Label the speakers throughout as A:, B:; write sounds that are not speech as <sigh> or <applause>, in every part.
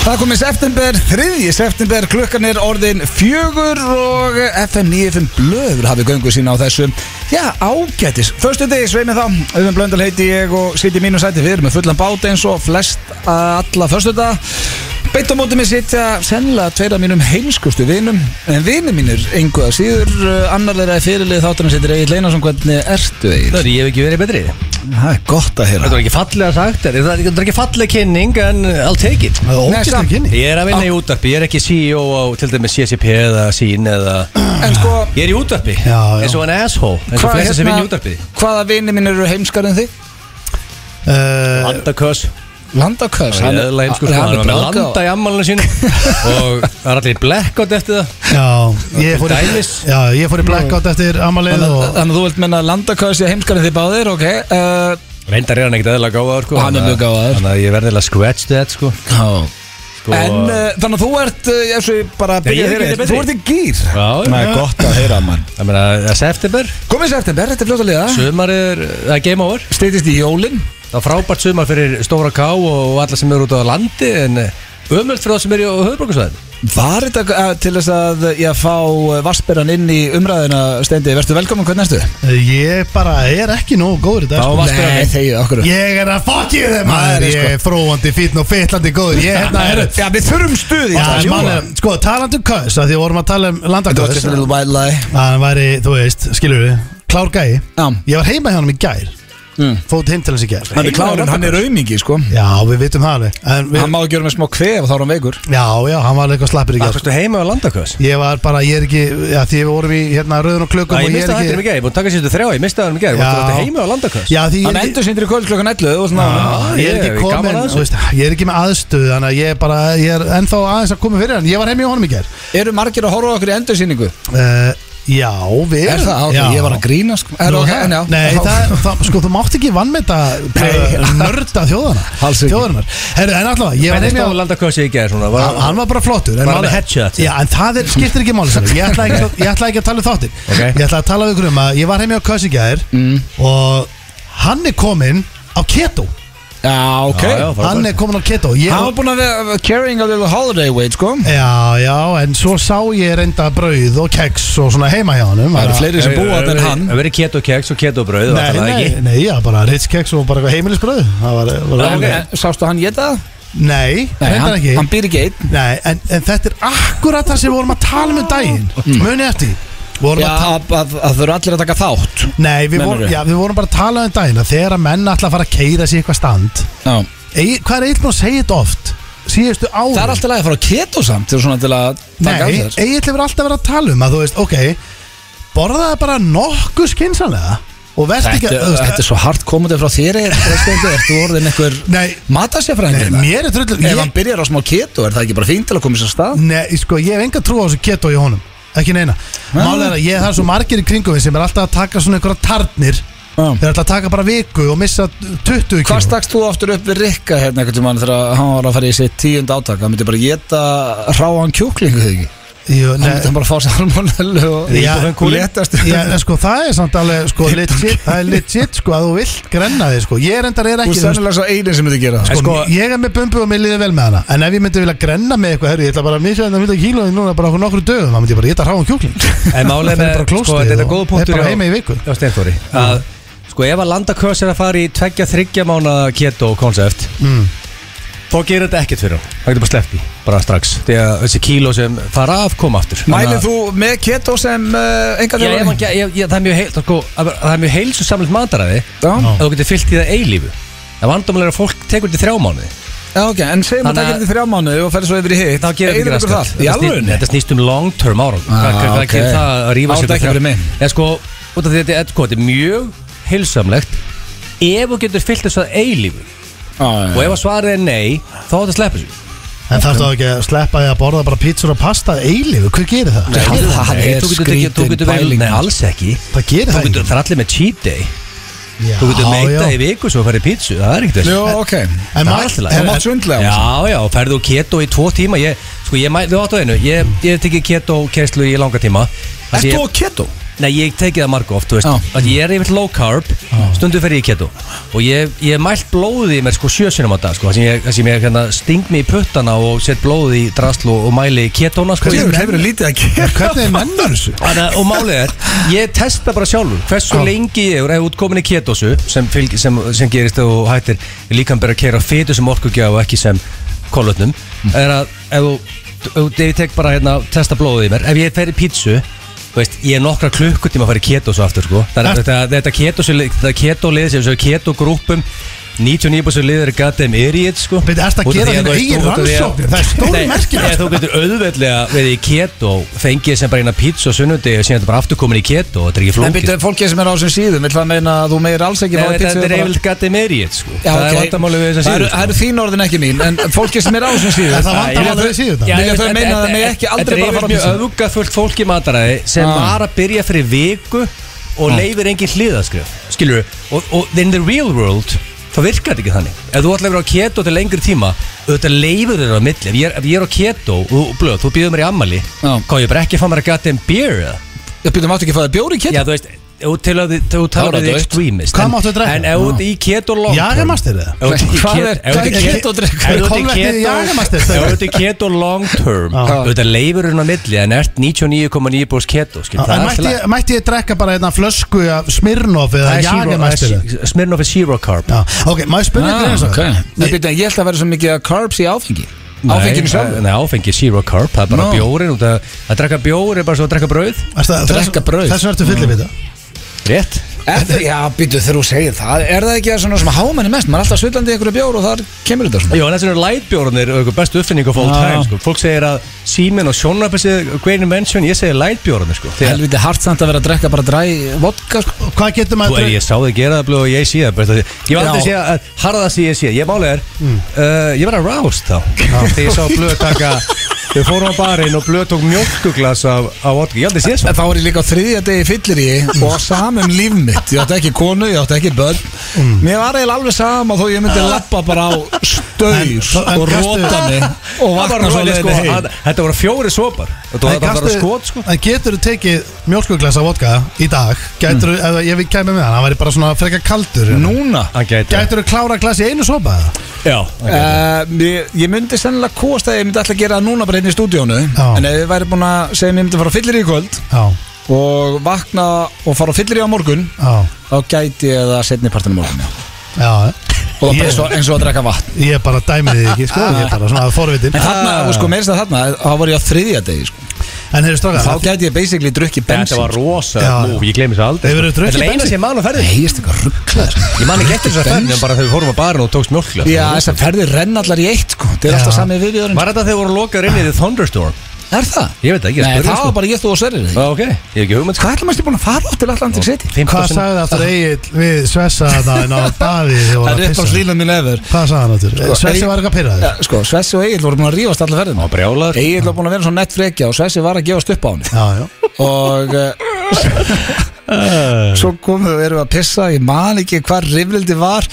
A: Það er komið september, 3. september, klukkan er orðin fjögur og FM 9.5 blöður hafið göngu sína á þessu, já, ágætis. Förstu degi sveimið þá, auðvitað blöndal heiti ég og sitt í mínu sæti, við erum með fullan bát eins og flest alla förstu dag. Beitt á móti mér sitja sennilega tveira mínum heimskustu vinum, en vinir mínir engu að síður uh, annar þeirra er fyrirlið þátturinn sittir Egil Einarsson, hvernig ertu Egil?
B: Það er ég hef ekki verið betri
A: Það er gott að
B: Þetta
A: heyra.
B: var ekki fallega sagt þetta er, þetta er ekki fallega kynning en uh, I'll take it
C: Það er
A: Nei,
C: ógæst
A: samt.
C: að kynni
B: Ég er að vinna í útvarpi, ég er ekki CEO á til dæmis CCP eða sín eða
A: En sko,
B: Ég er í útvarpi,
C: Já, já.
B: eins og en asshole eins og
A: hvað
B: flesta sem vinna í
A: hérna,
B: útvarpi
A: hvaða vinir mínir eru heimskar en þig?
C: uh,
B: Landaköss,
A: Landaköðs
B: hann er heimskur sko, hann var með landa í ammálinu sínu og það er allir í blackout eftir það
C: Já, ég fór í,
B: dæmis.
C: já, ég fór í blackout eftir amalið
A: Þannig
C: og
A: þannig að þú vilt menna að landaköðs sé heimskar en þið báðir, ok uh,
B: Reyndar er hann ekkert eðla gáðar sko
A: Hann er mjög gáfaður.
B: Þannig að ég verði eða scratch that sko, sko
A: En uh, þannig að þú ert, uh, ef svo ég bara byrja
B: ég er
A: þér
B: ekki
A: eitt,
B: betri.
A: þú ert í gýr
B: Já,
A: Það
B: já.
A: er gott að heyra mann
B: Það meina, það er september,
A: Komið september, þetta er fljótt að liða
B: sömarið er, eh, það er game over
A: Steytist í jólin
B: Það er frábært sumar fyrir Stóra Ká og alla sem eru út á landi en ömöld fyrir það sem eru á höfðbrukusvæðin
A: Var þetta uh, til þess að uh, ég fá vassberðan inn í umræðina Steindi, verðstu velkomin, hvernig erstu?
C: uh, ég bara er ekki nógu góður í dag
B: Þá
C: sko.
B: varstu- Vatnsberann.
A: Nei, þegið okkur
C: Ég er að fuck you þeim maður
A: Maður,
C: Ég er fróandi, fítn og fytlandi góður Ég hérna er
A: Já, við þurfum stuð í
C: Já,
A: þetta
C: mann, Sko, talandi um kös að Því við vorum að tala um
A: Þetta var
C: landakös
A: just a little wild lie
C: Hann væri, þú veist, skilur við Klár gæi
A: Já.
C: Ég var heima hjá hann í gær
A: Mm.
C: Fótt heim til hans í gær
A: Hann er klárinn, hann er aumingi, sko
C: Já, við vitum það alveg En
A: Hann
C: við,
A: má ekki gera með smá kvef, þá er hann veikur
C: Já, já, sko, hann var eitthvað slappir í
B: Það
C: gær
B: fyrstu heima á landaköðs
A: Sko,
C: Ég var bara, ég er ekki Já, því við vorum í hérna rauðun og klukkum
B: Ég
C: og
B: mistaði þetta um í gæði, ég er búin að taka sérstu þrjá, ég mistaði þetta um í gæði
C: Já.
B: Þú ert heima á landaköðs
C: Já, því ég
A: Hann
C: er ekki-
A: endur sindur í kvöld klokkan 11 og svona
C: Já, ég er
B: ég
C: ekki
B: er gaman
C: komin
B: að þessu.
C: þú veist, Ég er ekki með aðstöð Þannig að ég er bara Ég er ennþá aðeins að koma fyrir hann Ég var heim í honum í ger
A: Eru margir að horfa á okkur í endursýningu?
C: uh, Já, við
A: Er það
C: já.
A: ákveð? Ég var að grína sko Er
C: Nú,
A: ok,
C: það-
A: en já
C: Nei, það, það, sko, þú mátt ekki vannmeta nörda þjóðana
A: Alls ekki.
C: Þjóðarinnar Herru, en allavega, ég var
B: Hvernig
C: heim í
B: stóð landaköðs í gæði svona?
C: Hann hann var bara flottur en
B: Var hann
C: málið-
B: með headshot?
C: Já, en það er, skiptir ekki máli sannig Ég ætla ekki, að- ég ætla ekki að tala um þáttir
B: Ok.
C: Ég ætla að tala um ykkur um að ég var heim hjá Kösi gæðir
A: Mm.
C: Og hann er kominn á keto
A: Já, ok
B: Já, já, frábært.
C: Hann er kominn á keto Ég-
A: Hann var búinn að vera uh, carrying a little holiday weight sko
C: Já, já, en svo sá ég reynda brauð og keks og svona heima hjá hann
A: Það eru fleiri sem búa þetta en hann
B: Það verið keto keks og keto brauð
C: Nei, nei, nei, já, bara Ritz keks og bara eitthvað heimilisbrauð Það var, var
B: Já, ok.
C: okay.
A: Eh, Sástu hann geta það?
C: Nei, reyndar
A: hann,
C: ekki
A: hann býr ekki einn
C: Nei, en, en þetta er akkurat það sem við vorum að tala um um daginn Muni eftir Við vorum
A: Já,
C: að tala
A: að að- að þau eru allir að taka þátt
C: Nei, við vorum,
A: Meinarðu?
C: já, við vorum bara að tala um daginn að þegar að menn ætla að fara að keira sér eitthvað stand
A: Já
C: Ey, Hvað er eitthvað að segja þetta oft? Síðustu árum
A: Það er alltaf að fara á keto samt til svona til að taka
C: Nei,
A: af sér sko.
C: Egil hefur alltaf verið að tala um að þú veist, ok borðaði bara nokkuð skinsanlega og verðst ekki
A: Þetta,
C: þú veist,
A: þetta er svo hart komandi frá þér er, Ertu orðin einhver
C: Nei,
A: matasjafræðingur?
C: nei, mér er trullur
A: Ef hann
C: ég,
A: byrjar á smá keto, er það ekki bara fínt til að koma sér stað?
C: Nei, sko, ég hef enga trú á þessu keto í honum ekki neina Málega er að ég það er svo margir í kringum við sem er alltaf að taka svona einhverja tarnir
A: Já.
C: Þeir er alltaf að taka bara viku og missa 20
A: Hvað
C: kíló.
A: stakst þú aftur upp við Rikka hérna einhvern tímann þegar hann var að fara í sitt tíund átak hann myndi bara geta hráan kjúklingu þig ekki
C: Jú,
A: hann myndi
C: nei,
A: bara fá sér harmonellu og
C: Já,
A: og letast
C: Já, en sko, það er samt alveg, sko, legit, það er legit, sko, að þú vilt grenna þig, sko Ég er endar er
A: Þú
C: ekki,
A: er sennilega svo einin sem myndi gera það
C: sko,
B: En sko-
C: ég er með bumbu og mér liði vel með hana En ef ég myndi vilja grenna með eitthvað, herri, ég ætla bara að missa þetta mjög kílóði núna bara okkur nokkru dögum Það myndi ég bara geta ráðan kjúkling <laughs>
B: En málið með,
C: Fer bara á
B: sko,
C: klósettið
B: þetta er
C: og
B: góða punktur
C: er bara
B: hjá-
C: heima í viku.
B: hjá Steinþóri að, sko, ef að landaköðs er að fara í tveggja, þryggja mána keto koncept
C: mm.
B: þá gerir þetta ekkert fyrir hann það getur bara sleppt í, bara strax því að þessi kíló sem fara af koma aftur
C: Sko,
A: Mælið þú með keto sem uh, enga
B: Já, ég, man, ég, ég, það er mjög heil, sko, að- það er mjög heilsu samlega mataræði
A: Já,
C: Já.
B: að þú getur fyllt í það eilífu en vandamálega er að fólk tekur þetta í þrjá mánuði
A: já, ok, en segjum að
B: Þannig
A: það
B: að-
A: gerir þið þrjá mánuði og ferði svo yfir í hitt
B: þá gerir þetta
A: Eyðileggur
B: ekki raskat
A: það Í alvörinni?
B: þetta snýst um long term ára
A: Ah,
B: hvað hvað
A: ok.
B: gerir það að rífa
A: Á,
B: sér
A: þetta ekki
B: þrjá-
A: fyrir mig.
B: Eða sko, út af því að þetta er- sko, þetta er mjög heilsamlegt ef þú getur fyllt þessu að eilífu og ef að svarið er nei þá þetta sleppur sér
C: En þarf það ekki að sleppa því að borða bara pítsur og pasta eilifu, hver gerir það?
A: Nei,
B: Nei,
A: það
B: nei,
A: er
B: þú getur ekki- þú
A: skrítin
B: getur verið-
A: pæling.
B: Nei, alls ekki
C: Það gerir
B: Þú
C: það
B: getur, það er allir með cheat day Þú getur meita í viku svo farið pítsu Það er ekkert
A: Jó, ok
C: En
B: Það er
C: maður
B: allt í lagi.
A: Það mátt svindlega á þessu.
B: Já, já, ferðu og keto í tvo tíma ég, Sko, ég mæ, þú áttu einu Ég, ég hef tekið keto kerslu í langa tíma
A: Ert þú á keto?
B: Ég, Nei, ég tekið það margu oft, þú veist
A: Já.
B: ah. Ég er yfir low carb, stundu fer ég í keto Og ég, ég hef mælt blóðið í mér sko sjösunum á dag sko, þar sem ég, þar sem ég hérna, sting mig í puttana og set blóðið í draslu og mæli ketona sko,
A: Þú
B: Ég-
A: hefur lítið að gera
C: Hvernig
A: <laughs>
C: mennur þessu?
B: Þannig, að- og málið er, ég testa bara sjálfur hversu
C: Já.
B: lengi ég er útkomin í ketosu sem, fylg, sem, sem gerist ef þú hættir líkan bara að kera fytu sem orkugjáð og ekki sem kolutnum
C: Mm.
B: er að ef þú, ef þú- ef ég tek bara hérna, testa blóðið í mér, ef ég fer í pítsu þú Veist, ég er nokkra klukkutíma að fara í ketosu aftur sko. Það er,
C: Ert-
B: þetta, þetta ketosu þetta ketolið sem þessu ketogrúpum 99% liður er goddamn idiot sko.
C: Bíddu, ertu að
B: Út af
C: gera
B: því
C: þínar
B: þú veist,
C: eigin
B: út af því að-
C: rannsóknir? Það er stórmerkilegt.
B: Nei, eða þú getur auðveldlega verið í keto fengið sem bara eina pizza á sunnundi og síðan þetta bara aftur komin í keto og þetta er ekki
A: En
B: flókið
A: byrja, fólki sem er á þessum síðum Vill það meina að þú meir alls ekki
B: Nei,
A: fá
B: þetta
A: pizzu
B: þetta er
A: bara-
B: eiginlega gatti meiri sko.
A: Já,
B: það er
A: ok.
B: vandamáli við
A: Það
B: þess að
A: eru- Það eru þín orðin ekki mín En fólki sem er á þessum síðum
C: Er það vandamál við
B: sko.
C: síðan?
A: Já. Vilja þau meina að það megi ekki aldrei bara fara á
B: Þetta er
A: pizzu?
B: mjög öfgafullt fólk í mataræði sem
A: Ah.
B: var að byrja fyrir viku og leifir engin hliðaskrif skilur og, og in the real world þá virkar þetta ekki þannig ef þú ætlar að vera á keto til lengri tíma auðvitað leifur þetta á milli ef ég, er- ef ég er á keto og þú- blöð, þú býður mér í ammali
A: Já.
B: hvað ég bara ekki að fá mér að gata en beer eða
A: Ég byrjum átt ekki að fá það bjóri
B: Já,
A: kett
B: þú veist, þú til að þið- þú
A: Það
B: talar
A: var
B: að þið
A: dautt.
B: extremist
C: Hvað
B: en-
C: máttu drekka?
B: En ef þú ert í keto long
C: Jagamaster eða?
B: Ef þú ert í
A: Hvað
B: ket-
A: er-
B: ef þú
A: hvað er
B: ert í
A: keto
B: keto-
A: drikkur?
B: ef þú ert í
C: Kolvetnið í Jagamaster,
B: keto- ef þú ert í keto long term
C: Já.
B: auðvitað leifur hún hérna á milli en ert 99,9% keto skil, það er
C: En
B: alltaf
C: mætti ég, mætti ég drekka bara hérna flösku af Smirnoff eða Jagamaster eða?
B: læg Smirnoff er zero carb
C: Já, ok, maður spyrja ah, eins og
A: Nei, byrja, ég held að vera svo mikið að carbs í áfengi Áfenginu sjálf
B: Nei, áfengi er zero carb, það er bara
A: No.
B: bjórin út að, að drekka bjórin er bara svo að drekka brauð
A: Drekka brauð.
C: Þess vegna ertu fyllir við það
B: Rétt
A: Er það- Já, byrju, þegar þú segir það Er það ekki að svona sem hámenni mest Maður er alltaf svillandi í einhverju bjór og þar kemur þetta svona
B: Jó, en þess vegna lightbjórnir eru eitthvað bestu uppfinning of all
A: Já.
B: time, sko. Fólk segir að símin og sjónarpi segir great invention, ég segir lightbjórnir, sko. Þegar
A: Helviti hart samt að vera að drekka bara dræ vodka sko.
C: Og Hvað getur
B: Þú
C: maður
B: er,
C: að
B: ég sá þið gera það blöð og ég sé það bara, Ég var aldrei
A: Já.
B: sé að harða það sem ég sé Ég máli er, uh, ég var að rást þá Þegar ég sá blöð taka Við fórum á barinn og blöð tók mjölkuglas af, af vodka, ég aldrei sé
A: En
B: svo
A: þá var ég líka á þriðja degi <laughs> fyllir ég og samum líf mitt, ég átti ekki konu, ég átti ekki börn Mér var eiginlega alveg sama þó ég myndi lappa bara á staus
C: En- en
A: og
C: gastu-
A: róta mig og
B: Það var
A: vakna svo
B: rosalegt,
A: leiðinni
B: sko,
A: heim
B: að- Þetta voru fjóri sopar Þetta var þetta var skot sko
C: En getur þú tekið mjölkuglasa vodka í dag Gætur þú, mm. ef ég kemur með hann, hann væri bara svona frekar kaldur
A: Núna?
B: Hann gæti það.
C: Gætur þú klára glas í einu sopa eða?
B: Já, hann gæti það.
A: Uh, ég, ég myndi sennilega kosta að ég myndi alltaf gera það núna bara hérna í stúdíónu
C: Já.
A: en ef ég væri búin að segja mér myndi fara á fyllir í kvöld
C: Já,
A: og vakna og fara á fyllir í á morgun
C: já,
A: þá gæti ég það setni partinu morgun já.
C: já
A: og það
C: Ég-
A: bara eins og, eins og að drekka vatn
C: Ég bara dæmið þig ekki, sko Ég er bara svona forvitin
A: en þarna,
B: Ah.
A: og sko meirist að þarna, þá var ég á þriðja degi sko.
C: En hefur strákað
A: þá gæti ég basically drukkið
B: Þetta
A: bensin
B: var rosa
C: Já.
B: múf, ég gleymi svo aldrei sko.
C: Hefurðu
B: Þetta
C: drukkið
B: er eina
C: bensín?
B: sem ég man á ferðin
A: Nei, ég erst eitthvað rugglaður
B: Ég man ekki eftir þess að ferðin bara þegar við fórum á barinn og tókst mjölkuglas
A: Já, þess að ferðir renna allar í eitt sko. Það er
C: Já.
A: alltaf sami viðbjörn
B: Var þetta þegar voru lokaður inn í The Thunderstorm?
A: Er það?
B: Ég veit það ekki, ég
A: Nei,
B: spurði,
A: það
B: sko.
A: var bara ég þú og Sverrir
B: Já, ok, ég hef ekki hugmynd sko
A: Hvað ætlum maður búin að fara oft til Atlantic City?
B: 15
C: Hvað
B: sinnum.
C: sagði það aftur Egil við Svessa þarna á Davíð þegar voru að pissa?
A: mín efer
C: Hvað sagði hann aftur?
A: Sko,
C: Svessi
A: Egill-
C: var eitthvað pyrraður
A: ja, Sko, Svessi og Egil voru búin að rífast allar
B: Hann
A: ferðina
B: var brjálaður
A: Egil var búin að vera svona nett frekja og Svessi var að gefast upp á hann
C: Já, já
A: Og uh,
C: eh,
A: svo komum við erum við að pissa Ég man ekki hvað rifrildi var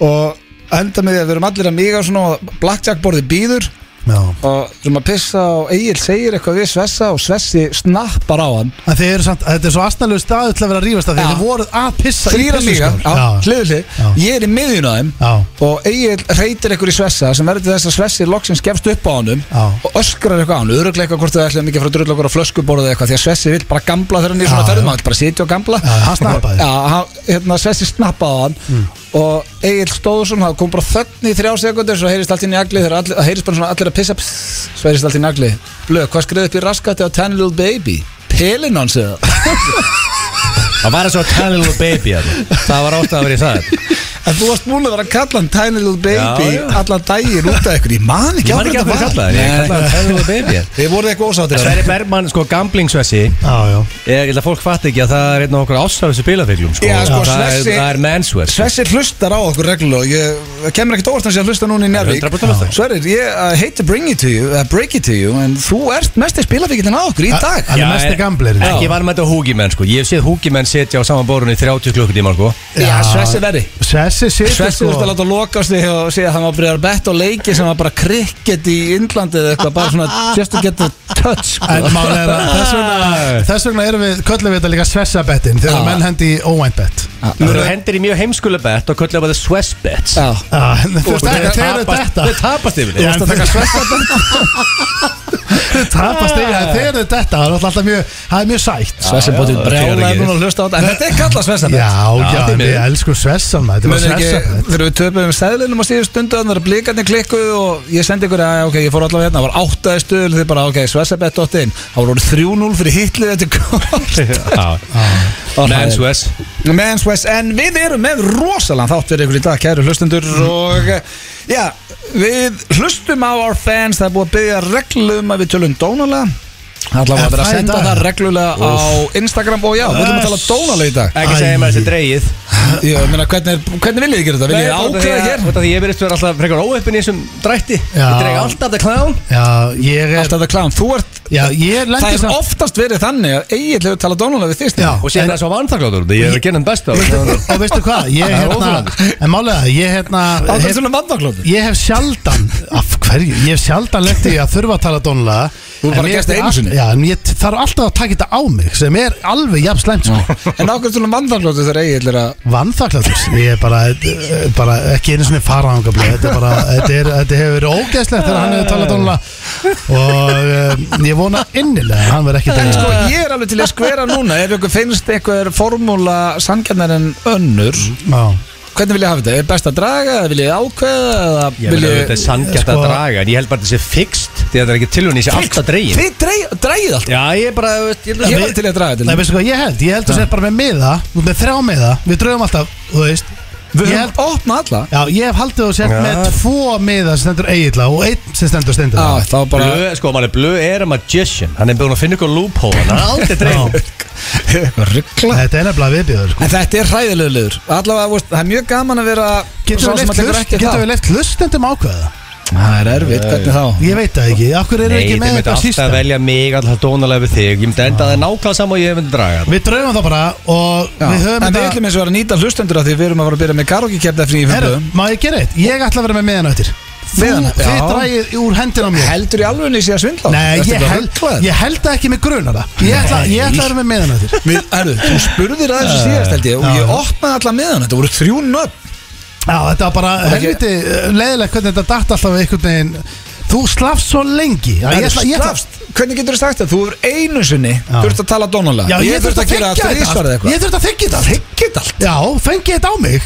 A: Og enda með því að við erum allir að miga svona og Blackjack borði býður
C: Já
A: og við erum að pissa og Egil segir eitthvað við Svessa og Svessi snappar á hann
C: En þið eru samt, þetta er svo astanlegu staðu til að vera að rífast
A: Já.
C: að þið þið voruð að pissa í
A: þrýra líka,
C: pissuskál. Já,
A: hliðli
C: Já.
A: ég er í miðjun á þeim
C: já,
A: og Egil reytir einhver í Svessa sem verður til þess að Svessi loksins gefst upp á honum
C: Já.
A: og öskrar eitthvað á hann, öruglega eitthvað hvort það ætlaði mikið frá drull okkur á flöskuborðu eitthvað því að Svessi vill bara gamla þegar hann er í
C: Já,
A: svona
C: já.
A: ferðum hann vill bara sitja og gamla
C: Já, hann snappaði. Mm.
A: Já, hann- hérna, Svessi snappaði á hann og Egil stóð svona, það kom bara þögn í þrjá sekundur svo heyrist allt inn í agli þegar allir, það heyrist bara svona allir að pissa pss, svo heyrist allt inn í agli blöð, hvað skriði upp í raskati á Ten Little Baby? Pelin hans eða?
B: Það var eins og að tiny little baby þarna. Það var átt að vera í það
A: En þú varst búin að vera að kalla hann Tiny Little Baby
B: Já, já.
A: allan daginn út af ykkur Ég man ekki
B: Ég man ekki
A: þetta
B: að
A: var.
B: hvað kallaði Ég
A: Nei.
B: kallaði hann tiny little baby hérna. þarna.
A: Þið voruð eitthvað ósáttir
B: Sverri Bergmann, sko, gamblingsvessi
C: já, já
B: Ég ég held að fólk fatt ekki að það er einn af okkur ástafissu bílafiklum sko.
A: Já, sko,
B: það, er,
A: Svessi-
B: það er menswear sko.
A: Svessir hlustar á okkur reglulega og ég það kemur ekkert óvart hans ég að hlusta núna í Njárvík
B: 100% hlustar.
A: Sverrir, ég uh, hate to bring it to you uh, break it to you, en þú ert mest í spilafíkillin á okkur í dag
C: Hann
B: Já,
C: er mest
B: en-
C: í gamblerinn
B: Ekki var með þetta húgimenn sko. Ég hef séð húgimenn menn setja á saman bórunni í 30 klukkutíma sko.
A: Já, Svessi verri
C: Svessi situr
A: Svessi
C: sko
A: þurfti að láta loka sig og segja að hann var að byrja að betta á leiki sem var bara krikket í Indlandi eða eitthvað, bara svona just to get the touch
C: En
A: sko.
C: málega er að þess
A: <laughs>
C: vegna, þess vegna erum við, köllum við þetta líka svessabettin Þegar
A: Já.
C: menn hendi í óvænt bett
B: Nú eru hendir í mjög heimskulebett og kölluðu að það svessbett
A: Já,
C: Þeir
B: þeir
C: eru
B: tapast-
C: þetta
B: Þeir tapast yfir
C: Já,
B: því
C: en þeir <laughs> tapast yfir
A: Ah.
C: en Þeir eru þetta, það er náttúrulega alltaf mjög, það er mjög sætt
A: Svessi bótið
B: já,
A: brjála
B: það er
A: núna að hlusta á þetta En þetta er kallað Svessi
C: Já, já,
B: því
C: við
B: miður.
C: elskum svessan maður,
A: Muni
C: Þetta var
A: ekki,
C: svessan
A: þegar við töpum stæðlinum á síðu stundu þannig að blikarnir klikkuðu og ég sendi ykkur að ok, ég fór allavega hérna, það var áttaði stöðul þið bara ok, svessabett átti inn þá voru orðið 3-0 fyrir hitlið þetta
C: <laughs>
A: kort
B: Já Menn svess
A: Men's West, en við erum með rosalega þátt fyrir ykkur í dag, kæru hlustendur
C: Mm.
A: og eh, já, við hlustum á our fans, það er búið að byggja reglum að við tölum dónulega allavega
C: Er
A: að vera að
C: það í
A: senda
C: dag?
A: það reglulega á Instagram og já, við ætlum að tala dónulega í dag
B: Ekki segja mér þessi dreigið
A: ég meina, hvernig, er- hvernig viljið þið gera þetta? Viljið þið ákveða hér?
B: Þetta því ég verðist vera alltaf frekar óöppin í þessum drætti
C: Já.
B: Ég dreig alltaf þetta klán
C: Já, ég er,
A: Alltaf þetta klán, þú ert
C: já, ég
A: Það
C: lendi
A: hefur
C: samt
A: oftast verið þannig að Egil hefur talað dónulega við þýstum
C: Já.
B: Og sér
C: En-
B: það svo vanþakláttur Ég er að gera hann besta á þessu.
C: Og veistu hvað, ég
B: Það er
C: hérna
B: óþolandi.
C: En málega, ég hérna
A: Það er
C: hef-
A: svona mandaklóti
C: Ég hef sjaldan, af hverju, ég hef sjaldan lett í að þurfa að tala dónulega
A: Þú hefur bara gert það einu sinni.
C: Já, en ég þarf alltaf að taka þetta á mig sem er alveg jafn slæmt sko.
A: En ákveð svona mandaklóti þegar Egil er að
C: Vannþaklatur, ég er bara, eh, bara ekki einu sinni faraðangabli Þetta, er bara, þetta, er, þetta hefur verið ógeðslegt þegar hann hefur talað dónulega Og um, ég vona innilega að hann verið ekki
A: En sko,
C: dónulega
A: ég er alveg til að skvera núna Ef ykkur finnst einhver formúla sangjarnar en önnur Hvernig vil ég hafa þetta? Er best að draga? Vil ég ákveða? eða
B: Ég vil
A: viljið-
B: að þetta er sanngjarnt að
C: Sko-
B: draga En ég held bara að þetta sé fixt Því að þetta er ekki tilhjóðin Ég sé alltaf dreigið
A: Þið dreig- dragið alltaf
B: Já ég er bara þú veist, Ég
A: Ég
B: held
A: var til í að draga
C: Nei,
A: þetta
C: veistu hvað ég held? Ég held að segja bara með miða, þú ert með þrjá miða Við draugum alltaf, þú veist
A: Við höfum
C: Ég held-
A: opnað alla
C: Já, ég hef haldið og sett
B: Já.
C: með tvo miða sem stendur eigilla og einn sem stendur stendur
A: Já, þá bara
B: Blö, sko, maður er blö er a magician Hann er búin að finna ykkur loophole Hann er aldrei dreigð
A: Ruggla
C: Þetta er nefnilega sko. viðbjöður
A: En þetta er hræðilegu liður Allavega, veist, það er mjög gaman að vera sá sem að tekur ekki
C: Getur
A: þátt.
C: við leift hlustendum ákveða?
A: Það er erfitt, hvernig þá?
C: Ég veit það ekki, af hverju erum
B: Nei,
C: við
B: þið
C: ekki með
B: myndi
C: þetta
B: alltaf
C: sísta?
B: velja mig alltaf dónalega við þig Ég myndi enda það nákvæða saman og ég myndi draga það
C: Við draugum það bara og
A: Já,
C: við höfum
A: en við ætlum eins og vera að nýta hlustendur af því við erum að fara að byrja með karaoke-kefni eftir nýjum
C: Herru,
A: fjöndum
C: má ég gera eitt? Ég ætla að vera með miðan öttir
A: Miðana,
C: Þið
A: já.
C: dragið úr hendina á mér
A: Heldur í alvegni sé að svindla?
C: Nei,
A: Ertu
C: ég
A: bara
C: held,
A: ruglaður?
C: ég held það ekki með grunara Ég ætla, ég ætla að vera með miðan öttir
A: Við, herru, þú spurðir að
C: Eh,
A: þessu síðast held ég og ég opnaði alla meðan, þetta voru þrjú nöfn
C: Já, þetta var bara
A: ekki-
C: helviti leðilegt hvernig þetta datt alltaf einhvern veginn Þú slafst svo lengi Já, ég
A: Herru,
C: ætla- ég ætla-
A: slafst, Hvernig getur þú sagt það? Þú hefur einu sinni þurft að tala
C: Já,
A: donalega
C: ég þurfti að
A: gera
C: þykja þetta
A: þrísvarð
C: allt.
A: eitthvað
C: Ég þurfti að þykja þetta allt.
A: Þykki þetta allt
C: Já, fengi þetta á mig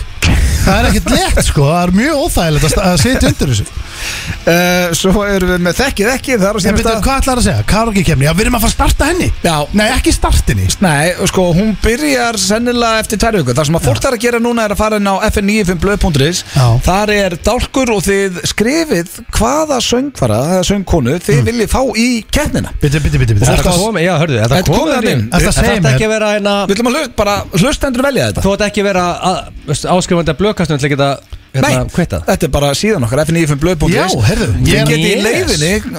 C: Það er ekkert lett sko, það er mjög óþægilegt að sta- að sitja undir þessu Eh,
A: uh, Svo erum við með þekkið ekki Það er á
C: En
A: sínum
C: betur,
A: stað
C: hvað ætlar að segja? Karokki kemni, já við erum að fara að starta henni
A: Já.
C: Nei, ekki startinni
A: Nei, sko, hún byrjar sennilega eftir tverju ykkur Það sem að fólk þarf að gera núna er að fara inn á fn95blöð.is
C: Já.
A: Þar er dálkur og þið skrifið hvaða söngfara, eða söngkonu þið
C: Mm.
A: viljið fá í keppnina
C: Bitur, bitur, bitur, bitur
B: Þetta kom, já, hörðu, þetta
A: Þetta
B: kom
A: kom
B: þarna
A: þarna
B: inn.
A: inn.
C: Þetta
B: Þetta
C: segir
B: átti
C: mér.
B: ekki að vera hérna
A: Við ætlum að hlust, bara hlustendur velja þetta
B: Þú átt ekki að vera að- veist, áskrifandi að blökastum til að geta hérna,
A: Nei,
B: kvitta
A: þetta er bara síðan okkar fn95blöð.is
C: Já, heyrðu, ég
A: Þið
C: er-
A: geti í
B: Yes.
A: leiðinni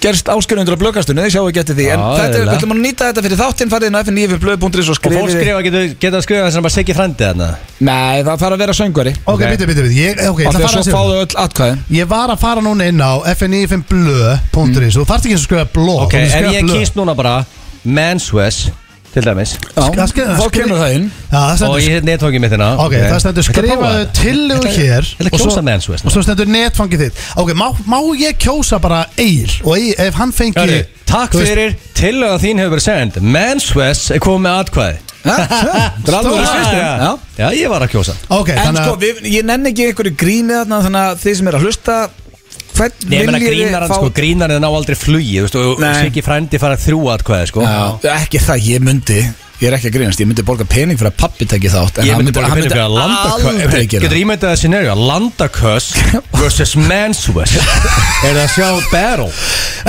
A: gerst áskjörundur á blöðkastunni, þið sjáu að getið því En
B: Já,
A: þetta er,
B: eðlilega.
A: við ætlum að nýta þetta fyrir þáttinn farið inn á fn95blöð.is og
B: Og fólk
A: skrifið
B: skrifa getur geta að skrifa þess að bara segja frændi þarna
A: Nei, það þarf að vera söngvari
C: Ok,
B: Ok.
C: bitur, bitur, bitur Ég, ok, ég
A: Og
C: ætla að
A: þegar
C: fara
A: svo
C: að segja
A: fáðu öll atkvæðin
C: Ég var að fara núna inn á fni5blö.is Þú þarft ekki eins og skrifa bló
B: Ok,
C: þú
B: ef
C: skrifa
B: ég
C: blö.
B: kýst núna bara Manswes til dæmis
A: Já,
C: Það skrifa-
A: þá
C: skrifa-
A: kemur það inn
C: Já, það
B: Og
C: stendur
B: ég hef netfókið mitt hérna
C: Ok, það stendur
B: Ég ætla að prófa
C: skrifaðu
B: þetta.
C: tillögu
B: Ég ætla-
C: hér
B: Ég ætla að
C: og svo-
B: kjósa Manswes
C: Og svo stendur netfangið þitt Ok, má, má ég kjósa bara Egil Og Egil, ef hann fengi
B: Hörru, takk
C: Þú veist-
B: fyrir Tillöga þín hefur verið send Manswes er komið með atkvæði
A: <laughs> Já, Það er alveg
B: Já,
A: svistum
B: já, já.
A: Já
B: Já, ég var að kjósa
C: Ok,
A: En
C: þannig
A: sko,
C: að
A: við, ég nenni ekki einhverju gríni þarna Þannig að þið sem er að hlusta Hvern
B: Nei, ég meina
A: viljið þið
B: grínarinn,
A: fá
B: sko, grínarinn ná aldrei flugi, þú veist, og
A: Nei.
B: Siggi frændi fara þrjú atkvæði, sko.
A: Já, ekki það, ég myndi Ég er ekki að grínast, ég myndi borga pening fyrir að pappi tekja þátt en
B: Ég
A: hann
B: myndi bara
A: hann
B: finna fyrir að landaköss
A: aldrei gera
B: Getur
A: það.
B: ímyndað
A: <laughs>
B: það scenario Landaköss versus mansvess Er það að sjá battle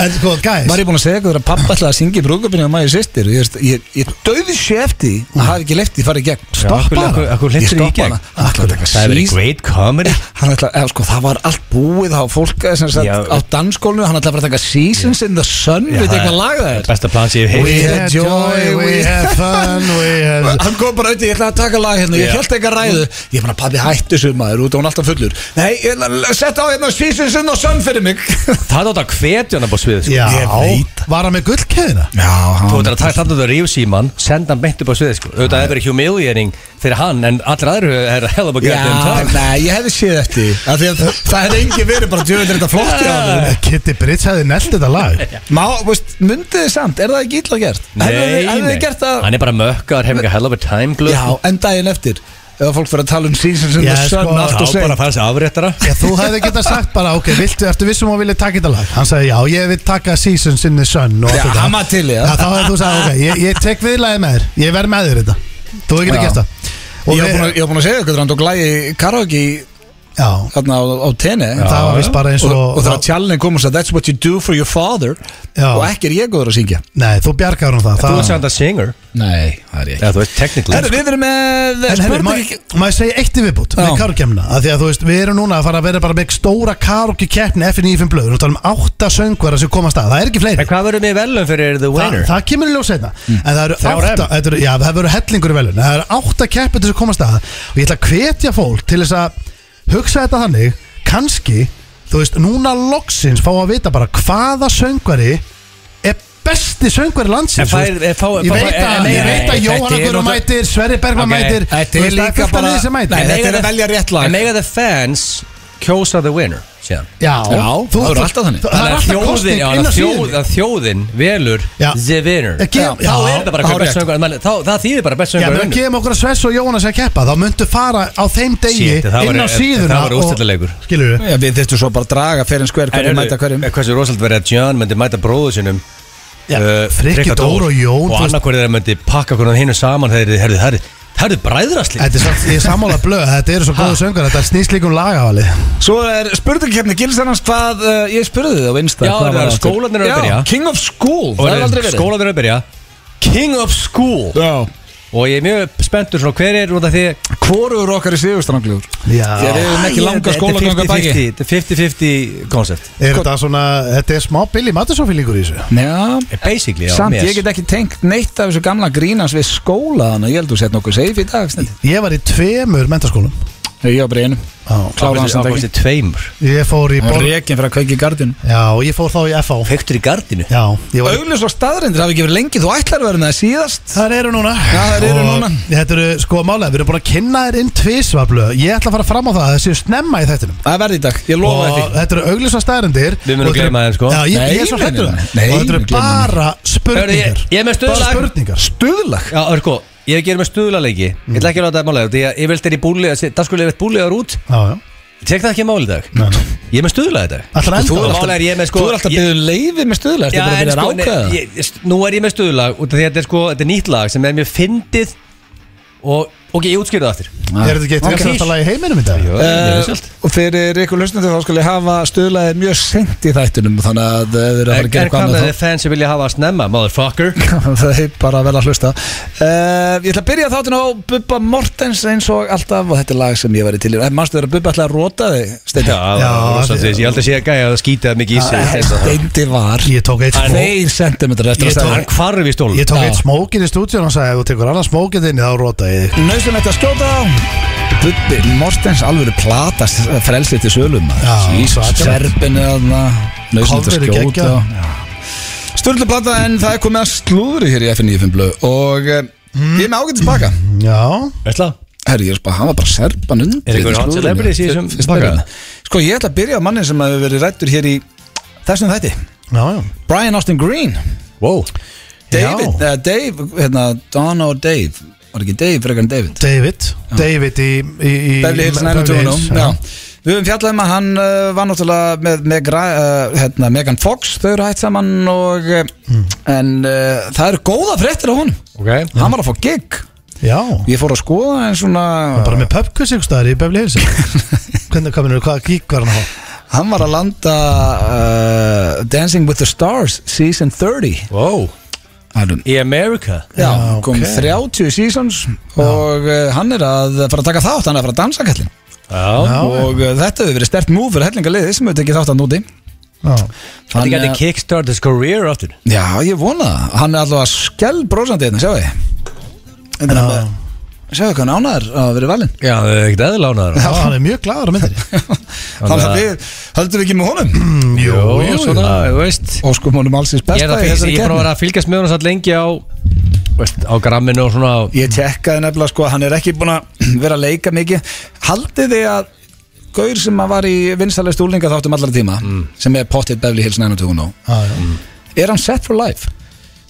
C: En sko, guys
A: Var ég búin að segja ykkur að pappa ætlaði að syngja í brúkabinu á maður sýstir Ég, veist, ég, ég döði sér eftir því að hafa ekki leift því að fara í gegn Stoppa
B: akkur-
A: hana.
B: akkur
A: Ég
B: leiddirðu
A: stoppa
B: í gegn?
A: hana. Hann ætlaði að taka
B: Það er verið
A: sís-
B: great comedy
A: Hann ætlaði, eða sko, það var allt búið á fólk eh, sem
B: Já.
A: sagt á dansskólinu Hann ætlaði að fara að taka Seasons in the Sun Við þetta
B: það er
A: eitthvað lag það er
B: Besta plan sem ég hef heilt
A: We had joy, we
C: had
A: <laughs>
C: fun, we had
A: Hann kom bara auðvitað, ég ætlaði að taka lag hérna Ég
B: Já.
A: held ekki að ræðu Ég meina, pabbi hættu sumaður út og hún alltaf fullur Nei, ég ætla að setja á hérna Seasons in the Sun fyrir mig
B: Það átt að hvetja hann upp á svið sko.
C: Já,
A: Ég veit.
C: var hann með gullkeðina?
A: Já,
B: Þú
A: hann
B: veitir að taka þannig að ríf síman Senda hann beint upp á svið sko. Auðvitað hefur verið humiliating fyrir hann En allir aðrir er hell of a
A: Já,
B: goddamn time
A: nei, ég hefði séð eftir því, af því að það- Það hefði engi verið bara djöfundir þetta flott hjá honum.
B: <laughs>
C: Kitty Brits hefði nelt þetta
A: <laughs>
C: lag
A: Má, veist, myndið þið samt, er það ekki illa gert? Hefði- hefði þið gert það
B: Hann er bara mökkar, hefur ekki hell of a time glöð
A: Já, en daginn eftir Ef fólk fyrir að tala um seasons in
C: Já,
A: the sun
C: sko,
A: allt
B: Þá
A: og
B: bara
A: segja
B: að fara sér afréttara
C: Já, þú hefði getað sagt bara, ok, viltu, ertu vissum að vilja taka þetta lag? Hann sagði, já, ég vil taka Seasons in the Sun og allt
A: Já,
C: þetta.
A: hann var til í það.
C: Já, þá hefði þú sagði, ok, ég, ég tek viðlagið með þér, ég verð með þér þetta Þú hefði
A: Já.
C: getað gert það Og
A: Ég var
C: við-
A: búin að- ég var búin að segja ykkur þegar hann tók lagi karaoke í-
C: Já,
A: þarna á, á tenni
C: það var vist bara eins
A: og,
C: og
A: og þegar Tjallin kom og sagði That's what you do for your father
C: Já.
A: og ekki er ég góður að syngja
C: Nei, þú bjargar hún það
B: Þú ert samt að singer
A: Nei, það er ég
B: Já, þú veist, technically
A: Herru, við erum með
C: En herri, má
A: spurning
C: má ég segja eitt í viðbútt
A: Já.
C: með karokemna, af því að þú veist, við erum núna að fara að vera bara með stóra karokkekeppni FNF blöður, þú talar um átta söngvara sem komast að, það er ekki fleiri
B: En hvað verður við velum fyrir The
C: Þa,
B: Winner?
C: það kemur í ljós einna En það eru
B: Mm. Þrjár
C: átta
B: M.
C: þetta eru- Já, það verður hellingur í velun Það eru átta keppendur sem komast að Og ég ætla að hvetja fólk til þess að Hugsa þetta þannig kannski, þú veist, núna loksins Fá að vita bara hvaða söngvari Er besti söngvari landsins
B: En
C: þú
B: fær-
C: veist.
B: fá- fá-
C: Ég veit
B: fá-
C: að,
B: nei,
C: ég
B: nei,
C: veit að
B: þetta
C: Jóhanna
B: er
C: Guðrún
B: nota-
C: mætir Sverri Bergman
B: Ok,
C: mætir
A: þetta
C: þú
A: er
C: veist, það
A: líka
C: fullt af
A: bara-
C: liði sem mætir.
A: Nei,
B: En
A: þetta
B: eiga
A: er að
B: the-
A: velja rétt lag.
B: En eiga the fans kjósa the winner síðan
C: Já,
A: Já, það eru alltaf þannig.
C: Það er
B: að
C: alltaf
B: þjóðin,
C: kostning
B: já,
C: inn
B: að
C: á
B: þjóð,
C: síðan
B: að þjóðin velur
C: Já.
B: the winner
C: Ekki-
B: Já,
C: já,
B: Þá er þetta bara
A: þá
B: hver
A: rétt.
B: best söngur menn, þá- Það þýðir bara best
C: Já,
B: söngur
C: menn að gefa okkur að Svess og Jóhannes að keppa Þá myndu fara á þeim degi
B: Shit, það var- e-
C: inn á
B: það
C: síðuna
B: var
C: og-
B: úrslitaleikur. Eh,
C: Skilurðu?
A: Já, við þurftum svo bara að draga fyrir en skver hvernig mæta hverjum
B: Hversu rosald verið að John myndi mæta bróðu sinum
C: Já,
B: uh,
C: Frikki
B: Frikka
C: Dór og Jón,
B: Og
C: þú veist.
B: annarkvæður þeirra myndi pakka hvernig hinn saman Þegar þeir herði, herði, herði bræðrasli
C: Þetta er samt, ég er sammála blöð, þetta eru svo góðu söngar, þetta snýst líka um lagavali
A: Svo er spurningkefni gilsannans hvað uh, ég spurði þið á Insta
B: Já,
A: hvað
B: það
A: var
B: eru
A: aftur?
B: skólarnir eru að
A: Já,
B: byrja.
A: King of School,
B: Og
A: það er aldrei verið
B: skólan er að byrja King of School
A: Já,
B: Og ég er mjög spenntur svona hver er út af því eh,
A: hvorur okkar í sigurstranglur Þegar
C: Já,
A: við höfum ekki
B: Æ,
A: langa
B: þetta er
A: skólaganga að baki
B: 50-50, þetta er 50-50 koncept
C: er þetta svona, þetta er smá Billy Mattisson-fílingur í þessu
A: Já,
B: Basically, já,
A: Samt,
B: mes.
A: ég get ekki tengt neitt af þessu gamla grínans við skólaðana Ég held að þú sett nokkuð safe í dag snill.
C: Ég var í tveimur mentaskólum
A: Ég var bara í einum
C: Já.
A: Kláraði hans
B: Ákvæmst-
A: þetta ekki
B: ákvæmst er tveimur
C: Ég fór í borg
A: Rekin fyrir að kveiki í gardinu
C: Já, og ég fór þá í FH
B: Fektur í gardinu
C: Já, ég var í
A: Augljus og staðrindir hafi ekki verið lengi Þú ætlar að vera með það síðast
C: Það eru núna
A: Já, þær eru
C: Og
A: núna.
C: Þetta eru sko málega, við erum búin að kynna þér inn tvisvablu Ég ætla að fara fram á það að það séu snemma í þættinum
A: Það verði í dag, ég lofa
C: Og
A: þetta
C: þetta eru auglýsa staðarindir
B: Við munum gleyma þeim, sko.
C: Já, ég, ég
A: Nei,
C: er svo
A: nei,
C: hrættur
A: nei,
C: það
A: nei,
C: Og þetta
A: við
C: eru
A: gleymum
C: bara
B: Hörðu, ég,
C: spurningar
B: ég er með
C: Bara
B: stöðlag
C: spurningar
A: Stuðlag
B: Já, örko, ég ger með stöðlalegi Ég ætla ekki að láta það málega Því að ég velt þér í búli Það skulle ég veit búli ára út
C: Já, já
B: Tek það ekki máli í dag
C: Nei, nei.
B: Ég er með stöðla í dag
C: Ætlar að enda
B: Þú
C: á
B: er
C: það?
B: málega er ég með sko
A: Þú er alltaf
B: ég-
A: byggðið leiði með stuðlag
B: Já,
A: Þetta er
B: en
A: bara
B: sko,
A: að
B: nei,
A: vera ákveða
B: ég- ég- nú er ég með stöðlag Út af því að þetta er sko Þetta er nýtt lag sem er mjög fyndið Og, ok, ég útskýrðu það aftur
A: Ah.
C: Er þetta ekki eitt
A: Ok.
C: vinsælasta lag í heiminum í dag?
B: Jó, ég veist allt.
A: um Eh, Og fyrir ykkur hlustandi þá skal ég hafa stuðlaði mjög sent í þættinum Þannig að eh, þeir eru að fara
B: En
A: að gera
B: en
A: eitthvað
B: hvað
A: annað
B: með
A: þá-
B: þið fans sem vilja hafa að snemma, motherfucker
A: <laughs> það er bara að vera að hlusta uh, Ég ætla að byrja þáttin á Bubba Mortens eins og alltaf og þetta er lag sem ég væri til í Eh, Manstu þegar Bubba ætlaði að róta þig
B: Já,
A: Steindi
B: það var rosa
C: það-
B: þess. Ég aldrei sé að gæja að skýta mikið í
A: Ah,
B: sig
A: Steindi Eh, var
C: Ég tók eitt smók
A: Þeir sendum þetta eftir
C: Ég
A: að
C: tók-
A: segja
B: Hann hvarf í stólun
C: Ég tók
A: Já.
C: eitt smókin í stúdíun og sagði ef þú tekur annað smókin þinn þá róta ég þig
A: Nauðsum þetta að skjóta Bubbi Mortens alvöru plata s- frelsið til sölum
C: Já, svakalegt.
A: Serbinu Nauðsum þetta að
C: Cover er
A: skjóta
C: geggjað.
A: Sturlu plata en það er komið að slúðri hér í FN95 blöð og eh,
C: Hmm?
A: ég er með ágætis baka
C: Já,
B: Ætla?
A: Herri, ég er bara, hann var bara serban undir
B: Er einhver hot
A: slúðrinu.
B: celebrities í þessum
A: Fyrst
B: pakka?
A: byrjun. Sko, ég ætla að byrja á manni sem hefur verið rættur hér í þessum þætti
C: já, já
A: Brian Austin Green
B: Wow
A: David, uh, Dave, hérna, Donna og Dave Var ekki Dave, frekar en David
C: David, David í, í, í
A: Beverly Hills 90210
C: já.
A: Já Við höfum fjallað um að hann uh, var náttúrulega með, með gra, uh, hérna, Megan Fox, þau eru hætt saman og,
B: Hmm.
A: mm. en uh, það eru góða fréttir á honum,
B: Ok
A: hann var að fá gig
C: já,
A: ég fór að skoða en svona
C: bara með pubquiz ykkur staðar í Beverly <laughs> Hills Hvernig kominur, hvaða gík var hann á?
A: Hann var að landa uh, Dancing with the Stars Season 30
B: Wow
A: Hann
B: Í America
A: Já,
C: Já,
A: kom
C: ok.
A: 30 seasons og uh, hann er að fara að taka þátt, hann er að fara að dansa kallin
B: Já
A: og uh, þetta hefur verið stert múf fyrir hellingarliði sem hefur tekið þátt hann úti
C: Já.
B: Þetta
A: Hann,
B: gæti
A: uh,
B: kickstart his career aftur
A: Já, ég vona það, hann er allavega skell brósandi hérna, sjáu þið Þetta er
C: Já.
A: alveg- Sjáu hvað hann ánæður að vera valinn
B: Já, það er ekkert eðlánaður
C: Já, hann er mjög gladur á myndinni
A: Þannig að við höldum ekki með honum
B: <clears throat>
C: Jú,
B: jú, svona, þú veist
A: og sko honum allsins
B: Ég er
A: besta
B: að
A: í
B: fylgja,
A: þessari
B: ég er bara að
A: keppni.
B: vera að fylgjast með hún satt lengi á veist, á gramminu og svona
A: Ég tjekkaði nefnilega sko að hann er ekki búin að <clears throat> vera að leika mikið Haldið þið að Gaur sem að var í vinsalega stúlinga þáttum allra tíma sem er pottitt Beverly Hills 90210
C: <laughs> Já, já.
A: oh, Er hann set for life?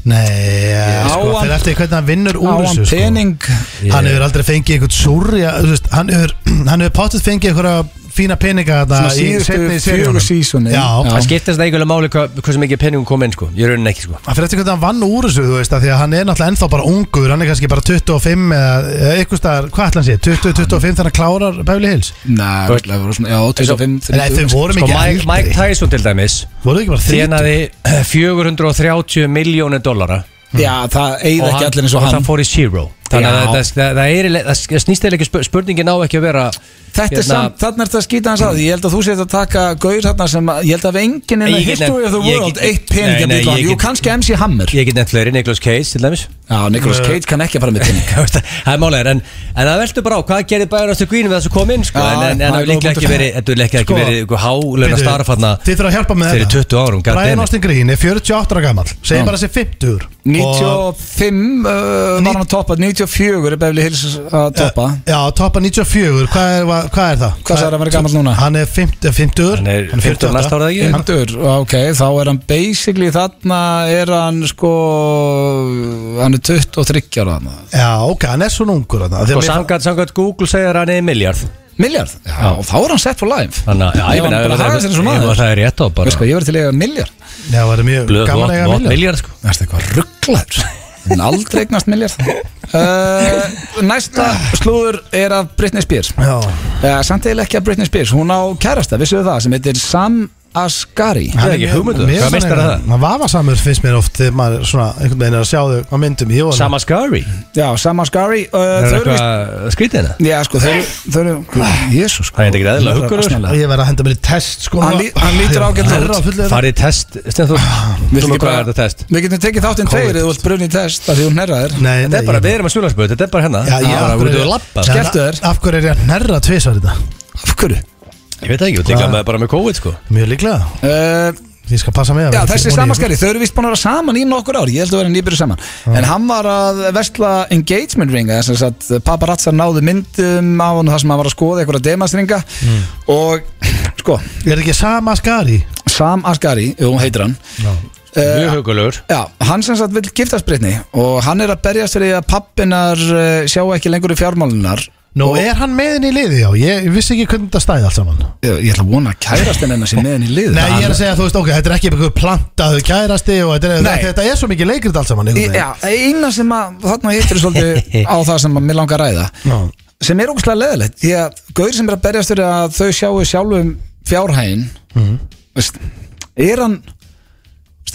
C: Nei,
A: Á
C: sko,
A: hann-
C: fyrir eftir hvernig hann vinnur
A: Á
C: úr
A: hann
C: þessu sko.
A: pening
C: Hann hefur aldrei fengið eitthvað súrja þú veist, Hann hefur, <clears throat> hann hefur pátuð fengið eitthvað fína peninga þarna
A: Svona
C: í
A: síðustu
C: seinni
A: fjögur
C: seríunum.
A: seasonin.
C: Já,
A: Já.
B: það skiptast það einhverjulega máli hvað hva sem ekki peningum kom inn sko, ég raunin ekki sko
C: Hann fyrir eftir hvernig hann vann úr þessu, þú veist, að því að hann er náttúrulega ennþá bara ungur, hann er kannski bara 25 eða eða eitthvað staðar, hvað ætla hann sé, 20-25 þannig að klárar Beverly Hills.
A: Nei,
B: Þú veist-
A: örugglega voru svona- já, 25,
C: Nei, þau
A: 30
C: voru
B: Sko,
C: mikið
B: Mike, Mike
C: eldri.
B: Tyson til dæmis
C: Voru þau ekki bara 30?
B: þjenaði 430 miljónir dollara
A: Já, það eigið ekki allir eins og hann
B: það fór í zero þannig að
C: Já.
B: það, það, það, er, eiginlega- það snýst eða ekki spur- spurningin á ekki að vera
A: Þetta
B: Hérna-
A: er samt, þannig er þetta að skýta hans að því. Ég held að þú sétt að taka gaur þarna sem að, Ég held að við enginn in the
B: Ég get
A: history of the
B: nefnt- ég
A: world
B: get-
A: Eitt pening
B: Nei,
A: að
B: nei,
A: býta
B: ég
A: Jú,
B: get-
A: kannski MC Hammer
B: ég get nefnt fleiri, Nicolas Cage til dæmis
A: Já, Nicolas Cage kann ekki að fara með pening
B: <laughs> það er málega, en, en það veldur bara á hvað gerir bæjarnast til grínum við þessu kom inn sko,
A: Já,
B: en, en, en
A: það er
B: það hefur líklega
A: góð
B: ekki
A: punktur.
B: verið þetta hefur líklega
C: Sko,
B: ekki verið ykkur hálauna
C: Bíddu,
B: starf þarna
C: Þið þurfa að hjálpa með
B: fyrir 20 árum god
C: Brian
B: damn it.
C: Austin Green er 48 ára gammal
A: Já.
C: Segir bara sér 50 og-
A: 95 uh, var hann að toppa 94 er Beverly Hills að toppa
C: eh, Já, toppa 94, hvað er, hvað- hvað er það?
A: Hvað sagði hann að vera gamall núna?
C: Hann er eh, 50, 50
B: Hann er 50 næsta ára, ekki?
C: Hann-
A: Endur, ok, þá er hann basically þarna er hann sko hann er 23 ára þarna
C: Já, ok, hann er svona ungur þarna.
B: og
C: Þegar mér-
B: samkvæmt samkvæmt Google segir hann er miljard
A: Miljard, já, og þá er hann set for life
B: þannig að já,
A: Ef
B: ég meina,
A: hann
B: ef
A: bara
B: það-
A: hagar sér eins og
B: ef
A: maður
B: það er rétt á
A: Veist
B: bara
A: hvað, ég verði til að eiga miljard
C: Já, það er mjög
B: blöð
C: gaman að eiga
B: vott
C: milljón.
B: miljard sko
A: Það er eitthvað rugglaður En aldrei eignast
B: <laughs>
A: miljard uh, Næsta slúður er af Britney Spears
C: Já,
A: uh, Samt eða ekki af Britney Spears Hún á kærasta, vissuðu það, sem heitir Sam Asghari
B: Hann er ekki hugmyndu,
C: Mér
B: hvað
C: finnst
B: meistar
C: hann-
B: það?
C: Hann vafasamur finnst mér oft þegar maður svona einhvern veginn er að sjá þau á myndum í jóðan
B: Sama Scary
A: Já, Sam Asghari uh,
B: Það
A: Þau
B: er
A: eru víst
B: eitthvað skrítið hérna
A: Já, sko, þau eru, þau eru,
C: Ah,
A: jésus sko
B: Það er ekkert eðlilega huggur, sko.
C: Ég verð að henda mér í test sko
A: Hann lí- hann lítur ágætlega út.
C: út
B: Farið í test Stenþór
C: Ah,
B: Þú
A: ekki
B: maður hvað
A: bara-
B: er þetta test
A: Við getum tekið þáttinn
C: Covid.
A: tveir eða þú ert brunni í test að því hún herra þér
C: Nei,
B: Þetta er bara Við erum að sjólagsböð Þetta er bara hérna
C: Já,
B: Það
C: ég
B: er bara út og lappa
A: Já. Skelltu þér.
C: Af hverju er ég að nærra tvisar þetta?
A: Af hverju?
B: Ég veit það ekki Þú
C: Já.
B: teklaði með bara með COVID sko
C: Mjög líklega
A: Uh,
C: Ég skal passa með
A: já,
C: að vera ekki
A: þessi
C: ofan í Ah.
A: samaskari, þau eru vist búin að vera saman í nokkur ár Ég held að vera nýbyrju saman En hann var að vestla engagement ringa Þess að paparazzar náðu myndum á hann Það sem hann var að skoða einhverja demastringa
C: Mm.
A: Og, sko,
C: ykkur. Er ekki sama skari?
A: Sam Asghari, jú, hún heitir hann
C: Já
A: uh,
B: Mjög hugulegur
A: Já, hann sem sagt vil giftast Britni og hann er að berjast fyrir því að pappinar uh, sjá ekki lengur í fjármálunar
C: Nú, er hann meðin í liði já? Ég vissi ekki hvernig þetta stæði allt saman
A: Ég, ég ætla að vona að kærast henni sem meðan í lið
C: Nei, ég er að segja, þú veist, ok, þetta er ekki eitthvað plantaðu kærasti og þetta er,
A: Nei.
C: þetta, þetta er svo mikið leikrit allt saman einhvern
A: Já,
C: veginn.
A: eina sem að þarna hittir svolítið á það sem að mér langar að ræða
C: Já.
A: sem er ógustlega leðilegt því að gaur sem er að berjast fyrir að þau sjáu sjálfum fjárhæin
C: Mhm.
A: veist, er hann veist,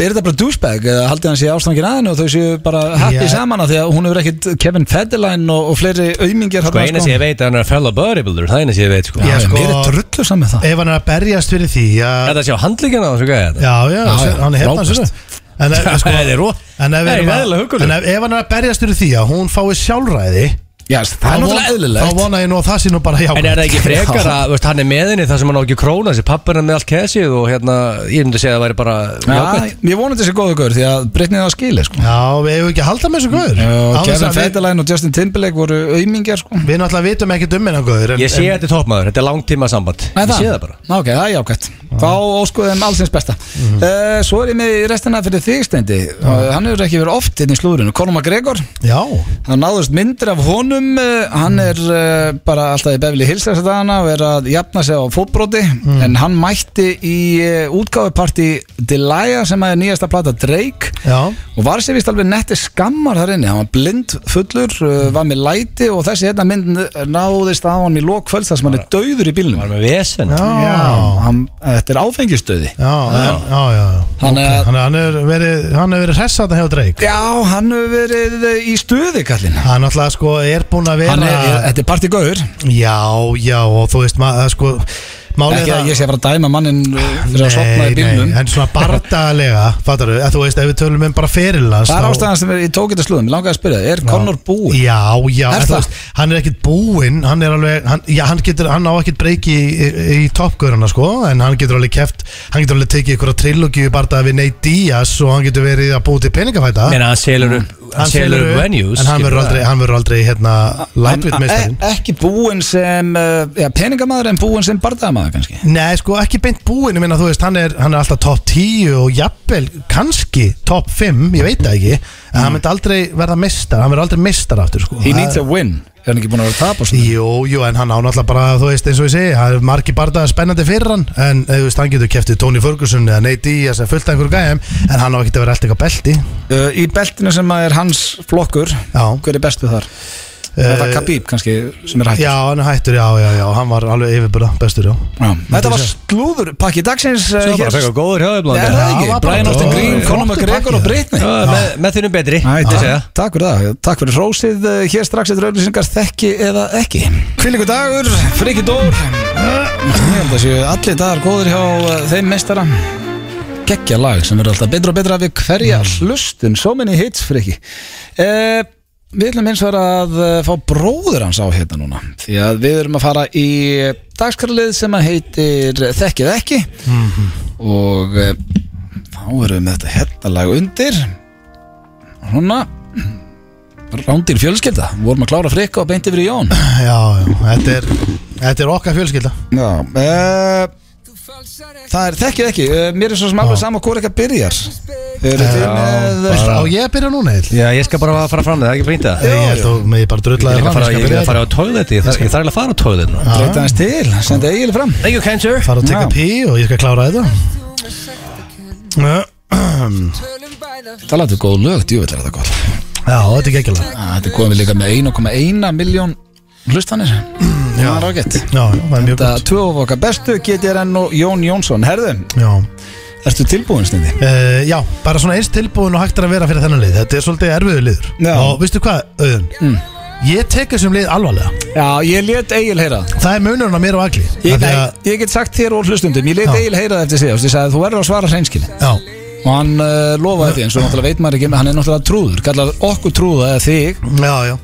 A: er þetta bara douchebag eða haldið hann sé ástangin aðinu og þau séu bara happy
C: Já.
A: saman að því að hún hefur ekkit Kevin Federline og, og fleiri auðmingir
B: Sko eina sem ég veit að Hann er fellow bodybuilder Það er eina sem ég veit sko
C: Já.
B: Ég
A: sko,
C: sko-
A: mér er drullu saman með það
C: Ef hann er að berjast fyrir því að
B: ætla að sjá handlíkina á þessu gæja þetta.
C: Já, já,
A: Já,
C: já,
A: já,
C: hann er hérna
A: frábært.
C: sér En, ef- sko,
B: Það er ró-
C: en
B: Það
C: ef,
B: er
C: erum að-
B: eðlilega huggulegur.
C: en ef, ef hann er að berjast fyrir því að hún fái sjálfræði
A: Já, það er
C: þá von-
A: náttúrulega
C: Þá
A: eðlilegt
C: vona ég nú að það sé nú bara
B: En er
C: jákvæmt
B: það ekki frekar að veist, hann er meðinni þar sem hann á ekki krónu þessi pappirna með allt kæsið og hérna ég myndi segja að það væri bara
A: Já, ég vonandi þessi góðu gaur því að Britney það skilir sko
C: Já, við hefum ekki að halda með þessu guður
A: Já,
C: Án þess
A: Kevin
C: að við-
A: Federline og Justin Timberlake voru auðmingjar sko
C: Við náttúrulega vitum ekkert um hennar guður en,
B: Ég sé þetta er toppmaður, þetta er langtíma samband Ég sé það bara
A: Ok, það er jákvæmt Þá óskuðum allsins besta mm. Svo er ég með í restina fyrir þig stendi uh, Hann hefur ekki verið oft inn í slúðurinu Conor McGregor,
C: Já,
A: það náðust myndir af honum uh, Hann er uh, bara alltaf í Beverly Hills þess að dana og er að jafna sig á fótbroti En hann mætti í uh, útgáfuparti Delia sem að er nýjasta plata Drake
C: já
A: Og var sér vist alveg netti skammar þar inni, hann var blind fullur, uh, var með læti og þessi hérna mynd náðist á hann í lókvöld þar sem hann er dauður í bílnum.
B: Var með vesen
C: Já,
A: Já, hann, uh, þetta er áfengistöði
C: Já, en- já, já, já.
A: Hann er-
C: Ok, Þannig að hann hefur verið, hann hefur verið hressa þetta hjá Drake
A: Já, hann hefur verið uh, í stöði kallinn
C: Hann náttúrulega sko er búinn að vera
A: Hann er, þetta er partigauður
C: Já, já, og þú veist maður, sko Málið
A: Ekki
C: er
A: að
C: það
A: ég sé að fara að dæma mannin fyrir að sopna í bílnum
C: en svona bardalega, fattar þú, þú veist, ef við tölum um bara ferilans
A: Það er ástæðan sem ég tók þetta slúðum, ég langaði að spyrja það, er Connor búinn?
C: Já, já,
A: Er
C: en þú
A: það?
C: veist, hann er ekkit búinn hann er alveg, hann, já, hann getur, hann á ekkit breyki í, í, í topgöruna, sko en hann getur alveg keft, hann getur alveg tekið ykkur að trilogíu bara við Nate Diaz og hann getur verið að búið til peningafæta
B: Meina, hann selur upp, hann selur upp
C: upp,
B: venues
C: en hann
B: skilur
C: verður
B: það.
C: aldrei, hann verður aldrei hérna, lightweight meistarinn
A: E- Ekki búinn sem uh, já, peningamaður en búinn sem bardagamæður kannski
C: Nei, sko, ekki beint búinn, ég minna, þú veist, hann er, hann er alltaf top 10 og jafnvel, kannski top 5, ég veit það ekki en
A: Mm.
C: hann myndi aldrei verða mistar, hann verður aldrei mistar aftur, sko
A: He
C: Það-
A: needs a win, er hann ekki búinn að vera að tapa og svona?
C: Jú, jú, en hann á náttúrulega bara, þú veist, eins og ég segi, það er margi bardaðar spennandi fyrir hann, en eh, þú veist, hann getur keftið Tony Ferguson eða Nate Diaz eða fullt af einhverju gæðum, en hann á ekkert að vera allt eitthvað belti.
A: Uh, í beltinu sem að er hans flokkur
C: Já. Uh,
A: hver er bestu þar? er það Khabib kannski sem er hægt
C: Eh, Já, hann er hættur, já, já, já, hann var alveg yfirburða, bestur, já.
A: þetta var slúður pakki dagsins uh,
B: Svo bara
A: hér-
B: fekk að góður hjá þeim
A: Nei,
B: Blanda.
A: er það
C: Já,
A: ekki?
C: var bara
A: Brian Austin
C: góður.
A: Green, Conor
C: Flottur
A: McGregor
C: pakki.
A: og Britney
B: Já, með, með þínum betri
A: Æ,
B: myndi ég
A: takk,
B: segja.
A: takk fyrir það, takk fyrir rósið uh, hér strax eftir auðlýsingar þekki eða ekki Kvílíku dagur, fríki dór Ég held að séu allir dagar góður hjá uh, þeim meistara Gekkja lag sem verður alltaf betra og betra við hverja hlustun, so many hits fríki uh, Við ætlum eins og að uh, fá bróður hans á hérna núna Því að við erum að fara í dagskarlið sem að heitir Þekkið ekki Og uh, þá erum við með þetta hérna lag undir Svona Rándir fjölskylda, vorum að klára frikka og beint yfir í Jón
C: Já, já, þetta er, þetta er okkar fjölskylda.
A: Já uh, Það er, þekkið ekki, uh, mér er svo sem alveg sama hvort eitthvað byrjar Eru þið með
C: Á ég að byrja núna, eil?
B: Já, ég skal bara fara fram með það, er ekki brýnt það
C: Ég held að mig bara
B: Ég
C: drullaði
B: vil fara, ég vil
C: að
B: fara á toileti, ég þarf ég þarf eiginlega að fara á toileti núna.
A: Breyta hans til, senda Egil fram
B: Thank you, cancer
C: fara að teka
A: Já.
C: pí og ég skal klára þetta.
A: Það látið góð lög, djúvill er þetta gott
C: Já, þetta er geggjala.
A: Á, Þetta er komið líka með 1,1 miljón hlustanir Já, rákett
C: Já, já, það er mjög
A: Þetta
C: gott.
A: tvö of okkar bestu, GTRN og Jón Jónsson Herðu,
C: Já.
A: ertu tilbúin snindi?
C: Uh, já, bara svona eins tilbúin og hægt er að vera fyrir þennan lið Þetta er svolítið erfiður liður
A: Já.
C: Og veistu hvað, auðun Ég tek þessum lið alvarlega
A: Já, ég let Egil heyra það
C: Það er munurinn á mér og agli
A: Ég, ég, ég get sagt þér og hlustundum, ég leti
C: Já.
A: Egil heyra það eftir síðast, ég sagði þú verður að svara hreinskilin
C: Já,
A: og hann uh, lofaði því eins og náttúrulega veit maður ekki, hann er náttúrulega trúður, kallar okkur trúða eða þig,
C: já, já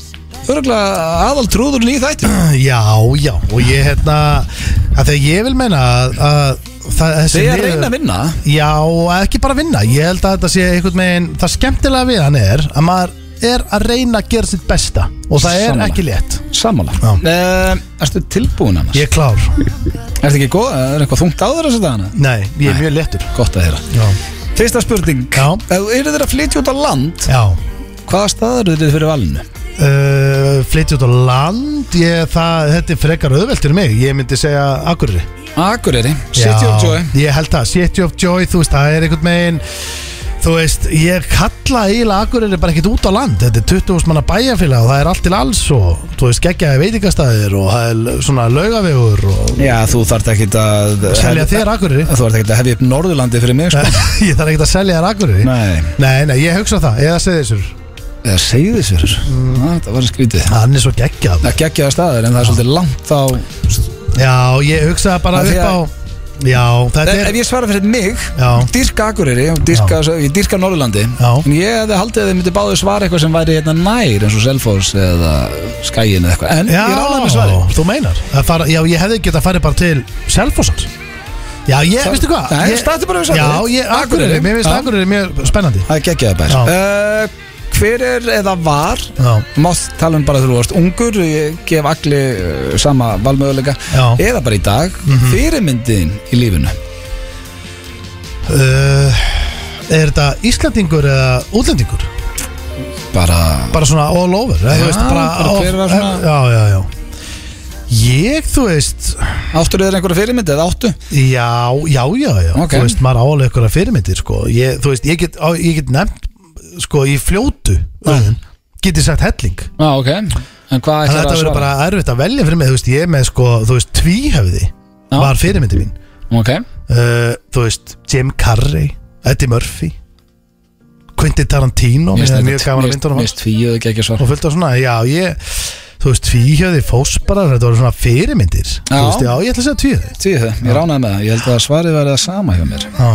A: örgulega aðal trúður líð þættu.
C: Já, já, og ég hérna að Þegar ég vil meina að, að það, þessi
A: Þegar
C: lið-
A: reyna að vinna,
C: Já, og ekki bara vinna Ég held að þetta sé einhvern veginn Það skemmtilega við hann er að maður er að reyna að gera sitt besta Og það er
A: Sammála.
C: ekki létt
A: sammála.
C: Já.
A: Uh, erstu tilbúin annars?
C: Ég er klár
A: Ertu ekki góð, er eitthvað þungt á þér þessu dagana?
C: Nei, ég er mjög léttur
A: Gott að heyra.
C: Já,
A: Fyrsta spurning,
C: Já.
A: ef þú eru þeir að flytja út á land,
C: já
A: hvaða staðar eru þeir fyrir valinu?
C: Uh, flytja út á land ég, það, þetta er frekar auðvelt fyrir mig ég myndi segja Akureyri
A: Akureyri, City of
C: Já,
A: Joy.
C: ég held það, City of Joy, þú veist, það er einhvern veginn þú veist, ég kalla eiginlega Akureyri bara ekkert út á land þetta er 20.000 manna bæjarfélag og það er allt til alls og þú veist, geggjaði veitingastæðir og það er l- svona laugavegur og
A: Já, þú þart ekki að...
C: selja þér Akureyri
A: Þú ert ekki að hefja upp Norðurlandi fyrir mig, sko.
C: <laughs> ég þarf ekkert að selja þér Akureyri
A: Nei,
C: nei, nei, ég hugsa það, eða segði þessur
A: eða segði þessur.
C: Mm,
A: Það var skrítið.
C: hann er svo geggjað
A: að geggjaða staðir en það er svolítið langt á
C: já, ég hugsa bara
A: Af því
C: upp á
A: að-
C: já, þetta
A: ef
C: er
A: ég svara fyrir mig
C: Já.
A: dyrka Akureyri og dyrka, ég dyrka Norðurlandi
C: Já.
A: en ég hefði haldið að þið myndi báðu svara eitthvað sem væri hérna nær eins og Selfoss eða Skæin eða eitthvað en
C: Já,
A: ég rálaði með svari
C: þú meinar Að fara, Já, ég hefði getað farið bara til Selfossar Já, ég,
A: Það-
C: veistu hvað
A: Nei,
C: ég,
A: startu bara við svarið.
C: Já, ég, Akureyri, mér finnst
A: Já.
C: Akureyri mjög spennandi
A: það er geggjaða bær
C: Já.
A: uh, hver er eða var
C: Já,
A: mátt tala um bara þegar þú varst ungur ég gef allir uh, sama valmöðuleika
C: Já. Mhm.
A: eða bara í dag fyrirmyndin í lífinu
C: uh, er þetta Íslandingur eða útlendingur?
A: bara
C: Bara svona all over eða,
A: Já,
C: þú veist, bara, eh,
A: bara hver var svona-
C: Já, já, já Ég, þú veist
A: áttur þér einhverja fyrirmyndi eða áttu
C: Já, já, já, já
A: Ok.
C: Þú veist, maður álega ykkur að fyrirmyndir sko. ég, Þú veist, ég get, á, ég get nefnt Sko, í fljótu öðun, Get ég sagt helling
A: já ok en hvað
C: En
A: ætlar
C: þetta
A: að
C: verður
A: svara
C: bara erfitt að velja fyrir mig Þú veist, ég er með sko, þú veist, tvíhöfði
A: Já.
C: Var fyrirmyndi mín
A: ok
C: uh, þú veist, Jim Carrey Eddie Murphy Quentin Tarantino, mér er mjög gaman að mynda honum
A: Mist fíuð ekki ekki svar
C: og fullt af svona, já ég þú veist, fíhjöði, fósparar, þetta voru svona fyrirmyndir, þú
A: Já.
C: veist, já ég ætla að segja tvíhjöði
A: Því það, ég ránaði með það Ég held að svarið verið það sama hjá mér
C: já,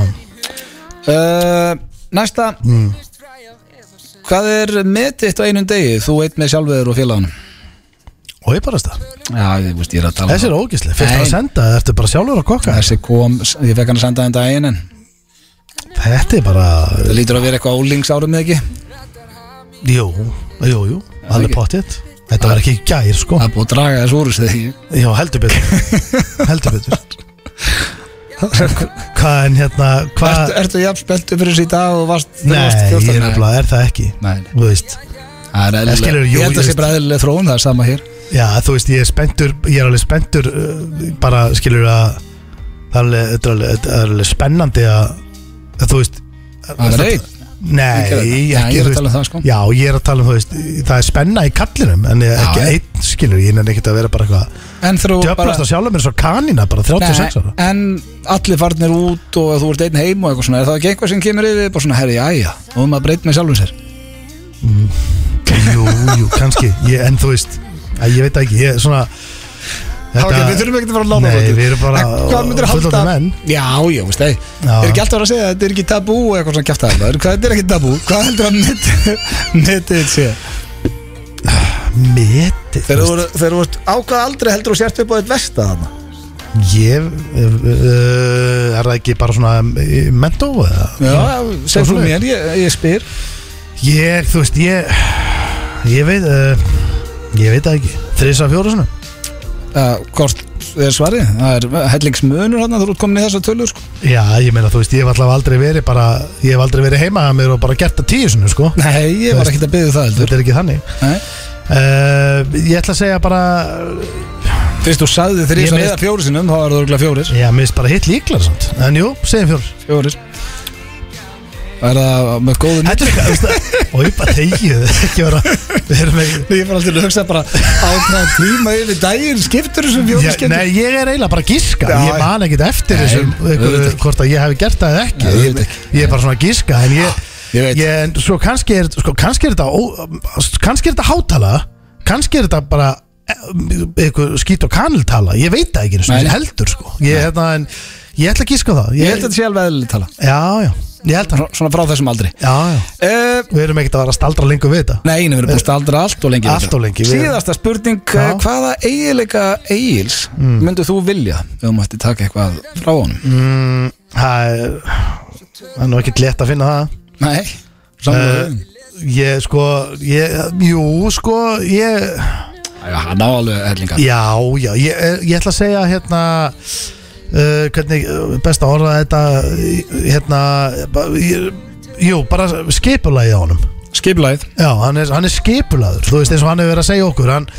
A: uh, Næsta
C: Mm.
A: Hvað er metitt á einum degi? Þú veit með sjálfur og félagunum
C: og ég bara stað,
A: Já, ég, veist, ég er að tala
C: þessi er
A: um
C: ógisli fyrst
A: Nei.
C: að senda, ertu bara sjálfur að kokka
A: það. Þessi kom, ég fekk hann að senda þetta daginn en
C: þetta er bara,
A: Það lítur að vera eitthvað ólings árum eða ekki
C: jú jú, jú, alveg
A: ekki.
C: pottitt þetta var ekki í gær, sko
A: Það er búið að draga þessu úr þessu þegar
C: já, heldur
A: <laughs>
C: betur heldur betur hvað en hérna,
A: Ertu,
C: hvað
A: ertu jafn speltu fyrir þessi í dag og varst þegar
C: nei,
A: varst
C: ég
A: 14?
C: er nefnilega, er það ekki
A: Nei, nei.
C: þú veist,
A: Það er
C: Það skilur,
A: eðlilega
C: jú,
A: Ég held að
C: ég
A: sé
C: veist.
A: bara eðlilega þróun, það er sama hér
C: já, þú veist, ég er spenntur ég er alveg spenntur uh, bara, skilur að það er alveg, þetta er alveg, þetta er alveg spennandi að, að þú veist
A: Það er reyð
C: Nei,
A: Ekki þetta. Já, ég er að
C: ekki, þú veist-
A: tala um það, sko.
C: Já, ég er að tala um þú veist Það er spenna í kallinum En ég, ekki
A: já.
C: einn skilur Ég nefnir ekkert að vera bara eitthvað
A: En þú
C: Djöflast að sjálfum mér svo kanina Bara 36 ára
A: en allir farnir út og þú ert einn heim og eitthvað svona Er það ekki eitthvað sem kemur yfir bara svona Herri, jæja, og maður breyt með sjálfum sér
C: Jú, jú, kannski ég, En þú veist Æ, Ég veit ekki Ég er svona
A: Ok, við þurfum ekki að fara að lána
C: Nei,
A: okkur.
C: við erum bara
A: En Hvað myndir halda
C: fullorðna menn.
A: Já, já, veist það
C: Já.
A: Er ekki alltaf að segja að þetta er ekki tabú eða eitthvað svona kjæft að það Þetta er ekki tabú Hvað heldur að netið <laughs> netið sé?
C: Meti
A: Þegar þú voru- þegar þú ert á hvað aldrei heldur þú sért upp á eitt vesta þarna
C: Ég uh, Er það ekki bara svona eh, Mentó eða
A: Já, segð þú
C: svoleiðis.
A: mér, ég, ég spyr
C: Ég, þú veist, ég Ég veit uh, Ég veit það ekki Þrisa fjóra svona
A: uh, Hvort er svarið? Það er hellingsmunur hann að þú ert komin í þessa tölur sko.
C: Já, ég meina, þú veist, ég hef alltaf aldrei verið bara, ég hef aldrei verið heima að mér og bara gert það tíu sinni, sko
A: Nei, ég var ekkert að byggja það heldur
C: Þetta er ekki þannig
A: Nei.
C: uh, Ég ætla að segja bara,
A: Fyrst þú sagði
C: Ég
A: þrýsar
C: meist-
A: eða fjóri sinum, þá var það örgulega fjórir
C: já, mér finnst bara hitt líklar samt En jú, segjum fjór
A: Fjórir Það er það með góðu
C: Þetta er eitthvað, þú veist,
A: <laughs>
C: og ég bara þegið Ekki vera, við erum ekki
A: Ég var alltaf að hugsa bara á hvað tíma yfir daginn skiptur þessum fjóri
C: Já,
A: skiptur
C: nei, ég er eiginlega bara að gíska
A: Já,
C: Ég man ekkit eftir
A: Nei,
C: þessum
A: auðvitað
C: einhverju,
A: ekki.
C: Hvort að ég hef gert það eða ekki
A: Nei, auðvitað
C: ég,
A: ekki.
C: ég er bara svona að gíska En ég,
A: Ég veit.
C: ég, en svo kannski er, sko, kannski er þetta ó, Kannski er þetta hátala Kannski er þetta bara eh, einhver skýt og kaniltala Ég veit það ekki einu sinni,
A: Nei.
C: heldur sko ég, hérna, en, ég ætla að gíska það
A: Ég held að þetta sé alveg eðlilega tala
C: Já, já, ég held það
A: Svona- Svona frá þessum aldri
C: Já, já,
A: uh,
C: við erum ekkert að vera að staldra lengur við þetta
A: Nei, einu, við erum búin að staldra allt og lengi
C: Allt of lengi, við-
A: Síðasta spurning, eh,
C: Já.
A: hvaða eigilega eigils mm. þú vilja ef þú mætti taka eitthvað frá honum?
C: mm, Það er Það er nú ekkert létt að finna það
A: Nei, sammála
C: Eh, Ég sko, ég, jú sko, ég,
A: uh, Hann á alveg hellinga
C: já, já, ég, ég ætla að segja hérna, uh, hvernig eh, best að orða þetta, eh, hérna, ba- ég- jú, bara skipulagið á honum.
A: Skiplæð,
C: Já, hann er, hann er skipulaður, þú veist eins og hann hefur verið að segja okkur, hann,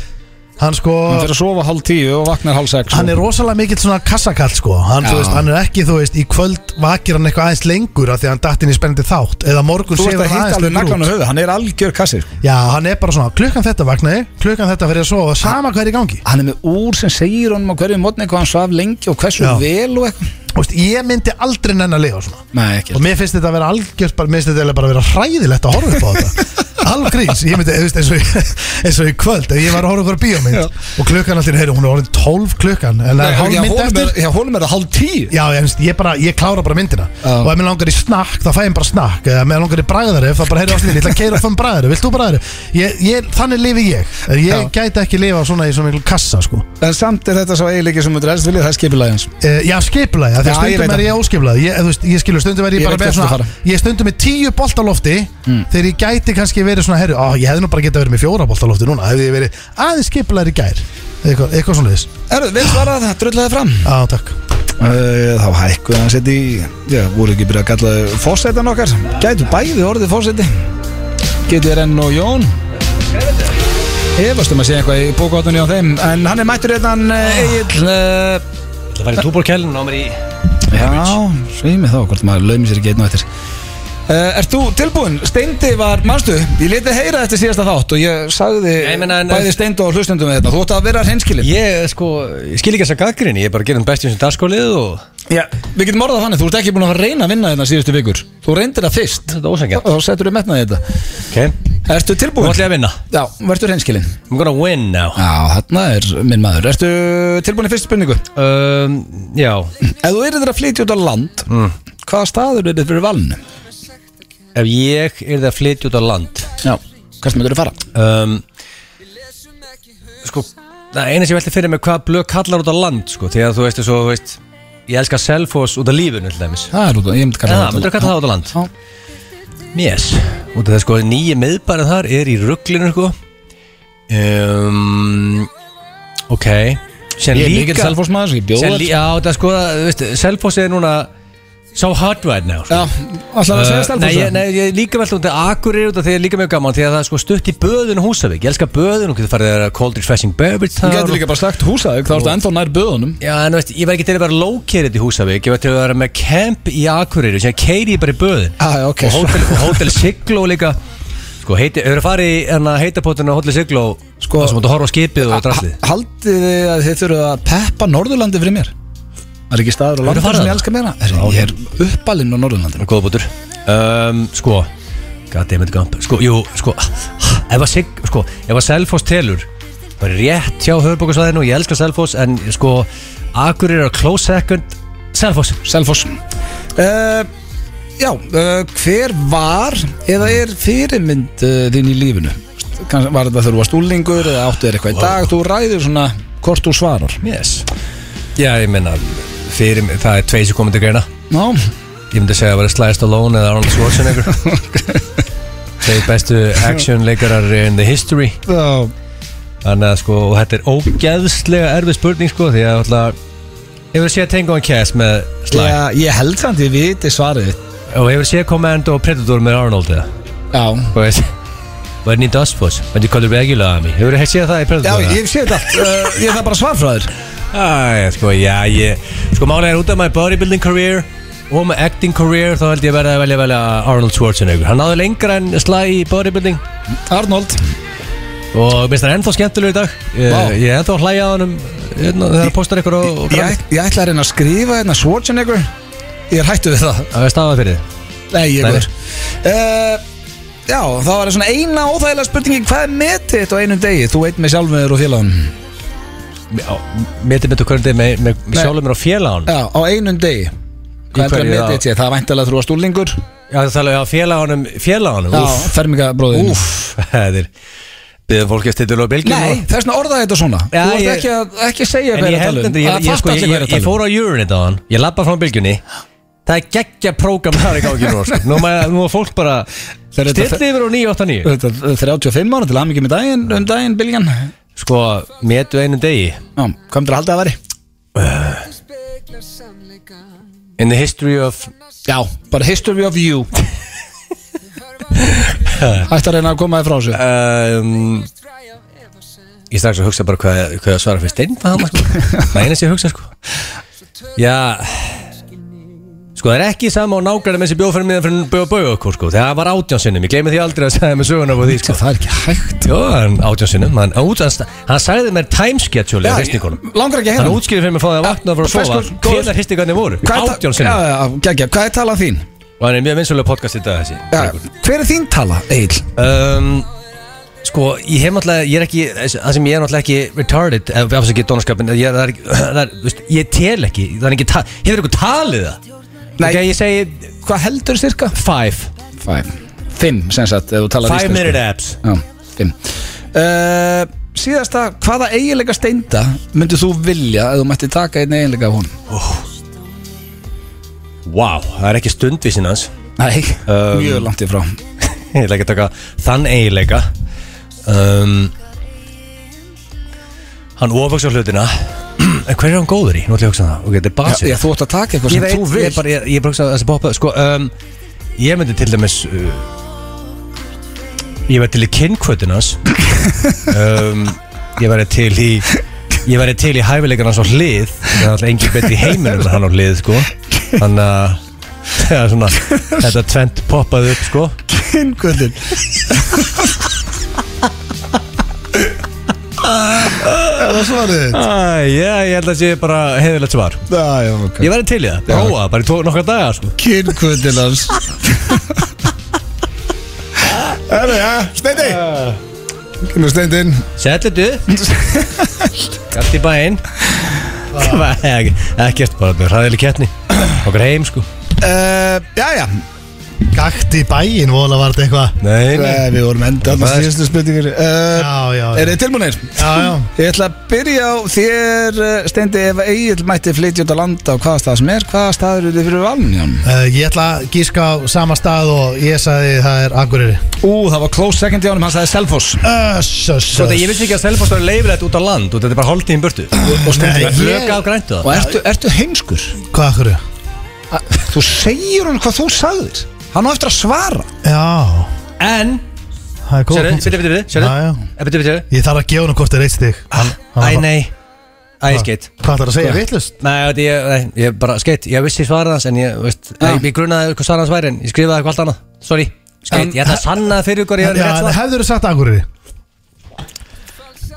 C: hann sko,
A: hann fyrir að sofa hálf tíu og vaknar hálf sex
C: hann er rosalega mikill svona kassakall sko, hann,
A: Já.
C: þú veist, hann er ekki, þú veist, í kvöld vakir hann eitthvað aðeins lengur af því að hann datt inn í spennandi þátt, eða morgun
A: Þú ert að
C: sefur hann
A: hitta
C: aðeins
A: alveg
C: lengur út.
A: naglan á höfu, hann er algjör kassi sko.
C: Já, hann er bara svona, klukkan þetta vaknaði, klukkan þetta fyrir að sofa, sama hvað er í gangi
A: Hann er með úr sem segir honum á hverju mótni hvað hann svaf lengi og hversu
C: Já.
A: vel og eitthvað
C: Þú veist, Ég myndi aldrei nenn að lifa svona
A: Nei, ekki
C: Og mér finnst þetta að vera algjört, bara, mér finnst þetta eiginlega bara að vera hræðilegt að horfa upp á
A: <laughs>
C: þetta Algríns, ég myndi, þú veist, eins og, í- eins og í kvöld, ef ég var að horfa okkur á bíómynd
A: Já.
C: Og klukkan alltaf, heyru, hún er orðin 12 klukkan En það
A: Nei,
C: er hálf
A: já,
C: mynd
A: honum
C: eftir
A: er- Já, honum er það hálf tíu
C: Já, ég, ég, bara, ég klára bara myndina
A: Já.
C: Og ef mér langar í snakk, þá fæ ég bara snakk Eða ef mér langar í bragðarif, þá bara heyrðu áslið Ég ætla að keira fann bragðarif, vilt þú bragðarif? Ég, ég, þannig lifi ég En Ég
A: Já.
C: gæti ekki lifa svona í svona miklu kassa, sko
A: En samt er þetta svo eiginleiki sem þú ert elst vilja, það er skiplæði hans
C: Uh, já, skipulagi, af því að
A: Já, ég
C: stundum
A: veit
C: er
A: það.
C: ég óskipulagi ég, þú veist, ég skilur, stundum er ég,
A: Ég
C: bara
A: veit
C: með
A: hvert þú
C: svona
A: fara. Mm.
C: Ég stundum með tíu bolt á lofti Þegar ég gæti kannski verið svona herru, á, Ég hefði nú bara getað verið með fjóra bolt á lofti núna Hefði ég verið aðeins skipulagi í gær Eitthvað, eitthvað svona þess
A: Erðu, vel svarað, það dröllaði fram
C: Já, takk
A: Uh, Þá hækkuði hann seti í Já, voru ekki byrjað að kalla fósettan okkar Gætu bæði orðið fósetti Getur enn og Jón Efast um að sé eitthvað í bókváttunni á þeim En hann er mættur einnan uh, Egil
B: eh,
A: uh,
B: Það færi túborkælun á mér í
A: Já, sveimi þá, hvort maður laumi sér ekki einn og eftir Uh, Ert þú tilbúin? Steindi var, manstu, ég leti heyra þetta síðasta þátt og ég sagði
B: Nei, ég meina, en-
A: bæði Steindi og hlustendum við þetta Þú ætti að vera hreinskilin
B: Ég, sko, ég skil ekki þess að gaggrinni, ég er bara að gera um bestjum sem dagskólið og
A: Já, Við getum orðað þannig, þú ert ekki búin að fara að reyna að vinna þetta síðustu vikur Þú reyndir það fyrst
B: þetta er ósækja.
A: og þá setur þú metnaði í þetta
B: Ok, nú
A: Ertu tilbúin?
B: ætlum ég að vinna.
A: Já, verður hreinskilin
B: I'm gonna win now.
A: Já, þarna er minn maður Ertu tilbúin í fyrstu spurningu?
B: Um, já,
A: Ef þú eru að flytja út á land Hvaða staður eru fyrir valinu?
B: ef ég er það að flytja út á land,
A: Já, hvert myndur þú fara?
B: um, sko það eina sem ég velti fyrir mig hvað blöð kallar út á land sko, því að þú veist, svo, þú veist ég elska Selfoss út af lífinu til dæmis
A: Það er út á, ég myndi
B: Já,
A: kalla það út á-
B: myndur kalla það út á land?
A: Já.
B: Yes, út af það sko nýji miðbærið þar er í rugglinu sko um, Ok Sér
A: Ég er mikill selfósmaður, ég bjóð
B: Sér lí, já, það sko, þú veist, Selfoss er núna so hot right now sko.
A: Já, alltaf að segja
B: Uh, nei, ég-
A: stelfúsa
B: nei, ég líka velt út að Akureyri út af því að líka mjög gaman því að það er sko stutt í böðun Húsavík ég elska böðun og getur farið að cold refreshing beverage
A: Þú
B: þar
A: getur líka bara slagt húsaðug, þá ertu ennþá nær böðunum
B: Já, en þú veist, ég var ekki til að vera located í Húsavík ég var til að vera með camp í Akureyri sem keiri ég bara í böðun
A: Já, ok,
B: og hótel, og hótel Siglo líka sko, heiti, hefur farið í hérna, heitapotinu á hótel Siglo
A: Sko-
B: sko, sem þú horfa á skipið og draslið
A: Ha- Haldið þið að þið þurfið að peppa Norðurlandi fyrir mér? Það er ekki staður á
B: Hefurðu
A: landinu
B: farið
A: sem ég
B: þarna?
A: elska meira Herri, Ég er uppalinn á Norðurlandi
B: Góða bútur um, Sko Goddammit Gump Sko, jú, sko Ef að sig, sko Ef að Selfoss telur Bara rétt hjá höfubókusvæðinu Ég elska Selfoss En sko Akur er að close second Selfoss
A: Selfoss uh, Já, uh, hver var eða er fyrirmynd uh, þín í lífinu? Kansk, var þetta þegar þú var stúlingur eða áttu þér eitthvað í dag? Þú ræður svona hvort þú svarar
B: Yes Já, ég meina Fyrir mig Það er tvei sem komandi greina
A: Ná,
B: Ég myndi segja að vera Sliced Alone Eða
A: <laughs>
B: Arnold Schwarzenegger Þeir bestu action leikarar in the history
A: þá
B: Þannig að sko, og þetta er ógeðslega erfið spurning sko Því að alltaf Hefur séð Tango and Cash með Sly
A: Já, ég held samt ég viti svarið þitt.
B: Og hefur séð Commando og Predator með Arnold eða?
A: Já,
B: Hvað veist? When he does was, when you call it regular army Hefur þið séð það í
A: Já,
B: Predator?
A: ég hef séð þetta allt
B: <laughs> Eh,
A: uh, Ég þarf bara svar frá þér
B: Æ, sko, já, ég Sko, málega er út af my bodybuilding career Og my acting career, þá held ég verið að velja að velja Arnold Schwarzenegger Hann náði lengra en Sly í bodybuilding
A: Arnold
B: Og minnst hann ennþá skemmtilegur í dag
A: Vá.
B: Ég, ég er ennþá að hlæja á hann um Þegar hann postar ykkur og
A: ég, æt- ég ætla að reyna að skrifa hérna Schwarzenegger Ég er hættu við það
B: Það er stafað fyrir þið
A: Nei, ég
B: Nei.
A: er uh, Já, þá var það svona eina óþægilega spurningi Hvað er metið þitt á einum degi? Þú veit með sjálfmeður og félagun
B: Métið mitt og hvernig þið með, með, með
A: Nei.
B: sjálfur mér á félagann
A: Já, á einum degi
B: Í
A: Hvað er það
B: hverju
A: metið
B: þá?
A: þitt sé? Það er væntalega þrú að stúlingur
B: Já, það talaði á félaganum, félaganum
A: Já,
B: Úff.
A: fermingabróðin
B: Úff, <laughs> það er Byðum fólki að stilla á bylgjum
A: Nei,
B: og-
A: þess vegna orðaði þetta svona
B: Já,
A: Þú ert
B: ég-
A: ekki að ekki að segja
B: En
A: hvað
B: ég
A: er að
B: held
A: tala um
B: þetta ég,
A: Það
B: ég, sko,
A: fatta
B: ég,
A: allir hvað er að
B: ég, ég
A: tala um
B: fór á Euronet á hann Ég labba frá bylgjunni Það er geggja prógram þar í gangi nú sko. Nú ma- nú er fólk bara
A: Þeir eru þetta-
B: Stillið yfir á 989
A: Þetta er 35 ára til aðmyggjum í daginn, um daginn, Bilgjan Já,
B: Sko, metu einu degi
A: hvað myndir að halda að veri?
B: In the history of
A: Já, bara history of <laughs> you Ætti að reyna að koma þér frá þessu
B: um, Ég strax að hugsa bara hvað, hvað að svara fyrir steinfa hann sko. Það er eina sem ég hugsa sko Já Sko það er ekki sama á nágræna með þessi bjóð fyrir miðan fyrir bjóð bauð okkur sko Það var átjánsinnum, ég gleymi því aldrei að segja með söguna á því sko
A: Það er ekki hægt
B: Jó, hann átjánsinnum, hann, hann, út- hann, sta- hann sagði mér timeskjætsjóli á hristingunum
A: langar ekki að
B: Hann
A: hérna
B: útskýrði fyrir mig frá því að vakna og fara að
A: Feskur,
B: sofa
A: góður.
B: Hvenar hristingarnir voru,
A: Já,
B: átjánsinnum
A: já, já, hvað er talan þín?
B: Og hann er mjög vinsulega podcast í dag þessi
A: Já, hver er þín tala, Egil?
B: um, Sko, ég hef náttúrulega, ég er ekki, það sem ég er náttúrulega ekki retarded, ef við afsakið dónaskapin, ég, er- það er, ekki- <clears throat> það er, þú veist, ég tel ekki, það er ekki, ta- hefur ykkur talið það?
A: Nei.
B: Ok, ég segi
A: Hvað heldur cirka?
B: five,
A: Five Fimm, sem sagt, ef þú talar
B: five
A: íslensku.
B: minute apps.
A: Já, fimm uh, Síðasta, hvaða eiginleika steinda myndir þú vilja að þú mætti taka einn eiginleika af hún?
B: Wow, það er ekki stundvísin hans,
A: Nei,
B: Um,
A: mjög langt í frá
B: ég ætla ekki að taka þann eiginleika. Um, hann ofaks á hlutina, en hver er hann góður í? Nú ætla ég að hugsa um það, ok, þetta er
A: Já,
B: basið.
A: já, þú ætti að taka eitthvað
B: Ég
A: sem
B: veit,
A: þú
B: ég er
A: vilt
B: bara, ég, ég er bara að þessi poppa Sko, um, ég myndi til dæmis uh, Ég væri til í kynkvötin hans um, Ég væri til í Ég væri til í hæfileikarnas á hlið Það er alltaf engin betri í heiminum en hann á hlið, sko Þannig að <laughs> Þegar svona, þetta tvent poppaði upp sko
A: Kynkullin Er það svarið þitt?
B: Æ, já, ég held að sé bara heiðilegt svar
A: Já, já, ok
B: Ég væri til í það, prófa, það bara í tvo, nokkra daga sko
A: Kynkullin hans Herru, já, Steindi Kynur Steindin
B: Settu þetta Galt í bæinn Hvað, ekki- Ekkert bara ræðileg kettni Okkur heim sko
A: uh, Já, já,
C: Gakt í bæinn, vola var þetta eitthvað
B: Nei, nei.
A: Eh, við vorum enda Það
B: Það er-
A: síðustu spurningar uh,
C: Já, já, já,
A: Er þið tilmúinir?
C: já, já.
A: Ég ætla að byrja á þér eh, Steindi ef Egil mætti flytja út að landa á hvaða stað sem er, hvaða staður eru þið fyrir valin hjá hann?
C: Uh, Ég ætla að gíska á sama stað og ég sagði það er Akureyri
A: Ú, það var close second hjá hann, hann sagði Selfoss
B: Svo þetta, ég vissi ekki að Selfoss var leifilegt út á land og þetta er bara hálftíðin burtu Og
C: Nei,
B: stendur að
C: ég-
B: flöka á græntu
A: Og
B: það
A: ertu, ertu heimskur?
C: Hvað Akureyri?
A: A- Þú segir hann hvað þú sagðir Hann á eftir að svara
C: Já,
B: En,
C: það er góð
B: sérðu,
C: punktur.
B: fyrir, fyrir, sérðu
C: Já, já.
B: Eh, Fyrir, fyrir,
C: Ég þarf að gefa hann hvort það er eitt stig Hann-
B: Æ,
C: hann-
B: nei Æ, skeitt
C: Hvað ætlar að segja? Vittlust?
B: Nei, þetta ég, nei, ég bara skeitt Ég vissi svarað hans en ég, veist
A: Já.
B: Ég, ég grunaði hvað svarað hans væri en ég skrifaði eitthvað allt annað Sorry, skeitt, ég ætla að sanna fyrir ykkur ég,
C: Já, en
B: ég,
C: hefðurðu sagt Akureyri?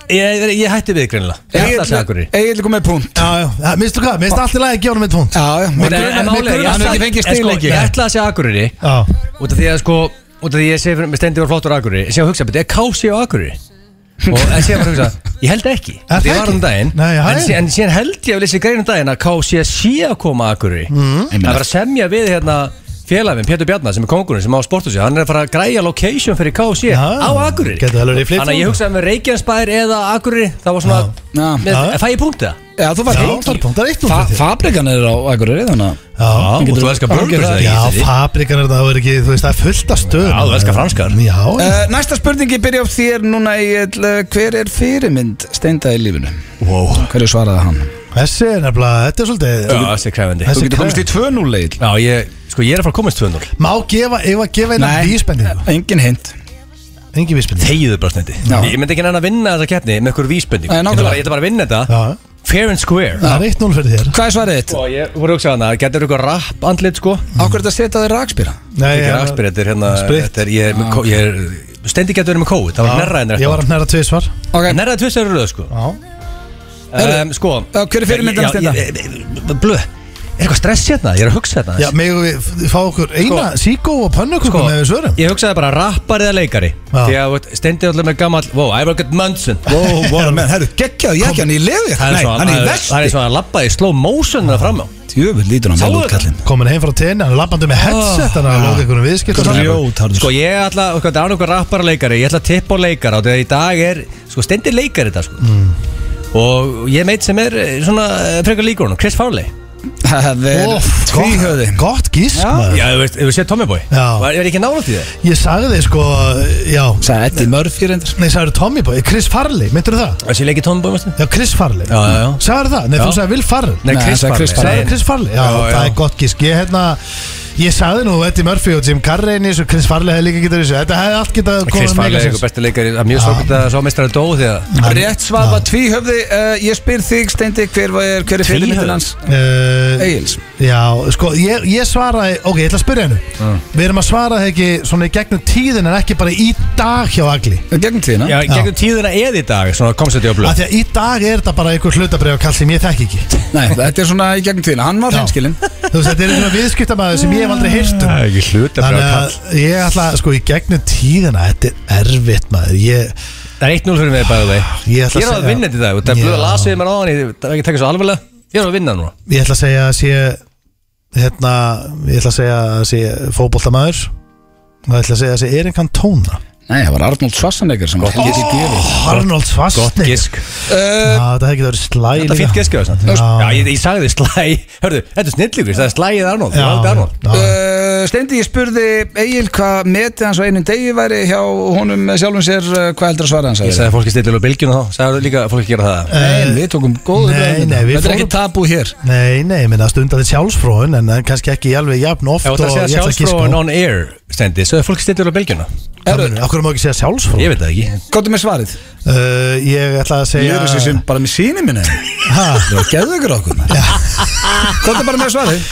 B: ég, ég hætti við greinilega Ég ætla að segja akkur
A: Egil kom með punkt
C: Já, já, ja, minnstu hvað? Minnstu allt í lagi að gefa hann mitt punkt
A: Já, já,
B: Nei,
A: mér
B: en
A: grunar- mér
B: málið er,
A: grunar
B: ég
A: Hann hefur
B: ætla-
A: ekki fengið
B: en
A: stil
B: sko,
A: ekki
B: Ég ætla að segja Akureyri
C: Já,
B: Út af því að sko Út af því að ég segi fyrir mig Stendi var flottur á Akureyri Ég sé að hugsa, betur, er Kási á Akureyri? Og ég sé að hugsa, ég held ekki
C: Er það
B: Því Ég var
C: ekki?
B: um daginn
C: Nei, hæ.
B: en, sí, en síðan held ég að lýsa greinu um daginn að Kási að sé að koma á Akureyri mm. Það er bara að semja við hérna félagin Pétur Bjarnar sem er kongurinn sem á sporthúsi Hann er að fara að græja location fyrir Kási
C: Já.
B: á Akureyri
C: Gæti vel verið í flip-flop.
B: Þannig að ég hugsaði með Reykjanesbær eða Akureyri Það var svona,
A: Já.
B: með,
C: Já.
B: fæ ég punktið það?
A: Já, þú var
C: Já, það er punkt, það er eitt punkt fyrir þér.
A: Fabrikan er á Akureyri þannig að-
C: já
B: og þú elskar burgers, eða ekki,
C: Já,
B: Steindi?
C: fabrikar er það, það er ekki, þú veist, það er fullt af stöðum
B: Já, þú elskar franskar.
C: Já, já.
A: Eh, Næsta spurningi byrja á þér núna Egil Eh, Hver er fyrirmynd Steinda í lífinu?
B: Wow.
A: Hverju svaraði hann?
C: þessi er nefnilega, þetta er svolítið
B: Já, það er krefandi
C: Þessi-
A: Þú getur komist í 2-0 Egil
B: Já, ég, sko, ég er að fara að komast 2-0
C: Má gefa, ef að gefa eina vísbendingu
A: engin hint
C: Engi vísbendingu
B: Þegiðu bara snendi
A: Já.
B: Ég myndi ekki næna að vinna þessa keppni með einhver vísbending
A: Nei,
B: Ég ætla
A: nákvæmlega.
B: bara- ég ætla bara að vinna þetta
C: Já,
B: Fair and square
C: það er eitt núl fyrir þér
A: Hvað er svarið þitt?
B: Og ég voru að hugsa hana, getur eitthvað rapp andlit sko
A: Á hverju þetta setja þér rakspýra?
C: Nei,
B: Ekki
C: ég-
B: raspir, þetta er hérna
C: Spritt.
B: Þetta er, ég er, með kó- ég er Stendi getur verið með kóð, það var nærra en
C: Ég var
B: rétt
C: að næra tvið svar
A: Ok,
B: Nærra tvist eru röð sko
C: Já
B: um, Sko
A: Já, hver er fyrirmyndin hérna? að Steinda?
B: stenda? Blöð, er eitthvað stress hérna? Ég er að hugsa
C: Já,
B: þetta
C: megum við fá okkur eina síkó og pönnukökum
B: Sko,
C: sko, með svörum
B: Ég hugsaði bara rappar eða leikari
C: Já.
B: Því að stendi alltaf með gammal Wow, I work at Munson
A: Wow,
B: <laughs>
A: wow, menn, herru, geggjað, ég ekki hann í leði
B: Það er
A: Nei,
B: svo-
A: hann er í
B: það er- það er
A: vesti
B: svo að labba í slow motion þarna fram á
A: Jöfn, lítur hann
B: Sáuðu
A: vel út
B: þetta?
A: kallinn
C: Komin heim frá tenni, hann er labbandi með headset Hann er
B: Ah.
C: að lóka einhverjum viðskipt
A: Grjótharður
B: Sko ég ætla, sko, það er einhver rappara leikari Ég ætla að tippa á leikara og Þegar í dag er, sko stendir leikari þetta sko
C: Mm.
B: Og ég meit sem er eh, svona eh, frekar líkur honum, Chris Farley
A: Það er tvíhöði
C: Gott gísk maður
B: Já, þú veist, þú séð Tommy Boy
C: Já.
B: Var, Ég er ekki nála til þið
C: Ég sagði sko, já
A: Sæði Eddie Murphy reyndar
C: Nei, sagði Tommy Boy, Chris Farley, myndur það?
B: Það sé leikið Tommy Boy, veistu?
C: Já, Chris Farley
B: Já, já, já.
C: Sagði það? Nei, þú
B: Já.
C: sagði Will Farrell
B: Nei,
A: Nei,
B: Chris
A: það er
B: Farley
A: Chris
C: Sagði Chris Farley? Já,
B: Já,
C: það
B: já.
C: er gott gísk Ég hérna Ég sagði nú Eddie Murphy og Jim Carrey í þessu Chris Farley hefði líka getað í þessu Þetta hefði allt getað
B: Chris
C: komið
B: Farley er
C: mega
B: einhver
C: séns.
B: besti leikari Það er mjög sorgund að sá meistrar dó því að
A: Rétt svar var tvíhöfði uh, Ég spyr þig, Steindi, hver, var- hver er fyrirmyndin hans?
C: Eh,
A: Egils
C: Já, sko, ég, ég svaraði Ok, ég ætla að spyrja hennu Við erum að svara það ekki svona í gegnum tíðin En ekki bara í dag hjá Agli
A: Gegn tíðina
B: Já, gegnum tíðina eða í dag Svona komst þetta í
C: Af
B: blöð
C: því að í dag er þetta bara einhver hlutabrið kall sem ég
B: <laughs>
C: þekki ekki
A: Nei, þetta er svona í gegn tíðina Hann var
C: Já.
A: hreinskilinn
C: Þú veist, þetta er einhver viðskiptamæður sem ég hef aldrei heyrt um
B: Það er ekki hluta
C: Þannig að ég ætla, sko, í gegnum tíðina Þetta er erfitt maður Ég,
B: Það er 1-0 fyrir mig bæðið þeir
C: Ég ætla
B: Ég er á að
C: að segja-
B: vinna þetta í dag og Það er
C: Já.
B: blöð að lasa við mér á hann Það er ekki að taka svo alvarlega Ég er á að vinna núna
C: ég ætla að segja að sé Hérna, ég ætla að segja að sé fótboltamaður Og ég ætla að segja að sé Erin Cantona
A: Nei, það var Arnold Schwarzenegger sem var hér í gefi
C: Arnold
B: Gott
C: Svarsnig
B: gisk
A: Eh,
C: Það hefði ekki verið slæ
B: Þetta er fínt gisk eða svona
C: Já.
B: Já, ég, ég sagði þið slæ Hörðu, þetta er snillíkur Það er slæið Arnold Það er aldrei Arnold
C: já,
A: eh, Steindi, ég spurði Egil hvað metið hans á einum degi væri hjá honum með sjálfum sér eh, hvað heldur að svara hans að
B: Ég
A: vera?
B: sagði fólki stillil og bylgjuna þá Sagði líka að fólki gera það
A: Nei, við tókum góðu
C: Eh, nei,
A: bröðum hérna.
C: nei, við
A: Þetta er
C: fórum-
A: ekki tabú hér
C: Nei, nei, ég minna að stunda þið sjálfsfróun en en kannski ekki alveg jafn oft
B: Ef þú ætlar að segja sjálfsfróin on air Stendi Sagði fólki stillil og bylgjuna
A: Herru,
C: Akkur má ekki segja sjálfsfróun
B: Ég veit það ekki
A: Kóttu með svarið
C: uh, Ég ætla að
A: Ég
C: segja
A: er þessi sem bara með síni minni Það
C: Ha,
A: er að geða ykkur okkur Kóttu bara með svarið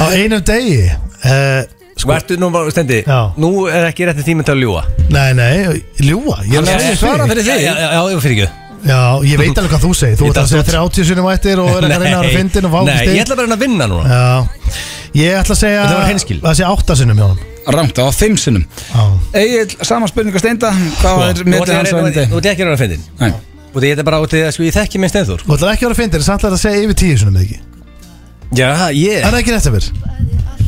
C: Á einum degi uh,
B: Sko, ertu nú bara, stendi,
C: Já.
B: nú er ekki rétti tíminn til að ljúa
C: Nei, nei, ljúa Ég er
A: Hann
C: að
A: er
C: segja
A: að svara
C: fyrir
A: fyrir
B: Já,
A: þig
B: já, já, já, fyrir ekki
C: Já, ég veit alveg hvað þú segir Þú
B: Ég
C: ert að
B: datt
C: segja
B: út.
C: 30 sinum ættir og er ekki að reyna að vera fyndin og fá Eh,
B: nei,
C: ekki
B: ég
C: stig
B: ætla bara að reyna að vinna núna
C: Já, ég ætla að segja
B: Þetta var hreinskil.
C: Það sé 8 sinum hjá honum
A: Rangt á fimm sinnum
C: Já,
A: Egil, sama spurning að steinda Hvað er
B: Sko, Nú
A: milli
B: ætla
A: hans
B: ég
A: og
B: að reyna-
A: endi?
B: nú ætla ég ekki að reyna að fyndin
A: Nei.
B: Og þetta er bara út í það, sko, ég þekki minnst ennþúr
C: Þú ætlar ekki að vera fyndin en Samt ætlar að segja yfir 10 sinum eða ekki
B: Já, ég
C: Það er ekki rétt að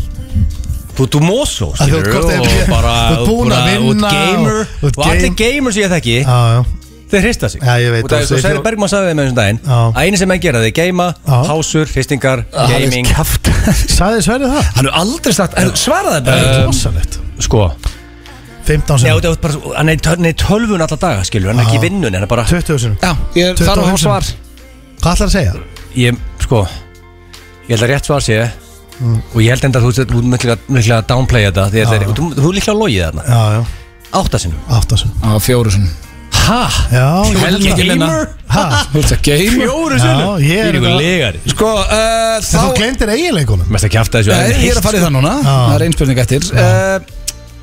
B: Þú ert moso,
C: Að þú
B: skilur
C: ert hvort eð
B: Og
C: er-
B: bara,
C: <laughs> þú ert búin að
B: bara- og ert
C: vinna
B: gamer
C: og- og ert
B: Og allir
C: game-
B: gamer sem ég þekki
C: Já, já
B: Þeir hrista sig
C: Já, ég veit
B: Og það
C: það,
B: er svo
C: segir
B: Særi
C: fjó-
B: Bergman sagði þeim einu daginn
C: Já.
B: Að einu sem menn gera þeir geima,
C: Já.
B: hásur, hristingar,
A: Hann er
B: gaming
A: kjaft.
C: <laughs> Sæði Sverri það?
A: Hann er aldrei sagt er- Svaraði þetta
C: Það er
B: Um,
C: rosalegt
B: Sko Já,
C: 15 sinum
B: þú ert bara, svo- hann er í töl- hann er í tölvun alla daga, skilur Hann er ekki í
C: Já.
B: vinnun, hann er bara
C: 20 sinum
A: Já, ég þarf að hafa
C: 25
A: svar
C: Hvað ætlar að segja?
B: Ég, sko Ég held að rétt svar sé
C: Mm.
B: Og ég held enda að þú ert mikla að downplaya þetta Því að þeir, þú, þú er líkla að logið þarna
C: Já, já,
B: Áttasinnum
C: 8 sinum
A: Á fjóru sinnum
B: Ha?
C: Já, ég held
A: Helmingi
C: það.
A: minna
C: Ha?
A: Þú ert að geima
B: Fjóru
C: Já, ég er
B: Þú
C: þetta-
B: er legari
A: Sko, uh,
C: En Þú
A: þá
C: glemdir eiginleikunum
B: Mest að kjafta þessu
A: Nei, Ég er að fara í það núna
C: Já.
A: Það er einn spurning eftir uh,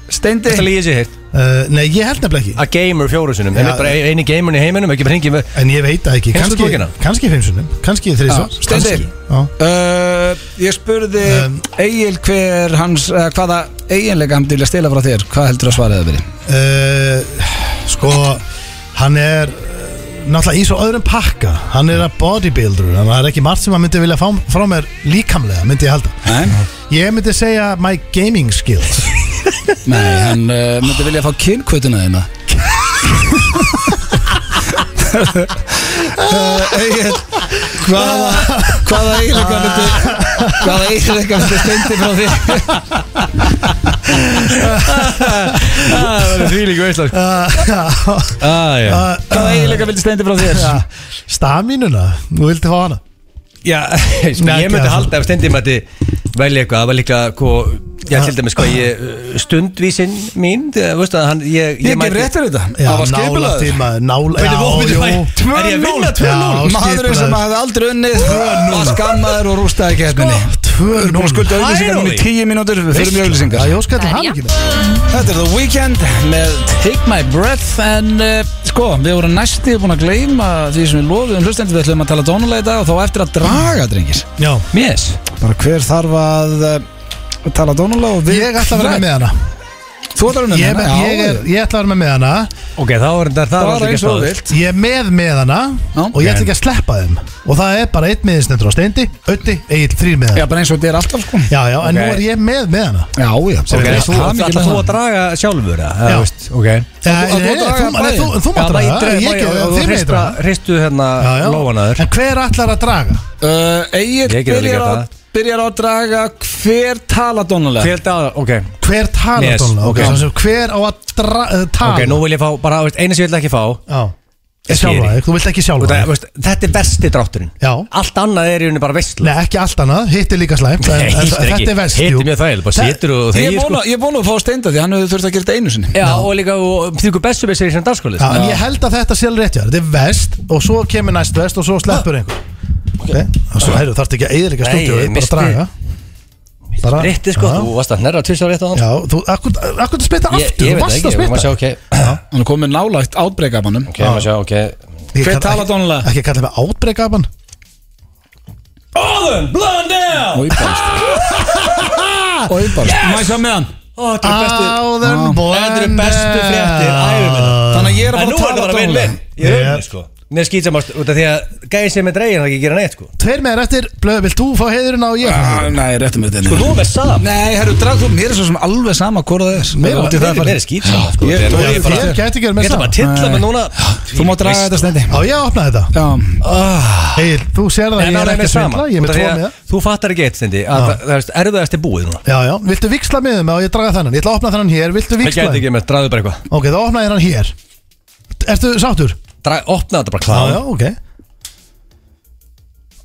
A: Steindi
B: Þetta líði sér hirt
C: uh, Nei, ég held nefnilega ekki
B: Að gamer fjóru sinnum En
C: Já.
B: er bara eini gamerin í heiminum Ekki bara hringið
C: En ég veit það ekki
B: Finnst þú
C: Kanski,
B: bókina?
C: kannski fimm sunnum Kannski þrísvar
A: Já, Steindi.
C: kannski. Já.
A: uh, Ég spurði
C: Um.
A: Egil hver hans uh, Hvaða eiginlega hann til að stela frá þér Hvað heldur að svaraði það verið?
C: uh, Sko Hann er uh, Náttúrulega í svo öðrum pakka Hann er að bodybuilder Þannig að það er ekki margt sem hann myndi vilja fá frá mér Líkamlega myndi ég halda
A: Nei,
C: Ég myndi segja my gaming skills
A: Nei hann uh, myndi vilja fá kynkvötuna <laughs> þína uh, Egil Hvaða Hvaða eiginlega myndi Hvaða eiginlega myndi steindi frá þér
B: Það er því líka veist
C: uh,
B: Já,
A: Hvaða eiginlega myndi steindi frá þér
C: Stamínuna Nú vildi fá hana
B: <laughs> sko,
C: Nei,
B: ég
C: ekki
B: myndi
C: það.
B: halda ef stendir mætti velja eitthvað Það var líka, sko, ég til dæmis, sko, ég stundvísin mín, þú veist að hann, ég,
A: Ég gef réttur þetta
C: Já,
A: Það var
C: nála
A: skipulaður
C: tíma Nála
B: Bíddu, vó, bíddu,
C: jú.
B: hæ, tvö Er ég að vinna
C: núll?
A: Maðurinn
B: 2-0?
C: Já,
A: sem
C: skipulaður.
A: hafði aldrei unnið var skammaður og rústaði keppinni
C: Tvö
A: Við erum búin að skulda auðlýsingar núna í
B: Hæ, Róli.
A: 10 mínútur Við fyrir mjög
C: Já,
A: auðlýsingar
C: ég óska til hann ekki
A: Þetta er The Weeknd með Take My Breath En uh, sko, við vorum næstu búin að gleyma því sem við lofuðum hlustendur Við ætlum að tala dónulega í dag og þá á eftir að draga, drengir
C: Já
B: Yes
A: Bara hver þarf að uh, tala dónulega og við
C: Ég ætla að vera með hana
A: Þú ætlar að
C: Ég,
A: vera með
C: er með,
A: hana,
C: ég,
A: já,
C: er, ég ætla að vera með hana
B: Ok, þá er þetta það
A: Bara eins og þú vilt
C: Ég er með með hana
A: Já.
C: Og ég ætla ekki að sleppa þeim Og það er bara einn miðinsnendur á steindi Ötti, eigin þrýr með
A: Já,
C: hana
A: bara eins og þetta er alltaf sko
C: Já, já, en nú
B: Ok.
C: er ég með með hana
A: Já, já
B: Ok,
A: bara-
B: þú
A: Það er mikið
B: ætla þú
A: með
B: að
A: það.
B: draga sjálfur það
C: Já.
B: veist, ok
C: Nei,
A: þú- þú
C: nei,
A: draga
C: Eh, þú- nei,
A: bæði.
C: þú- Þú
B: Já,
C: mátt
B: bara ég
C: draga
B: dreg-
C: Ég
B: bara-
C: ekki,
B: þú
C: þið með
B: hrista-
C: draga
B: Hristu hérna
C: Já, já.
B: lófanaður
C: En hver ætlar að draga?
A: Uh, Egil
B: Ég geta
A: byrjar
B: líka
A: að, byrjar að draga hver tala dónulega
B: Hver dag, ok
C: Hver tala
B: Yes,
C: tónlega?
B: ok.
C: Okay. Sem, sem, hver á að dra, uh, tala?
B: Ok, nú vil ég fá, bara, veist, eina sem ég vil ekki fá
C: Já
B: Ég
C: Sjálfa
B: skil.
C: þig, þú vilt ekki
B: og
C: sjálfa
B: það,
C: þig
B: veist, Þetta er versti drátturinn
C: Já.
B: Allt annað er í rauninni bara veistlu
C: Nei,
B: <laughs>
C: ekki allt annað, hitt er líka slæmt en- en Þetta er verst,
B: Hitt
C: jú
B: er mjög þægileg, bara
C: Það-
B: situr og
A: Ég
B: þegir sko
A: er búin að fá að steinda því hann hefur þurft að gera þetta einu sinni
B: Já, og líka, og þýrku bestu með sér í sko. sem dagskólið
C: Já, en ég held að þetta sé alveg rétt hjá þér. Þetta er vest og svo kemur næst vest og svo sleppur einhver Ok, og svo heyrðu, þarfst ekki að eðlika
B: Nei,
C: stúdíu
B: ég
C: bara
B: missti-
C: draga bara,
B: Rétti sko,
C: Já.
B: þú varst að hnerra tvisar rétt á hann sko.
C: Já, þú, akkur, akkur að
B: Ég,
C: smitta
B: ég
C: aftur, þú
B: veit það
C: varst
B: ekki,
C: að
B: við maður sjá,
C: smitta
B: ok
A: Hann er komið nálægt átbreyka af hannum
B: Ok, maður sjá, ok
C: Ég
A: Hver
C: kann-
A: talar
C: ekki-
A: dónalega?
C: Ekki að kalla mig átbreyka af hann
B: Óðum, Blöndel
A: Og íbarst Og íbarst Má ég sjá með hann
B: Þetta eru bestu
C: Áður
A: Já.
C: Ah.
B: Þetta eru bestu fréttir
A: Þannig að ég er
B: En
A: að fara að
B: nú er það
A: tala
C: um
B: bara vinn
A: dónulega
B: vinn Ég er
C: Já.
B: öfnir sko Mér skýt samast út af því að gæði sem er dregin það ekki að gera neitt sko
C: Tveir meður eftir, blöðu, vilt þú fá heiðurinn á ég?
A: Ah, Nei, réttum við þetta
B: Þú með sam
A: Nei, herru, drag þú Mér er svo sem alveg sama hvora það er
C: Mér-
A: Út í það
B: Mér
A: farið.
B: er skýt samast sko
A: Ég-
B: Þegar
A: þú-
B: nú er ég bara-
C: Þér gæti ekki verið með
B: Ég ætla bara
C: sama.
B: að tilla mig núna
A: Þú má draga þetta stendi
C: Á ég að opna þetta?
A: Já
B: Ah.
C: Heil, þú sér það,
B: En
C: ég
B: náður
C: er
B: er
C: ekki
B: með
C: að svindla,
B: sama
C: ég er
B: Út af
C: með
B: því
C: tvo
B: að
C: með
B: Þú fattar ekki eitt stendi að það- það er erfiðast er búið núna
C: Já, já, viltu viksla miðum á ég draga þennan? Ég ætla að opna þennan hér, viltu
B: Það
C: viksla?
B: gæti ekki með draðu bara eitthvað
C: Ok, þá opnaði hann hér Ertu sáttur?
B: Drag- Opna þetta bara
C: Já,
B: klá
C: já, ok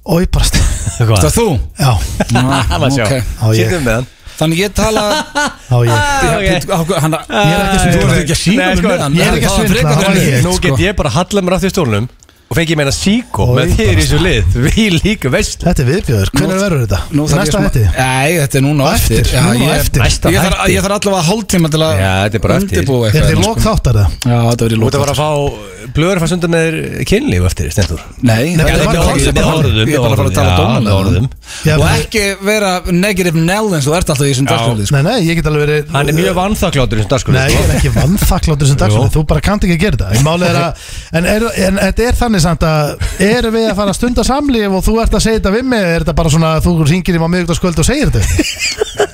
C: Og ég bara st- <laughs>
A: Það er þú
C: Já,
A: Ná,
B: Maður sjá
A: ok.
C: Já, ég-
B: Sýttum með hann
A: Þannig ég tala
C: já, ég
B: Ah, ok.
A: Ég- á- hann-
C: Ég er ekki að svindla.
A: Þú ert ekki að sína
B: Nei,
A: mér með
B: sko,
A: hann
C: ég er ekki að
A: Það var
C: svindla,
A: frekar
C: það
A: fyrir
C: var ég.
A: mig,
B: Nú
A: sko.
B: get ég bara að halla mér aftur í stólnum og fengi ég meina síkó
C: Oj,
B: með þér í
C: bara-
B: þessu lið <laughs> við líka veist
C: Þetta er viðbjöður, hvernig verður þetta?
A: Nú þarf ég
C: Næsta
A: smá-
C: hætti
A: Nei, þetta er núna á
C: Á
A: eftir,
C: eftir,
A: Já,
C: núna á
A: ég,
C: eftir.
B: Næsta
A: ég, þarf,
B: hætti.
A: ég þarf allavega hálftíma til að
B: Já, þetta er bara eftir.
A: undirbúa eitthvað
C: Er þetta
A: en
C: í
A: sko-
C: lok þáttar það?
A: Já, þetta verður í
B: Þú
A: lók
B: ert að fara að fá blöður að fara sundar með þér kynlíf eftir stendur
A: Nei, þetta
C: Nei, þetta
A: er
C: var
A: bara
C: koncept
A: koncept
C: með
B: orðum,
A: Ég er bara að fara að
C: um
A: tala
B: já, með
A: dónalega
B: um orðum.
C: Já,
A: Og
C: bara-
A: ekki vera negative nell eins og þú ert alltaf í þessum
B: Já.
A: dagskólið sko.
C: Nei, nei, ég get alveg verið
B: Hann er mjög vannþakkláttur í þessum sko. dagskrúni
C: Nei, ég er ekki vannþakkláttur sem dagsfólk
B: Jú.
C: Þú bara kannt ekki að gera þetta Málið er að, en, er, en þetta er þannig samt að Erum við að fara að stunda samlíf og þú ert að segja þetta við mig Er þetta bara svona að þú ringir í maður miðugdagskvöld og
B: <laughs>
C: segir þetta?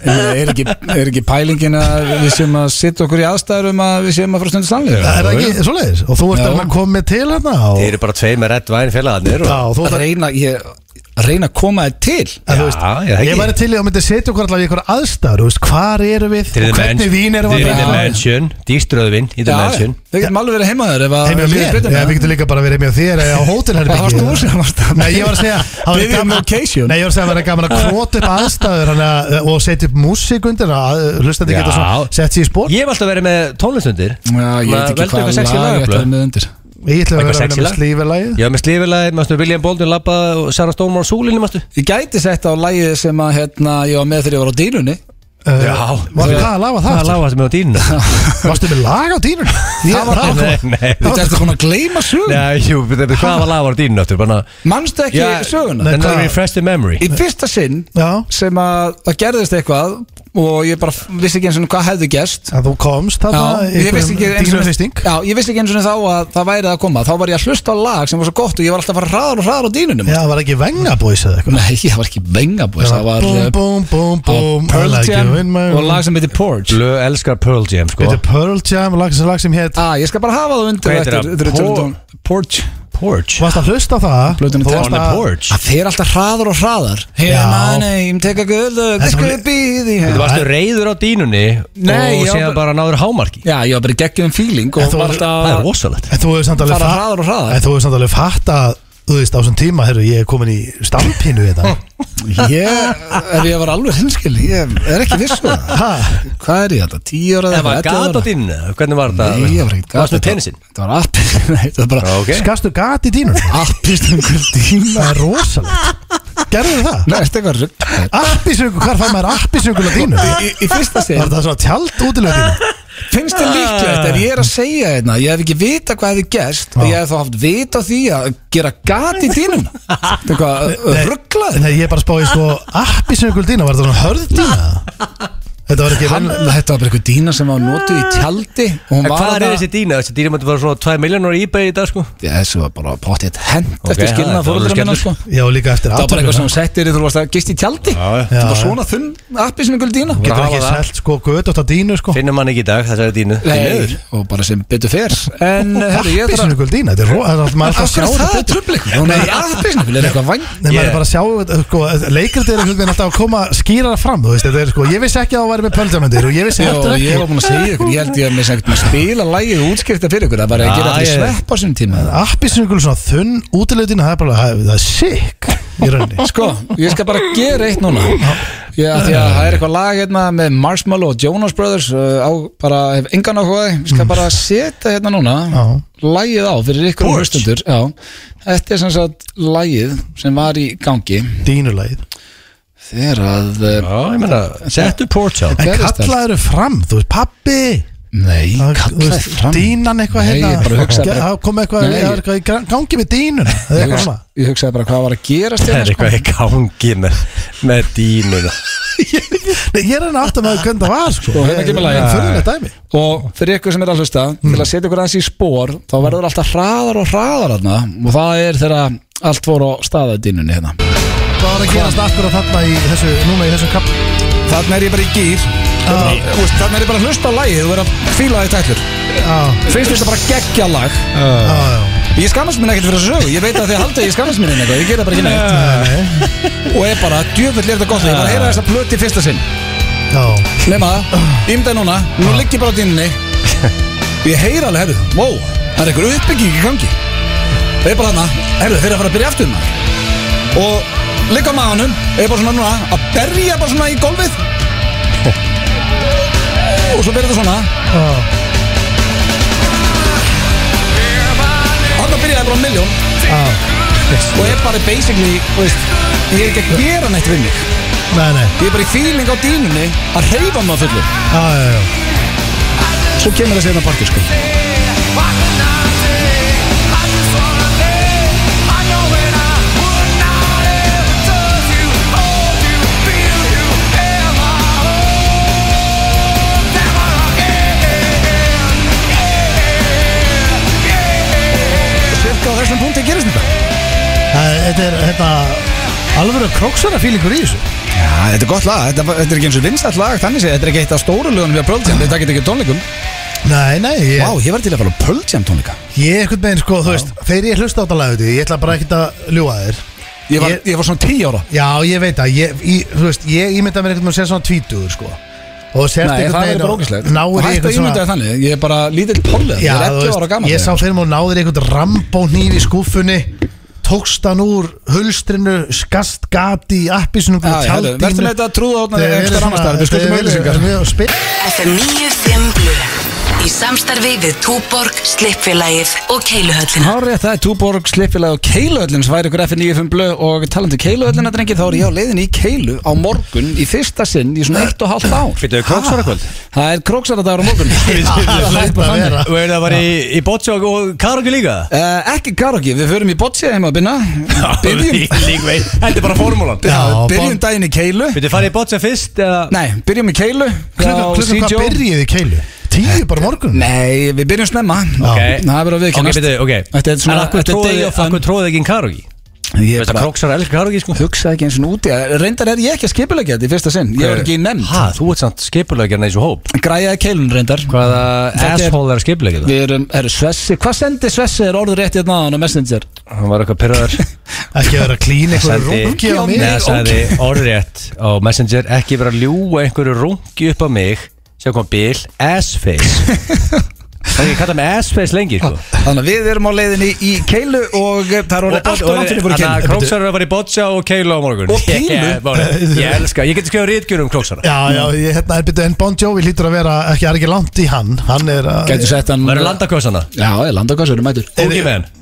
A: Nei, Er ekki, er ekki pælingin að við séum að sitja okkur í aðstæðurum að við séum að fara stundið samlega
C: Er það ekki svoleiðis? Og þú ert
A: Já.
C: að koma með til hérna og,
B: Þið eru bara tvei með redd væn félagarnir og-
C: Já, og þú
A: Að
C: ert að
A: reyna, ég, að reyna að koma þér til
C: En þú
B: Já,
C: veist,
B: já, það
C: Ég
B: ekki.
C: væri til í að myndi setja okkur allavega í einhver aðstæður þú veist, Hvar eru við
B: Þið eru
C: og hvernig
B: mens-
C: vín erum
B: Þið
C: við
B: eru í The
A: Já.
B: Mansion, Dýströðvin í The Mansion
A: Við getum alveg verið heima þér ef að-
C: Heimi á
A: ef
C: mér,
A: líður betur
C: Já,
A: með
C: við getum líka bara verið heimi á þér eða á hótelherbyggi
A: Hvað varst
C: <laughs>
A: þú sem varst að-
C: Nei, ég var að segja <laughs> það væri
A: Biðja um
C: gaman-
A: location.
C: Nei, ég var að segja að vera gaman að kvota upp aðstæður hana, og setja upp músík undir að hlustandi
B: Já.
C: geta svona sett sér í spór
B: Ég hef alltaf verið með tónlistundir
A: Já, ég veit ekki
B: Veldu
A: hvað
B: eitthvað sexy
A: lag þetta er
B: lagablöð
A: með undir
C: Ég ætla
B: Eitthvað
C: að vera að vera
B: sexy
C: með
B: lag?
C: slífilægi
B: Ég hef með slífilæði, mástu William Baldwin labbað og Sarah Stormar og Súlinni, mástu
A: Ég gæti sett á lagið sem að hérna, ég var með þegar ég var á dýrunni
B: Já.
C: Varstu hvað að lafa Eh, það?
B: Það er lágast með á dýnuna
C: aftur? Varstu með lag á
A: <laughs>
C: dýnun?
A: Ég-
C: Það var það
B: Nei, nei
A: Þetta ertu konar að gleyma sögun
B: Nei, jú, betur, betur, hvað var lágast á dýnuna aftur? Bara
A: Manstu ekki
B: Já,
A: söguna?
C: Nei.
B: Then
C: hvað?
B: I refresh the memory
A: Í fyrsta sinn
C: Já,
A: sem að það gerðist eitthvað og ég bara f- vissi ekki eins og hvað hefði gerst
C: að þú komst
A: Já, ég vissi ekki eins og
C: Dýnunfisting
A: Já, ég vissi ekki eins og þá að það væri að koma Þá var ég að hlusta á lag sem var svo gott og ég var alltaf að fara hraðar og hraðar á dýnunum
C: Já, það var ekki vengabóis eða eitthvað
A: Nei, ég var ekki venga búið Það var
C: Búm,
A: eh,
C: búm, búm,
A: það var
C: búm I
A: Pearl
C: like
A: Jam
C: you in my-
A: og lag sem heitir Porge
B: Blö elskar Pearl Jam, sko
C: Þetta er Pearl Jam, lag sem, lag sem hétt
A: Ah, ég skal bara hafa það undir
B: Hvað
A: og
B: heitir
A: eftir
B: það?
A: þegar við tölum
B: Por-
A: um- Porch
B: Porch
C: Þú varst að hlusta á það
A: Plötunni
C: Þú
A: Tell
C: varst
B: On the
C: að-
B: porch
A: að þeir alltaf hraðar og hraðar Hear
C: Já.
A: my name, take a good look This
C: Þetta var-
A: could be the
B: Þú varstu reyður á dýnunni
A: Nei,
B: og
A: já,
B: séðan bara náður hámarki
A: Já, ég var bara geggjum feeling
C: En
A: og
C: þú-
A: var alltaf
B: Það er
A: að
B: rosalegt
C: En þú hefur samt alveg
A: fara
C: fa-
A: hraðar og hraðar
C: En þú hefur samt alveg fatt að Þú veist á þessum tíma, herru, ég er komin í hérna. stampinu
A: <laughs>
C: í þetta
A: Ég, ef ég var alveg hinskil Ég er ekki viss um það
C: Ha?
A: Hvað er ég þetta? 10 ára
B: Það var
A: ellefu
B: gat á dýnunni, hvernig var það?
A: Nei, ég var ekki
B: Varstu tennisinn?
A: Þetta var appi <laughs> Nei, þetta var bara
B: Ok
C: Skastu gat í dýnun?
A: appistungur tíma
C: Það er rosalegt Gerðu það?
A: Nei, þetta er eitthvað rugg
C: Appisöngur, hvar fær maður appisöngur á dýnun?
A: Í, í fyrsta
C: Var
A: sinn
C: það svona tjald útilega dýnun?
A: Finnst þér líklegt ef ég er að segja hérna Ég hef ekki vita hvað hefði gerst Og ég hef þá haft vita því að gera gat í dýnum Þetta er eitthvað uh, rugglaður
C: Nei, ég er bara að spá í sko appisöngur dýna, var það svona hörð dýna? Þetta var ekki
A: Hann, þetta var bara eitthvað dýna sem var notuð í tjaldi og hún
B: En
A: var
B: hvað er
A: þarna-
B: þessi dýna? Þessi dýna mætti bara svona 2 miljónur í eBay í dag sko
A: Já, þessi var bara pottið hent
B: Ok,
A: eftir
B: það
A: skilna
B: er
A: fóröldra
B: alveg
A: minna sko.
B: skemmtilegt.
C: Já, líka eftir
A: það var bara
C: atvinnuna.
A: eitthvað sem hún settir í þú varst að gist í tjaldi
B: já.
A: þetta var
C: Já,
A: svona þunn appi sem einhver dýna
C: Getur
B: Bara
C: ekki
B: hafa það.
C: selt sko gödótt á dýnu sko
B: Finnum hann ekki í dag, þessari dýnu Því miður.
A: Nei, og bara sem betur fer en herru, ég þarf
C: Appisöngur dýna, þetta er ro- það er alltaf maður er alltaf að sjá
A: að
C: þetta
A: það er tröfleikur hún er appi sem einhver er eitthvað vang
C: Nei, maður
B: Ég-
C: er bara að sjá, uh, sko, leikrið er einhvern veginn alltaf að koma skýrara fram, þú veist, þetta er sko, ég vissi ekki að það væri með pöldjamöndir og ég vissi
A: og
C: heldur ekki.
A: ég var búin að segja ykkur ég held ég að mér sem eitthvað spila lægið og útskipta fyrir ykkur það var að
B: Já,
A: gera allir
B: ég-
A: svepp á sinni tíma
C: Appi sem einhvern svona þunn útilegðin, það er bara, það er- það er sick í
A: <laughs>
C: rauninni.
A: Sko, ég skal bara gera eitt núna Já, því að það er eitthvað lag hérna með Marshmallow og Jonas Brothers uh, á, bara hef engan áhugaði Ég skal bara setja hérna núna
C: Já.
A: lagið á fyrir ykkur
B: Porch.
A: hlustundur Já, þetta er sem sagt lagið sem var í gangi
C: Dínulegð.
A: þegar að uh,
B: Já, ég meina, settu porch á
C: En
A: Gerist
C: kallaður fram, þú veist, pappi,
A: Nei,
C: það- þú
A: kallaði
C: veist,
A: fram
C: dínan eitthvað
A: Nei,
C: hérna.
A: ég bara hugsaði
C: Ge-
A: bara-
C: Það kom eitthvað,
A: Nei,
C: það
A: ég-
C: er eitthvað í gra- gangi með dýnuna, það er
A: Ég
C: eitthvað
A: hugsa-
C: svona.
A: ég hugsaði bara hvað var að hérna, sko. gera
B: Það er
A: stjórn
B: eitthvað í gangi með, með dýnuna
C: Nei, ég er hérna aftur með hvernig það var, sko.
A: Sko, hérna Hmm. kemur lagið.
C: Furðulegt dæmi.
A: Og fyrir ykkur sem er að hlusta Til að setja ykkur aðeins í spór Þá verður alltaf hraðar og hraðar hérna Og það er þegar allt fór á staðadínunni hérna
C: Hvað var að gerast akkurat þarna í þessu, núna í þessum kafla?
A: Þannig er ég bara í gýr Þannig er ég bara að hlusta á lagið Þú verður að fíla því tætlur
C: Já,
A: Finnst þetta bara geggja lag
C: já,
A: Ah.
C: já.
A: Ég skammast mín ekkert fyrir þessu sögu Ég veit að þið haldið að ég skammast mín eitthvað Ég gera bara ekki neitt
C: Nei,
A: Og er bara djöfull er þetta gott lag. Ég var að heyra þessa plöti í fyrsta sinn
C: já.
A: Nefna það Ímdaði núna Nú ligg ég bara á dýninni Ég heyra alveg herru Wow Það er einhver uppbygging í gangi Það er bara þarna Herru þeir eru að fara að byrja aftur maður Og ligg á maðanum Er bara svona núna Að berja bara svona í golfið Og svo byrja þetta svona
C: Já.
A: Þannig að byrjaði bara á miljón og er bara basically þú veist, ég er ekki að gera neitt við mig
C: Nei, nei,
A: ég er bara í feeling á dýnunni að reyfa mig á fullu
C: já, já, já
A: svo kemur það sérna partur sko cirka á þessum punkti gerist þetta
C: Það er- Þetta er, þetta, alvöru króksara fílingur í þessu
A: Já, þetta er gott lag, þetta, þetta er ekki eins og vinstall lag þannig sé, þetta er ekki eitt af stóru lögunum við að Pearl Jam þetta getur ekki á tónleikum Vá,
C: Nei, nei, ég,
A: ég var til að fara á Pearl Jam tónleika
C: ég ekkert meginn sko, þú veist Þegar ég hlusta á þetta lagið, ég ætla bara ekkert að ljúa þér
A: ég var,
C: Ég-
A: ég var svona 10 ára
C: Já, ég veit að, ég, í, þú veist, ég ímynda mér einhvern veginn að sé svona tvítugur sko Og sérst
A: Nei, það er bara ógæslegt
C: Náir í
A: Hættu að
C: einhvern
A: ímynda þér þannig, ég er bara lítill pollið Ég
C: Já,
A: er
C: þú
A: 11 ára
C: veist,
A: gammal
C: ég sá fyrir mér og náðir einhvern rambó nýf í skúfunni Tókst hann úr hulstrinu, skast gati í appisinu
A: Já, já, herru, vertu með þetta trúðaofnar einhverstaðar annars staðar, við skuldum auglýsingar.
C: auðlýsingar
D: FM 95 Blu Í samstarfi við Túborg, Slippfélagið og Keiluhöllina
A: Hárið, það er Túborg, Slippilag og Keiluöllin sværi ykkur F95 blöð og talandi um Keiluöllina drengi þá er ég á leiðin í Keilu á morgun í fyrsta sinn í svona 1,5 ár
B: Fyrir þau króksvara kvöld
A: Það er króksaradagur á morgun
C: <laughs> Það er bara þannig
B: Og er það bara í, í bótsjók og karogi líka?
A: Uh, ekki karaoke, við förum í boccia heima að byrna Byrjum,
B: Lík veit Þetta er bara formúlan
C: Já,
A: byrjum
C: bara-
A: daginn í keilu
B: Byrðu farið í bótsja fyrst eða
A: Nei, byrjum í keilu
C: Klukkan,
A: hjá
C: klukkan hvað
A: CJO.
C: byrjið í keilu? Tíu bara morgun?
A: Nei, við byrjum snemma
C: Ok.
A: Það er verið að
B: Ok,
A: viðkennast
B: byrðu, ok
A: Þetta er svona,
B: akkur
A: þetta er day
B: tróði,
A: of fun
B: akkur tróði ekki inn karogi
A: Ég
B: Þetta
A: bara
B: króksvara elskar karogi sko
A: hugsa ekki eins og úti Reyndar er ég ekki að skipulegja þetta í fyrsta sinn Ég var ekki í nefnd
B: Ha, þú ert samt skipulegjarni í þessu hóp
A: Græjaði keilun reyndar
B: Hvaða
A: Þetta er-
B: asshole er að skipulegja það?
A: Við erum, eru Svessi Hvað sendi Svessi er orður rétt hérna á hann á Messenger?
B: Hann var eitthvað pyrraður
A: <laughs>
C: Ekki að vera klín eitthvað rungi á mig
B: Nei, hann sagði
A: ok.
B: orðrétt á Messenger Ekki vera að ljúa einhverju rungi upp á mig Sjá kom bil,
A: <laughs>
B: assface Það er ekki að kalla mig assface lengi sko
A: Þannig að við erum á leiðinni í keilu og eh, það er orðið allt og langt fyrir fyrir keilu
B: Króksarur var í boccia og keilu á morgun
A: Og pílu.
B: Ég- ég- Ég elska, ég geti skrifað rítgjur um króksara
C: Já, já, ég, hérna er byrjuð en Bon Jovi lítur að vera ekki, það er ekki langt í hann Hann er að
A: Gætu sett hann
B: Verður landakossana
A: Já, landakossur er mætur
B: Ógi með hann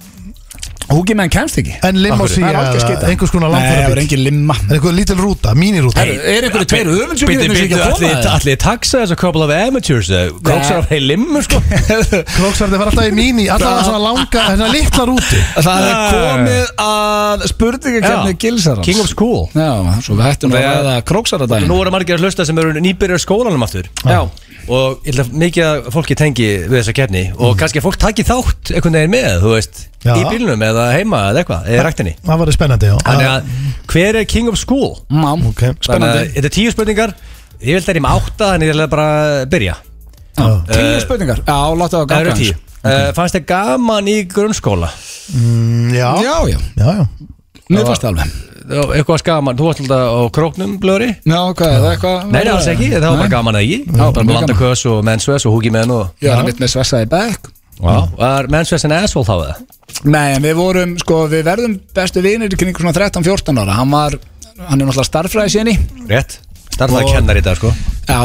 A: Húki menn kemst ekki
C: En
B: Af hverju?
C: limousí
A: Það er
C: eða
A: algjör skita.
C: einhvers konar
A: Nei, það er
C: langfærabíl
A: engin limma
C: En einhver lítil rúta, mínirúta
A: Herru, Er einhverju tveir öfundsjúkir
B: Býttu,
A: hérna sem ekki
B: býttu,
A: að koma
B: allir allir taxa þess að couple of amateurs eh? Króksara var í limmu sko
A: þér?
C: Klóksarði var alltaf í míní, alltaf
A: Það-
C: svona langa, hérna litla rúti
A: <laughs> Það
C: Ah.
A: er komið að spurningakerni
B: Já.
A: gilsarans
B: King of school
A: Já, svo við hættum nú að
B: Þegar-
A: ræða króksaradaginn
B: Nú eru margir að hlusta sem eru nýbyrjar í skólanum aftur
A: Já.
B: Og ég ætla mikið að fólki tengi við þessa keppni Og kannski að fólk taki þátt einhvern veginn með, þú veist
C: Já.
B: Í bílnum eða heima eða eitthvað, eða í ræktinni
C: Það var spennandi, já
B: Þannig að hver er king of school?
A: Má,
C: Ok.
B: Þannig að
A: spennandi
B: þetta er tíu spurningar Ég vil það er í maður átta, þannig ég ætla bara að byrja
A: Já, Tíu spurningar Já, láta Eh, það
B: Það eru
A: ganga
B: tíu
A: aðeins.
B: Uh, fannst þið gaman í grunnskóla
C: Mm, Já,
A: Já, já,
C: já, já
A: mér fannst það alveg
B: Þá- eitthvað skaman, þú varst alltaf á króknum blöri
A: Já, hvað er það eitthvað?
B: nei, alls ekki, það var bara gaman að ekki
A: bara
B: bara
A: mjög
B: landakös og mensves og húkimenn og
A: Ég var að mitt með svessa í back
B: Já. var mensves en asshole þá eða?
A: Nei, en við vorum, sko, við verðum bestu vinir í kring svona 13-14 ára Hann var, hann er náttúrulega starffræði síðan í
B: rétt, starfaði
A: Og-
B: kennar í dag sko
A: Já,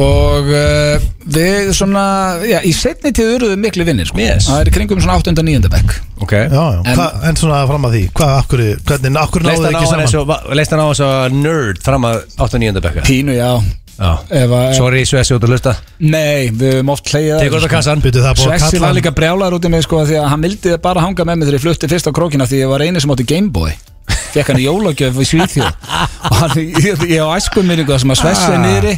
A: og uh, við svona, já, í setni tíð eru við miklu vinnir, sko.
B: Yes.
A: Það er í kringum svona 8. og 9. bekk.
B: ok,
C: Já, já,
A: En-
C: en, Hva, en svona fram að því, hvað, akkur, hvernig, akkur náðu
B: leist hann á
C: ekki
B: hann
C: saman?
B: eins og va- leist hann á hans að nerd fram að 8. og 9. bekka
A: Pínu, já.
B: Já.
A: Ef að,
B: sorry, svesi út að hlusta
A: nei, við höfum oft hleyjað.
B: tegur þetta kassan
C: Býtu það er búið að
A: Svexi
C: kalla
A: var
C: hann
A: líka brjálar út í mig, sko, því að hann vildi bara hanga með mig þegar ég flutti fyrst á krókina því ég var eini sem átti Gameboy. Fekk hann í jólagjöf í
C: <laughs>
A: Svíþjóð. Og hann, ég, ég á æskuminningu það sem að Svexi
C: Ah.
A: er niðri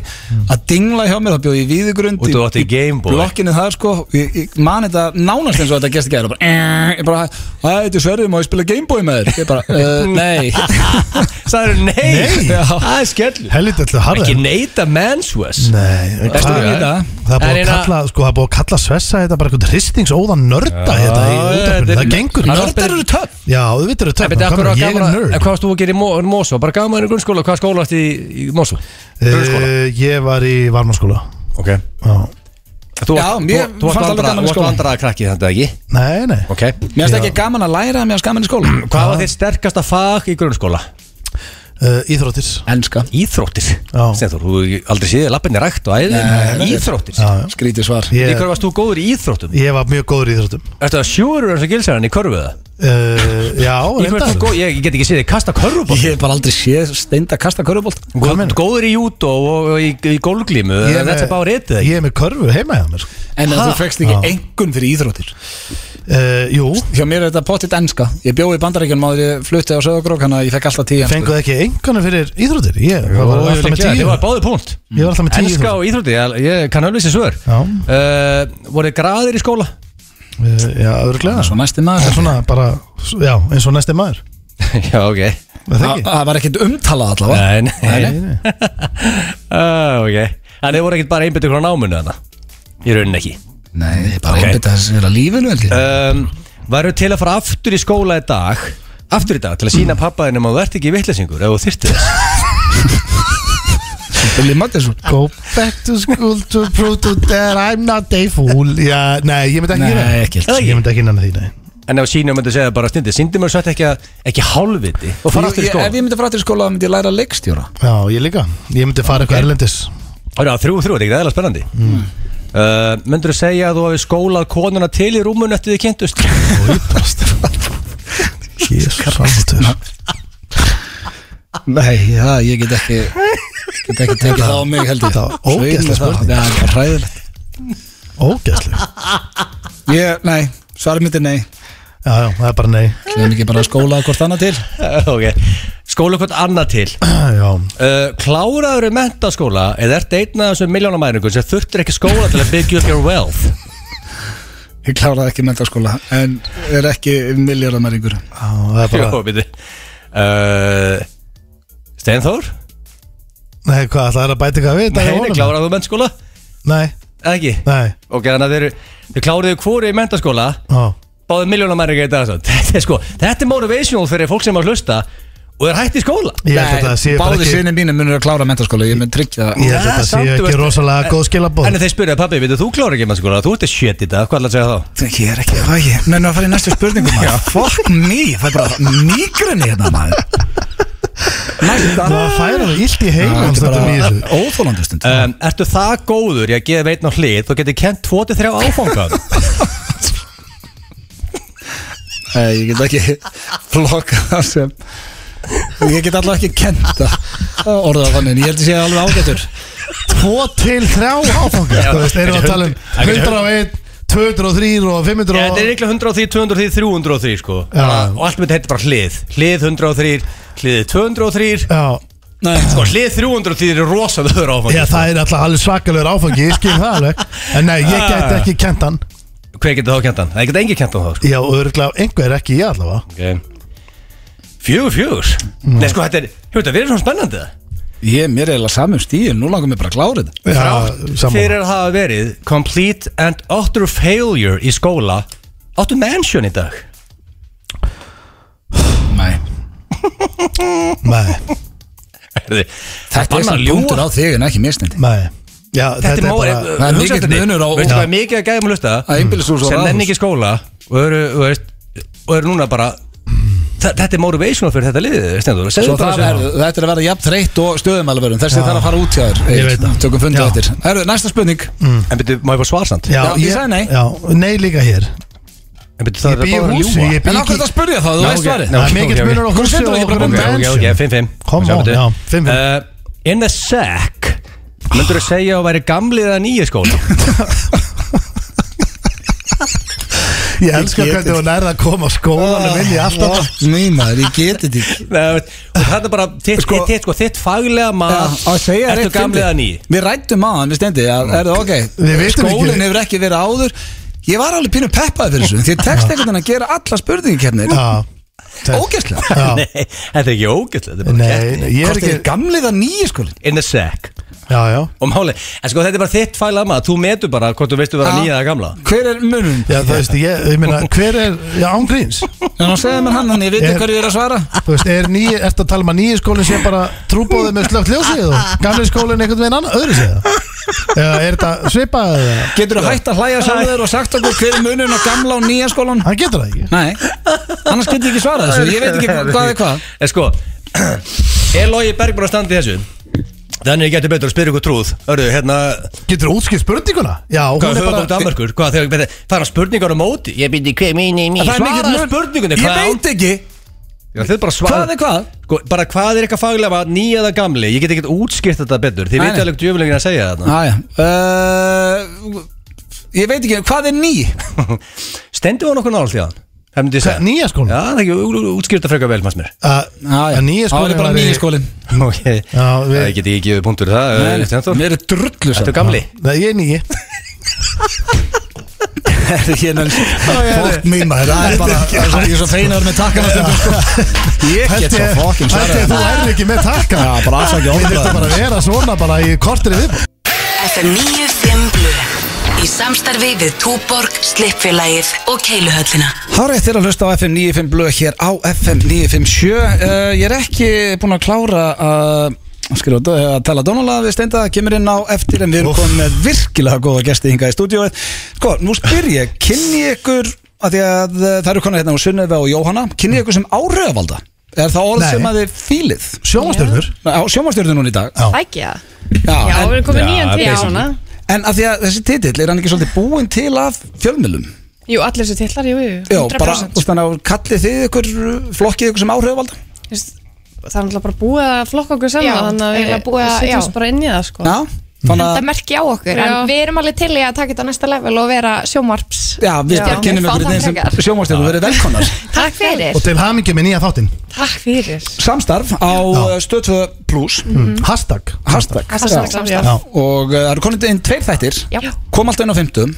A: að dingla hjá mér, það bjóði í víðugrund.
B: Og þú átti
A: í- í
B: Gameboy.
A: Blokkinni þar, sko, ég, ég mani þetta nánast eins og þetta gerst ekki að Ég bara, að þetta er sverðið, má ég spila Gameboy með þér? Ég bara, uh,
C: <laughs>
B: <laughs>
A: nei.
B: sagður nei,
C: Nei.
B: Já. það er skell
C: Helvita alltaf harðið
B: ekki neita mensves
C: Nei, en
A: Ertu
C: hvað-
A: að nýta?
C: það er
B: En
C: búið að
B: eina-
C: kalla, sko, það er búið að kalla svessa þetta bara eitthvað hristingsóðan nörda þetta í útarpunni, það gengur ekki.
A: Nördar eru töff
C: Já, þú vitur þetta,
B: En beti, akkur,
C: ég er
B: gaman,
C: nörd
B: en hvað varst þú að gera í Mo- Mosó? Bara gaman í grunnskóla, hvað skóla varst í, í Mosó? Grunnskóla?
C: Eh, Ég var í varmaskóla
B: ok
C: Já.
B: Þú
A: Já,
B: varst-
A: mér
B: þú varst
A: fannst alveg
B: vandra-
A: gaman í
B: þú varst
A: skóla.
B: vandraða krakki þetta ekki?
C: Nei, nei
B: Ok
A: Mér finnst ekki gaman að læra, mér finnst gaman í skóla
B: Hvað var þitt sterkasta fag í grunnskóla?
C: uh, Íþróttir
A: Enska
B: Íþróttir
C: Já.
B: Stenþór, þú hefur aldrei séð lappinni rækt og æðin
A: Nei.
B: Íþróttir
C: Já, já.
A: Skrítið svar
B: Í
C: ég,
B: hverju varst þú góður í íþróttum?
C: ég var mjög góður í Íþróttum
B: Ertu að sjóður eins og gilsæðan í körfu eða?
C: uh, Já,
B: Í hverju varst þú
C: reyndar
B: góð- Ég ég get ekki séð þig kasta körfuból
A: Ég hef bara aldrei séð steind að kasta körubolt
B: Góður í jútó og og í, í gólglímu
C: Ég er
B: Þetta er
C: með-
B: bara réttið
C: Ég er með körfu heima hjá mér sko.
A: En að
C: Ha?
A: þú fegst ekki
C: Já.
A: engun fyrir íþróttir
C: uh, Jú,
A: Hjá mér er þetta pottitt enska Ég bjóði í bandaríkjunum áður en ég flutti á Söðagrók Þannig að ég fekk alltaf tíu
C: fenguð ekki einhvern fyrir Íþróttir Ég það var alltaf með
B: Þið
C: tíu
B: var báði punkt
C: Ég var alltaf með tíu
B: Enska og íþrótti, ég, ég kann alveg sér svör
C: Já.
B: uh, Voru þið graðir í skóla? <laughs>
C: uh, Já, öðruglega
A: Svo næsti
C: Það er
A: maður
C: svona bara, já, eins og næsti maður
B: Já, ok
C: Það
A: Þa-
B: Ah,
C: ekki?
A: Það var ekkert umtalað allavega
B: Nei, nei <laughs> Ah, Ok En þið voru ekkert bara einbyttur frá náminu þarna Í rauninni ekki
A: Nei, bara
B: Ok.
A: einbytta þess að vera lífinu held ég.
B: um, Varu til að fara aftur í skóla í dag Aftur í dag til að sína pappaðinum að þú ert ekki vittlesingur ef þú þyrftir þess
A: Billy Madison
C: Go
B: ah.
C: back to school to prove to that I'm not a fool Já, nei, ég myndi
A: Nei,
C: ekki gera það.
A: ekki
B: Eða
A: held
B: ekki?
C: Ég myndi ekki innan því, nei
B: En ef sínum myndi segja bara stundið Sýndi mér satt ekki, að- ekki hálfviti og fara aftur í
A: Ég-
B: skóla
A: Ef ég myndi fara aftur í skóla þá myndi ég læra leikstjóra
C: Já, ég líka Ég myndi fara eitthvað erlendis
B: Það er þrjú og þrjú, þetta er ekki eðla spennandi mm. uh, Myndur þú segja að þú hefði skólað konuna til í rúmun eftir þið kynntust? <laughs>
C: <laughs> Jésus, samfóttur
A: Nei, já, ég get ekki <laughs> Get ekki tekið það á mig held ég
C: Það var ógeðsleg
A: Svei mér það.
C: spurning.
A: Já, það var hræðilegt
C: Ógæslega
A: Ég, nei, svarið mitt er nei
C: Já, já, það er bara nei
A: Hljóðum ekki bara að skóla hvort annað til
B: ok, skóla hvort annað til
C: Ah, Já,
B: uh, Kláraður í mentaskóla eða ert einn af þessum miljónamæringun sem þurftir ekki skóla til að byggja upp your
A: <laughs>
B: wealth
A: Ég kláraði ekki mentaskóla En er ekki miljardamæringur
C: já, það er bara
B: Jó, býttu uh, Steinþór?
C: Nei, hvað, það er að bæta eitthvað við
B: Nei,
C: þetta í honum?
B: nei, kláraðu mentaskóla?
C: Nei,
B: Eða ekki?
C: nei,
B: Ok, þannig að þeir, þeir kláruðu hvori í mentaskóla
C: já
B: Báðið miljónamæringa í dag svo. <laughs> Þetta er sko, þetta er motivational fyrir fólk sem er að hlusta og er hætt í skóla
C: Ég held að það sé bara
A: Báði
C: ekki
A: sinni mínir munur að klára mentaskóla Ég mun tryggja það
C: Ég held
B: Ja,
C: að það sé
B: samt, þú
C: ekki
B: veist-
C: rosalega góð skilabóð
B: En þeir spyrja, pabbi, veitu, þú klárar ekki mennskóla, þú ert að shit í dag, hvað ætlaðu að segja þá?
A: Ég er ekki, hvað ég Mennu að fara í næstu spurningu maður Fuck me, það er bara migrini hérna maður Næsta
B: Ah.
C: Það færa það illt í
A: Já,
C: heilum
A: Þetta
C: Þetta er
A: er
C: mjög
A: bara Eh, óþólandi stund
B: Um, ertu það góður í að gefa einn á hlið, þú getur kent 23
C: <laughs>
B: áfangað
A: Nei, ég get ekki flokka það sem Ég get allavega ekki kenta orðað þannig, en ég held að sé alveg ágætur
C: Tvo til þrjá áfanga
B: Já,
C: Þú veist, erum
B: þetta
C: við að
B: er
C: tala um
B: hund- þetta er
C: 101, 203 og 500
B: Já,
C: og-
B: þetta er ykkur 103, 203, 303 sko
C: Já.
B: Og allt með þetta heitir bara hlið Hlið 103, hlið 203
C: Já,
A: Nei,
B: Sko, hlið 303 er rosaður áfangað
C: já, það er alltaf alveg svakalegur áfangi Ég skil það alveg En nei,
B: Ah.
C: ég gæti ekki kent hann
B: Hver getur þá kent hann? Það getur engin kent hann þá sko
C: Já, örgulega einhver ekki ég allavega
B: okay. Fjögur, fjögur Nei, sko, þetta er, hefur þetta verið svona spennandi það?
A: ég er mér eiginlega samum stíl, nú langar mér bara að klára þetta
C: Já,
B: Þrátt
C: saman
B: fyrir að hafa verið complete and utter failure í skóla áttu mansion í dag <laughs>
A: Nei,
C: Nei,
B: Herði,
A: þetta er sem bútur á þig en ekki misnindi
C: nei Já, þetta,
B: Þetta er eh,
C: bara
B: móið,
A: Það er mikill munur á-
B: Veistu
A: Já.
B: hvað er mikið að gæða um að hlusta
A: Að einbýlishús og
B: Sem
A: raðhús.
B: nenni ekki í skóla og eru, þú veist, og eru núna bara Þa- Þetta er motivational fyrir þetta liðið Stendur,
A: Svo það er, þetta er að vera jafn þreytt og stöðum alveg verðum Þessi
C: Já.
A: þarf að fara út hjá þér
C: Ég
A: Egill.
C: veit það.
A: Tökum fundið
C: Já. Mm.
A: eftir Herru, næsta spurning
B: En byrju, má ég fá svarsamt
C: Já,
A: Já, ég sagði nei.
C: Já, nei líka hér
B: En byrju,
C: Ég
B: það
C: bý í
B: er bara að
C: húsi,
B: ljúga
C: ég bý
A: En okkur er þetta að spurja það, þú
B: Já,
A: veist
B: ok.
A: svarið
B: Já.
C: Það er mikill
B: ok, ok.
C: munur á húsi
A: Hvernig finnst þú
C: og og
A: það ekki bara
B: Ok, ok, ok,
C: mansion
B: 5-5
C: Come
B: Sjá
C: on,
B: betur.
C: já, 5-5.
B: Eh, In the sack Myndur þú segja að væri gamli eða nýja skóla?
C: Ég elska
A: Ég get
C: hvernig hún er að koma skólanum inn í alltaf
A: Nei maður, ég geti þetta <laughs> ekki
B: Nei, og það er bara þitt,
A: Sko-
B: sko, þitt, sko, þitt faglega
A: Já,
B: maður
A: Ah, að segja
B: Ertu
A: rétt
B: gamli
A: fyndið.
B: eða ný?
A: Við rættum á hann, við stendi að, er, okay,
C: Við vitum ekki.
A: Skólinn hefur ekki verið áður Ég var alveg pínu peppaði fyrir þessu Því ég tekst einhvern veginn að gera alla spurningi kemni
C: Já,
A: Ógæslega
C: já
B: Nei, þetta er ekki ógæslega Þetta er bara
C: Nei,
B: keppni.
C: nei, ég er
A: Hvort er
C: ekki
A: gamlið að nýja skólinn?
B: In the sack
C: Já, já
B: Og máli, en sko þetta er bara þitt faglega maður Þú metur bara hvort þú veistu vera
A: Já.
B: nýja eða gamla
A: Hver er munum?
C: Já, þú veist, ég, ég meina, hver er, já, ángríns
A: En hann segði mér hann, hann ég veit
C: Er-
A: hverju ég er að svara
C: Þú veist, er nýi, ertu að tala um að nýi skólinn sé bara trúbóðið með slögt ljósið og gamli skólinn einhvern veginn annar, öðru séð Eða er þetta svipað eða?
A: Getur þú hægt að hlæja sjálfur og sagt okkur hver er munum á gamla og nýja skólan?
C: Hann getur það ekki
A: Nei, annars getur ég ekki svarað þessu Ég veit ekki hvað er hvað
B: En sko <clears throat> Er Lógi Berg bara að standa í þessu? Þannig getur betur að spyrja ykkur trúð Örðu, hérna
C: Getur þú útskipt spurninguna? Já,
B: Hvað
C: hún
B: er
C: er
B: höfðbók
C: bara
B: Danmarkur? Hvað þegar betur, fara spurningar á móti? Ég byrði hver minni mín
A: Það er mikill
B: Svaraðu
A: mun.
B: spurningunni
A: Ég veit ekki
B: Þið bara svara
A: Hvað er hvað?
B: Sko, bara hvað er eitthvað faglega maður nýja eða gamli? Ég get ekkert útskipt þetta betur Þið
A: Nei,
B: veitu
A: nei.
B: alveg djöfulingin að segja þetta
A: Æja uh, Ég veit ekki, hvað er ný?
B: <laughs> Stendur hún okkur nált í aðan? Það myndi ég
C: Hva-
B: segja
C: nýja skólinn?
B: Já, það er ekki útskipt að freka vel, fannst mér
C: Að nýja
A: Það
C: skólinn
A: er bara
C: væri-
A: nýja skólin
B: Ok,
C: Já, við-
B: það get ég ekki gefið punktur í það eh, Steindór.
A: Mér er drullu
B: Þetta er
A: <laughs>
B: gamli
C: Nei, ég er nýji
A: Fólk mín maður Það er bara Ég er svo feinaður með takkana stundum sko. <laughs> Ég get svo fokkin
C: Þetta er þú erði ekki með takka
A: Já, bara afsakið
C: Við
A: ofbeldi.
C: þurfum bara að vera svona bara í kortir í viðbúr
D: FM 95 Blöð Í samstarfi við Túborg, Slippfélagið og Keiluhöllina
A: Hárið þér að hlusta á FM 95 blöð hér á FM 957 uh, Ég er ekki búinn að klára að skrifa eh, að tala dónulega við steinda kemur inn á eftir en við erum komið með virkilega góða gesti hingað í stúdíóið Sko, nú spyr ég, kynni ég ykkur að því að uh, það eru konar hérna og Sunnefa og Jóhanna kynni ég ykkur sem áhrifvalda Er það orð
C: Nei.
A: sem að þið fílið?
C: Sjónastörnur
A: Nei, Á sjómanstjörnum núna í dag
C: Já.
E: Ekki það?
A: Já,
E: Já,
A: en,
E: við erum
B: já,
E: komin nýjan til
B: basically.
E: svona
A: en að því að þessi titill er hann ekki svolítið búinn til af fjölmjölum?
E: Jú, allir þessu titlar, jú, jú,
A: Já, bara,
E: 100%
A: og þannig að kallið þið ykkur, uh, flokkið ykkur sem áhrifvalda?
E: Þú veist, Það er náttúrulega bara búið að flokka okkur
F: Já,
E: saman Þannig að
F: eiginlega
E: við
F: búið að- já.
E: setjum oss bara inn í það, sko
A: Já, þannig
F: Það
A: að
F: merkja á okkur,
E: Já.
F: en við erum alveg til í að taka þetta á næsta level og vera sjómarps
A: Já, við
F: Já,
A: bara kynum
F: við
A: ykkur hérna
F: fá
A: þeim
F: það
A: sem
F: frekar.
A: sjómanstjörnum verið velkonar
F: Takk fyrir
C: Og til hamingi með nýja þáttinn
E: Takk fyrir
A: Samstarf á
C: Já.
A: stöðtöð plus
C: Mm. Hashtag
A: Hashtag
E: Hashtag
A: Mhm. Já.
E: samstarf.
C: Já.
A: Og uh, það eru konið inn tveir þættir
F: Já. Mhm.
A: Kom alltaf inn á fimmtum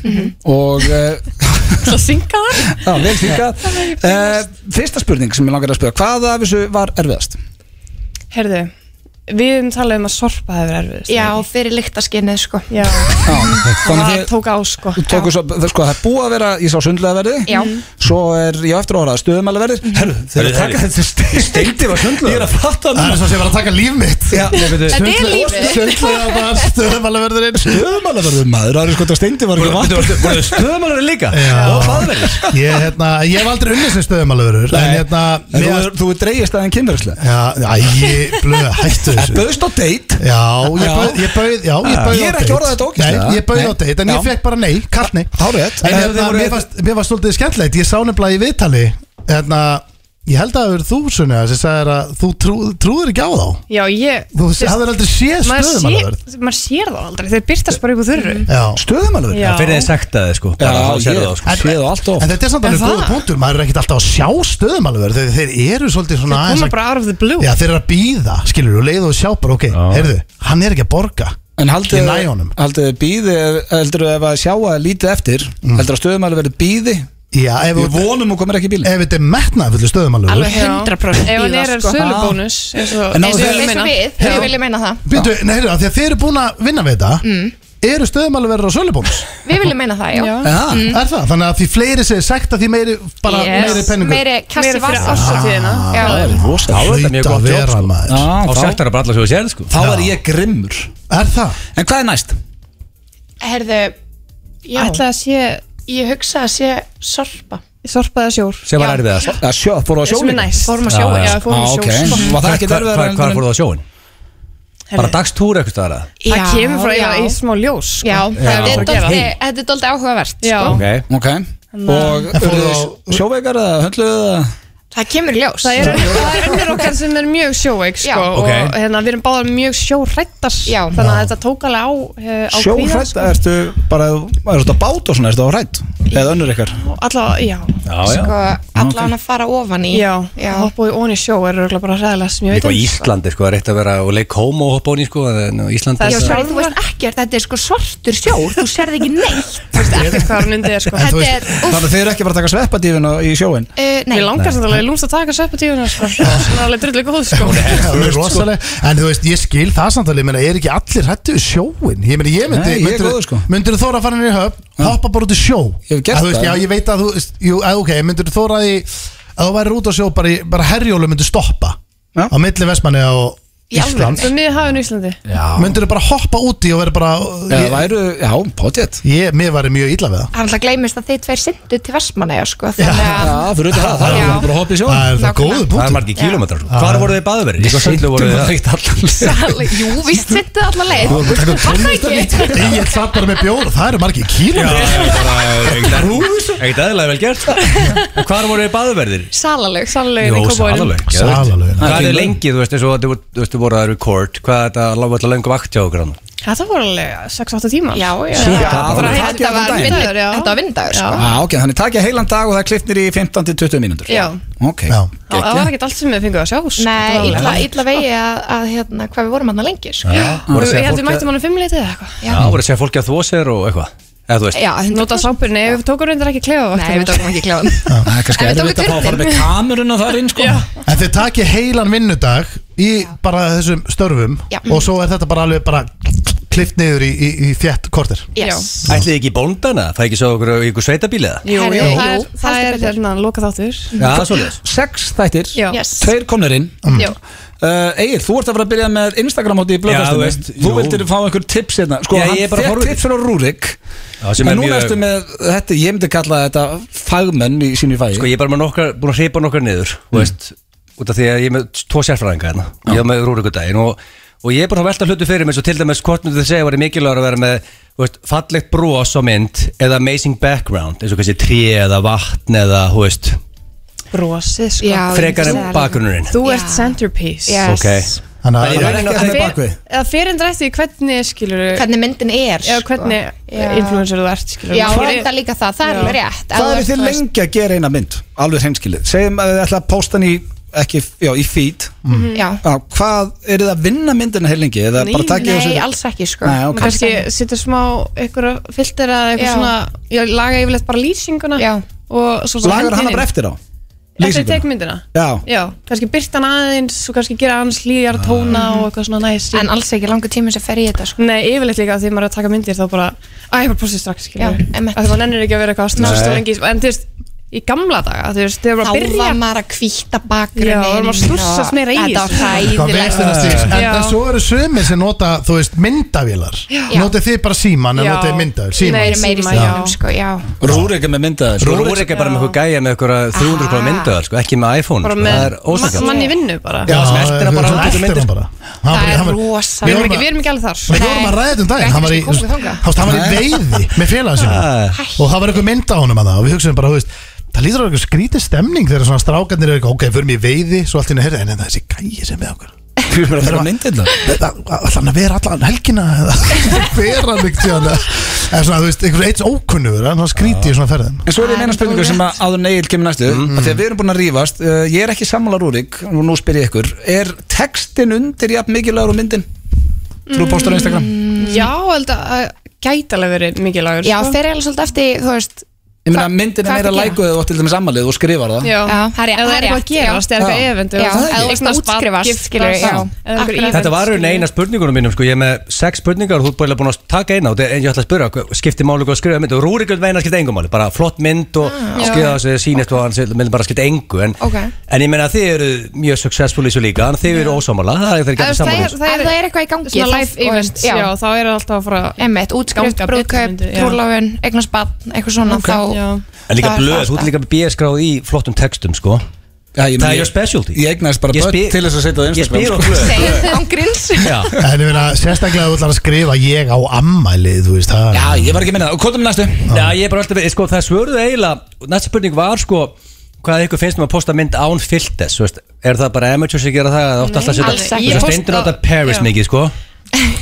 A: Og uh,
E: Svo synga það
A: <laughs> já, vel þýkað uh, Fyrsta spurning sem ég langar að spura Hvað af þessu var erfiðast?
E: Herðu, við höfum talað um að sorpa hefur erfiðist
F: Já, fyrir lyktaskinnið sko
E: Já,
A: Já,
E: það
F: Ah,
A: þannig að þið
E: tók á, sko
A: tóku svo, það- sko, það er búið að vera, ég sá sundlega verði
F: Já.
A: Svo er, ég á eftir að orða stöðumæla verði Herru, þeir eru að taka þetta steindi Steindi var sundlega Ég er að fatta
C: <laughs> Það er
A: núna
C: eins og sé að vera að taka líf mitt
A: Já, ég veit
F: Þetta er lífið
C: Sjöndlega
A: <laughs>
C: bara stöðumalaverðurinn
A: Stöðumælaverður maður, það er sko að steindi var ekki vantur
B: Stöðmálar er líka
C: Já.
B: Og faðverðir
C: Ég, hérna, ég hef aldrei unnið sem stöðumalaverður En hérna
A: En
C: mér-
A: þú, þú er dreigist aðeins kynverðislega
C: Já, æ, blöð, hættu þessu
A: Böðst á date
C: Já, ég
A: Já. Ah.
C: bauð, ég bauð, já, ég bauð
A: Ég er
C: á
A: ekki
C: date.
A: orðað þetta ógeðslega.
C: Nei, ég bauð á
A: Nei.
C: date, en
A: Já.
C: ég fekk bara nei, kallt nei
A: Hárrétt.
C: En
A: En
C: hérna,
A: þið voru-
C: mér fannst, mér fannst svolítið skemmtilegt Ég sá nefnilega í viðtali Hérna, ég held að það verið þú, Sunni sem sagðir að þú trú, trúður ekki á þá
E: Já, ég
C: Þú hafðir aldrei séð
E: maður
C: stöðum alveg
E: sér, maður sér það aldrei Þeir byrtast bara upp úr
A: Mm.
E: þurru
C: Já
A: Stöðumælaverður?
E: Já.
B: Fyrir þið sagt að þið sko Bara þá
A: ég
B: sérðu það, sko.
A: sko. séð og allt of
C: En þetta er samt alveg
E: En
C: góða
E: það?
C: punktur, maður er ekkert alltaf að sjá stöðum alveg þeir, þeir eru svolítið svona
E: Koma bara out of the blue
C: Já, þeir eru að býða, skilur og leið og sjá bara, ok, heyrðu, hann er ekki að borga
A: En
C: Ég
A: haldið
C: næ honum.
A: haldið býði heldur ef að sjá að lítið eftir heldur að stöðumælaverður býði
C: Já, ef
A: Við
C: þú-
A: vonum og komir ekki í bílinn
C: ef þetta er metnaðfullu stöðum alveg
F: Alveg 100%
E: Ef hann
F: bíða
E: er er
F: sko
E: sölubónus eins og
A: En á
E: eins
F: Eins og
E: og
F: eins og
E: meina.
F: við,
E: Já.
F: við viljum meina það
C: Býtu, nei, heyrðu, af því að þeir eru búin að vinna við þetta
F: Mm.
C: Eru stöðum alveg verður á sölubónus?
F: Við viljum meina það, já
E: Já.
A: Já,
C: Er það? Þannig að því fleiri segir sagt að því meiri, bara
F: Mm. Yes.
C: meiri penningur
F: Meiri kassi
E: Meiri fyrir
F: vasa.
E: árshátíðina.
F: Já.
A: það er rosa
B: Þá er þetta mjög
C: Hlaut að
B: gott jobb,
C: vera
B: sko.
C: maður
A: Já,
B: Á
A: Ah, þá-
B: sagt bara allar svo að sér sko
A: Þá er ég grimmur
C: Er það?
A: En hvað er næst?
F: Herðu, ég ætla að sé Ég hugsa að sé sorpa
E: Sorpaða sjór
B: Sem var erfið að
A: Að sjó, fóru á
E: Sem er
A: sjólinni?
E: næst
F: Fórum að
B: Já,
F: sjóa
B: já.
E: Já, fórum
A: Ah,
E: að
A: ok.
E: sjór
A: Var það ekki erfiðara en-
B: Hvað fór það á sjóin? Bara dagstúr eitthvað staðar eða?
E: Það kemur frá
F: já.
E: í smá ljós sko.
F: Já, þetta er
E: Já.
F: dálítið- þetta er doldið áhugavert
E: Já.
F: sko.
B: Ok
A: Ok Og
C: En fóru
A: urðu
C: á-
A: þið sjóveikar eða höndluðu eða?
F: Það kemur í ljós
E: Það er, það er önnur okkar sem er mjög sjóveik sko,
F: Já.
E: og
B: Ok.
E: hérna, við erum báðar mjög sjórættar
F: Já.
E: þannig að þetta tók alveg á, eh, á kvíða,
A: Sjóhrætt,
E: sko.
A: ertu bara, er þetta bát og svona, ertu á hrætt? Eða önnur ykkar?
E: Allavega, já
B: Já, já
F: sko, allan að fara ofan í
E: Já,
F: já.
E: að hoppa í onni sjó er örugglega bara hræðilega sem ég veit
B: Líka á
E: um, sko.
B: Íslandi sko, það er eitt að vera og leik homo og hoppa á ný sko, en á Íslandi
E: Það
F: Já,
E: er
F: sorry,
E: sjálfar-
F: þú veist ekkert, þetta er sko svartur sjór Þú serð ekki neitt
E: Ég veit ekki hvað hann undir er sko
C: En þú
F: Þetta
C: veist-
F: er, uff,
A: Þannig að þið eru ekki bara að taka sveppadífin í sjóin?
F: uh,
E: Mér
F: nei
E: Eh, langar sem það lúmst að taka sveppatífuna sko. Það er alveg drullu góð sko
C: <laughs> Það er rosaleg En þú veist, ég skil það samt alveg, ég meina, er ekki allir hættu við sjóin? Ég meina, ég myndi,
A: Nei, ég er góður, sko.
C: myndir þú þóra að fara henni í höfn, hoppa bara út í sjó
A: Ég hef gert
C: Að þú veist,
A: það.
C: Já, ég veit að þú, veist, jú, að, ok, myndir þú þóra að, að þú væri út á sjó, bara, í- bara herjólu myndir stoppa
A: Já.
C: á milli vestmanni og
F: Í alveg?
C: Ísland
E: Svo miður hafinu Íslandi
A: Já,
C: myndirðu bara hoppa úti og verður bara
A: það
C: ég,
A: væru, já, potið
C: ég, mér væri mjög illa við það
F: Það er alltaf gleymist að þið tveir syndu til Vestmannaja sko, þannig að
A: Já, fyrir utan það, það
F: Já.
A: er bara að hoppa í sjón
C: það er það
F: Nákvæmlega.
C: góðu
B: Það er
C: punktur
B: margir kílómetrar sko. Hvar voru þið baðverið? Ég söndu voru þið
A: ekkert
B: <laughs>
A: allan
F: Sal- <laughs> Jú, víst syndu allar leið
C: Þú erum að taka
F: Var það ekki?
C: Ég er satt bara með bjór, það eru margir kílómetrar
B: Ekkert aðeinslega vel gert Hvar voru þið baðverðir?
F: Salalög
E: Salalögin í kópóinum
B: salalög
C: Salalögin.
B: Hvað
A: Kringlu.
B: er lengi, þú veist, eins og þú þú veist, þú voru að record Hvað er þetta, lágu alltaf löngu vakt hjá okkur hann
E: Þetta voru alveg 6-8 tíma
F: Já, já,
A: Shit,
F: já.
A: það var
F: Bara-
A: takið
F: Þetta var
A: allan daginn.
F: vinnudagur,
E: Já.
F: Þetta var vinnudagur sko.
A: Já, ok, þannig takja heilan dag og það klipnir í 15-20 mínútur
E: Já.
A: Ok,
C: Já.
E: Það það
A: gekkja
E: var ekkert allt sem við fengum að sjá sko.
F: Nei,
E: Það var
F: illa,
E: alveg-
F: illa vegi að, að hérna, hvað við vorum hann lengi sko.
B: Voru að
E: Ég
B: segja
E: held við
B: fólki að-
E: mættum hann um 5 litið eða eitthvað
B: Já, voru að segja fólki að þvó sér og eitthvað Eða þú veist
F: Já, hundra
E: Nota sápurni, við tókum reyndar ekki klefa
F: Nei, við tókum ekki klefan
A: Það er kannski
F: En við
A: erfitt að fá
F: tókum
A: að fara
F: turnin.
A: með kameruna þar inn sko.
C: En þið takið heilan vinnudag í bara þessum störfum
F: Já.
C: og svo er þetta bara alveg bara klift niður í, í, í þjætt kortir
F: yes.
B: Ætlið þið ekki í bóndana? Það er ekki svo okkur í ykkur sveitabíli eða?
E: Jú,
F: Herri,
E: jú,
F: jú,
E: það er, það
F: heldur
E: er
F: betur.
E: hérna loka þáttur
B: Já, svolítið
A: Sex þættir,
E: Já.
F: Yes.
A: tveir komnir inn
F: Mm.
E: Já.
A: Uh, Egil, þú ert að fara að byrja með Instagram átti í
B: Já, þú
A: blöðkastinu
B: veist,
A: Þú
B: jú.
A: vildir fá einhver tips hérna Sko,
B: Já,
A: hann
B: ég er bara
A: fékk
B: horfið.
A: tips frá Rúrik
B: Já, sem
A: En
B: er
A: núna
B: mjög-
A: ertu með, þetta, ég myndi kalla þetta fagmenn í sínu fæði
B: Sko ég er bara með nokkar, búin að hreipa nokkar niður mm. veist, út af því að ég er með tvo sérfræðinga hérna ég er með rúrikudaginn og, og ég er búin að velta hlutu fyrir mér svo til dæmis hvort myndu þið segja var mikilvægur að vera með þú veist, fallegt brós á mynd eða amazing background eins og kannski tré eða vatn eða þú veist,
E: Brosið, sko
F: Já,
B: frekar
F: ég
B: en
F: myndi segja
B: bakgrunnurinn
E: Þú
F: Já.
E: ert centerpiece
F: Yes.
B: Ok.
C: Þannig
B: Það
C: að
B: er
C: ég,
B: ekki
A: Hann er
E: Fer-
A: bakvið.
E: Eða fyrir en drætti hvernig skilur
F: Hvernig myndin er
A: sko.
E: Eða hvernig
F: Já.
E: influencer þú ert skilur
F: Já, þetta líka það, það er alveg rétt
A: Hvað
F: Ef
A: er
F: þú
A: þið
F: ert-
A: lengi að gera eina mynd? Alveg hreinskilið Segjum að þið ætla að posta hann í, ekki, já, í feed
F: Já,
A: Já, hvað, eru þið að vinna myndina heil lengi? Eða
E: Nei,
A: bara takið
F: Mhm. nei,
A: þessu-
F: alls ekki sko
A: Nei, ok.
E: Kannski sittur smá einhverja filter eða eitthvað
F: Já.
E: svona Ég laga yfirleitt bara lýsinguna
F: Já.
E: Og svo svo
A: Lagar hana bara eftir á?
E: Eftir
A: Lýsinguna?
E: tekmyndina
A: Já,
E: Já, kannski byrta hann aðeins og kannski gera aðeins hlýjar tóna og eitthvað svona næst
F: En alls ekki langur tími sem fer í þetta sko
E: Nei, yfirleitt líka að því maður er að taka myndir þá bara Æ, ég bara postið strax, skiljum
F: Já, einmitt.
E: Því maður nennir ekki að vera eitthvað að
B: Nei.
E: snústa lengi í- En þú veist, í gamla daga, þú veist, þegar
F: Þá
E: bara að byrja
F: var maður að kvíta bakgrunni
E: Já, var maður að slússast meira í
F: Þetta
E: þessu.
F: var
C: hvað veist þetta
F: hræðilegt
C: stíl en,
E: Já.
C: en svo eru sömur sem nota, þú veist, myndavílar Notið þið bara síman en
E: Já.
C: notið myndavíl
E: Nei,
C: Síman
F: Meiri meiri
E: Síma, já.
F: símanum sko, já
A: Rúrik er með myndaðar
B: Sko rúrik er bara með eitthvað gæja með eitthvað 300 grá myndaðar sko, ekki með iPhone,
E: bara
B: sko, það er
E: með ma-
B: ósakjast
E: mann í vinnu bara
C: Já,
B: sem eltir hann bara,
C: svona
B: hann tekur
C: eltir
B: myndir.
C: hann bara. Hann
F: Það
C: bara-
F: er
C: hann var-
F: rosa.
E: Við
C: Við
E: erum
C: vorum
E: ekki,
C: að-
E: við erum ekki alveg þar
C: við vorum að
F: Nei.
C: ræða þetta um daginn
F: Ekki
C: Hann var í,
F: sem komum við þangað.
C: hann hann var í veiði með félaga
B: Ah.
C: sinni Og það var eitthvað mynd á honum að það Og við hugsaðum bara, þú veist Það lítur á eitthvað skrítið stemning þegar svona strákarnir eru eitthvað Ok, förum í veiði, svo allt í henni heyrði En það er þessi gæi sem við okkur
A: Þú er bara að vera myndaðar
C: Alltaf hann að vera allan helgina eða <laughs> vera hann ekkert síðan eða eða svona, þú veist, einhvers eitt ókunnugur hann var skrítið í svona ferðin
A: En svo er ég með
F: Það er
A: eina spurningu
F: alveg
A: sem
F: rétt.
A: að áður neil kemur næstu mm. Þegar við erum búin að rífast, uh, ég er ekki sammála Rúrik og nú spyr ég ykkur, er textin undir jafn mikilvægur og myndin? Þú
F: Mm,
A: postar á Instagram
E: Já, ég held að gæti alveg verið mikilvægur
F: Já,
E: sko.
F: fer ég alveg svolítið eftir, þú veist
A: Ég meina
F: Hva-
A: myndin
F: hvað
A: er meira
F: ertu að gera?
A: lækuð og til dæmis ammalið og skrifar það
E: Já,
F: Já, það er-
E: Ef það
F: það er
E: er eitthvað að
F: rétt, já.
E: gerast, eða eitthvað
A: Já.
E: event
F: Já, eða þú
E: eignast barn,
F: útskrifast,
E: giftast,
F: skilur, já.
E: eða einhver
F: Akkurat.
E: event,
B: Þetta var
E: skilur.
B: raun eina spurningunum mínum sko, ég er með sex spurningar og þú er bara búin að taka eina og þetta- en ég ætla að spyrja, hvað- skiptir máli hvað að skrifa mynd og Rúrik vil meina að skipta engum máli, bara flott mynd og skrifa þess að sýnist og hann vil vil bara skipta engu en,
F: Ah, Ok.
B: en ég meina að þið eru mjög successful í þessu líka, en þið eru ósámála það er það ekki
E: Eða,
B: allir
E: þú
B: sammála
E: veist,
B: þessu.
E: Það
F: Ef
E: er-
F: það er eitthvað í gangi
E: Svona
F: þá-
E: live
F: og-
E: event,
F: já.
E: já, þá er það alltaf að fara
F: Emmett, útskrift,
E: Ganga
F: brúðkaup,
E: betri myndi, já.
F: trúlafun, eignarspatn, eitthvað svona þá
E: Já.
B: En líka
F: það er
B: blöð,
F: það
B: þú ert líka með bérskráð í flottum textum sko.
A: Já, ég, meina,
B: Það er
A: ég-
B: your specialty.
A: Ég eignast bara
B: Ég
A: börn
B: spyr-
A: til þess að setja á
B: Ég
A: Instagram
B: spyr og
A: sko.
B: blöð
F: Segir <laughs> án grins
B: Já,
C: en ég meina, sérstaklega ef þú ætlar að skrifa ég á ammæli, þú veist það
A: Já, ég var ekki að minna það, og kvotum næstu
B: Já, ég er bara alltaf, sko, það svöruðu eiginlega Næsta spurning var, sko, hvað ykkur finnst um að posta mynd án filtes, þú veist Er það bara amateurs að gera það, eða áttu alltaf að
F: alls
B: setja
F: ekki.
B: Þú
F: Ég
B: veist,
F: posta-
B: reyndur átta Paris
E: Já.
B: mikið, sko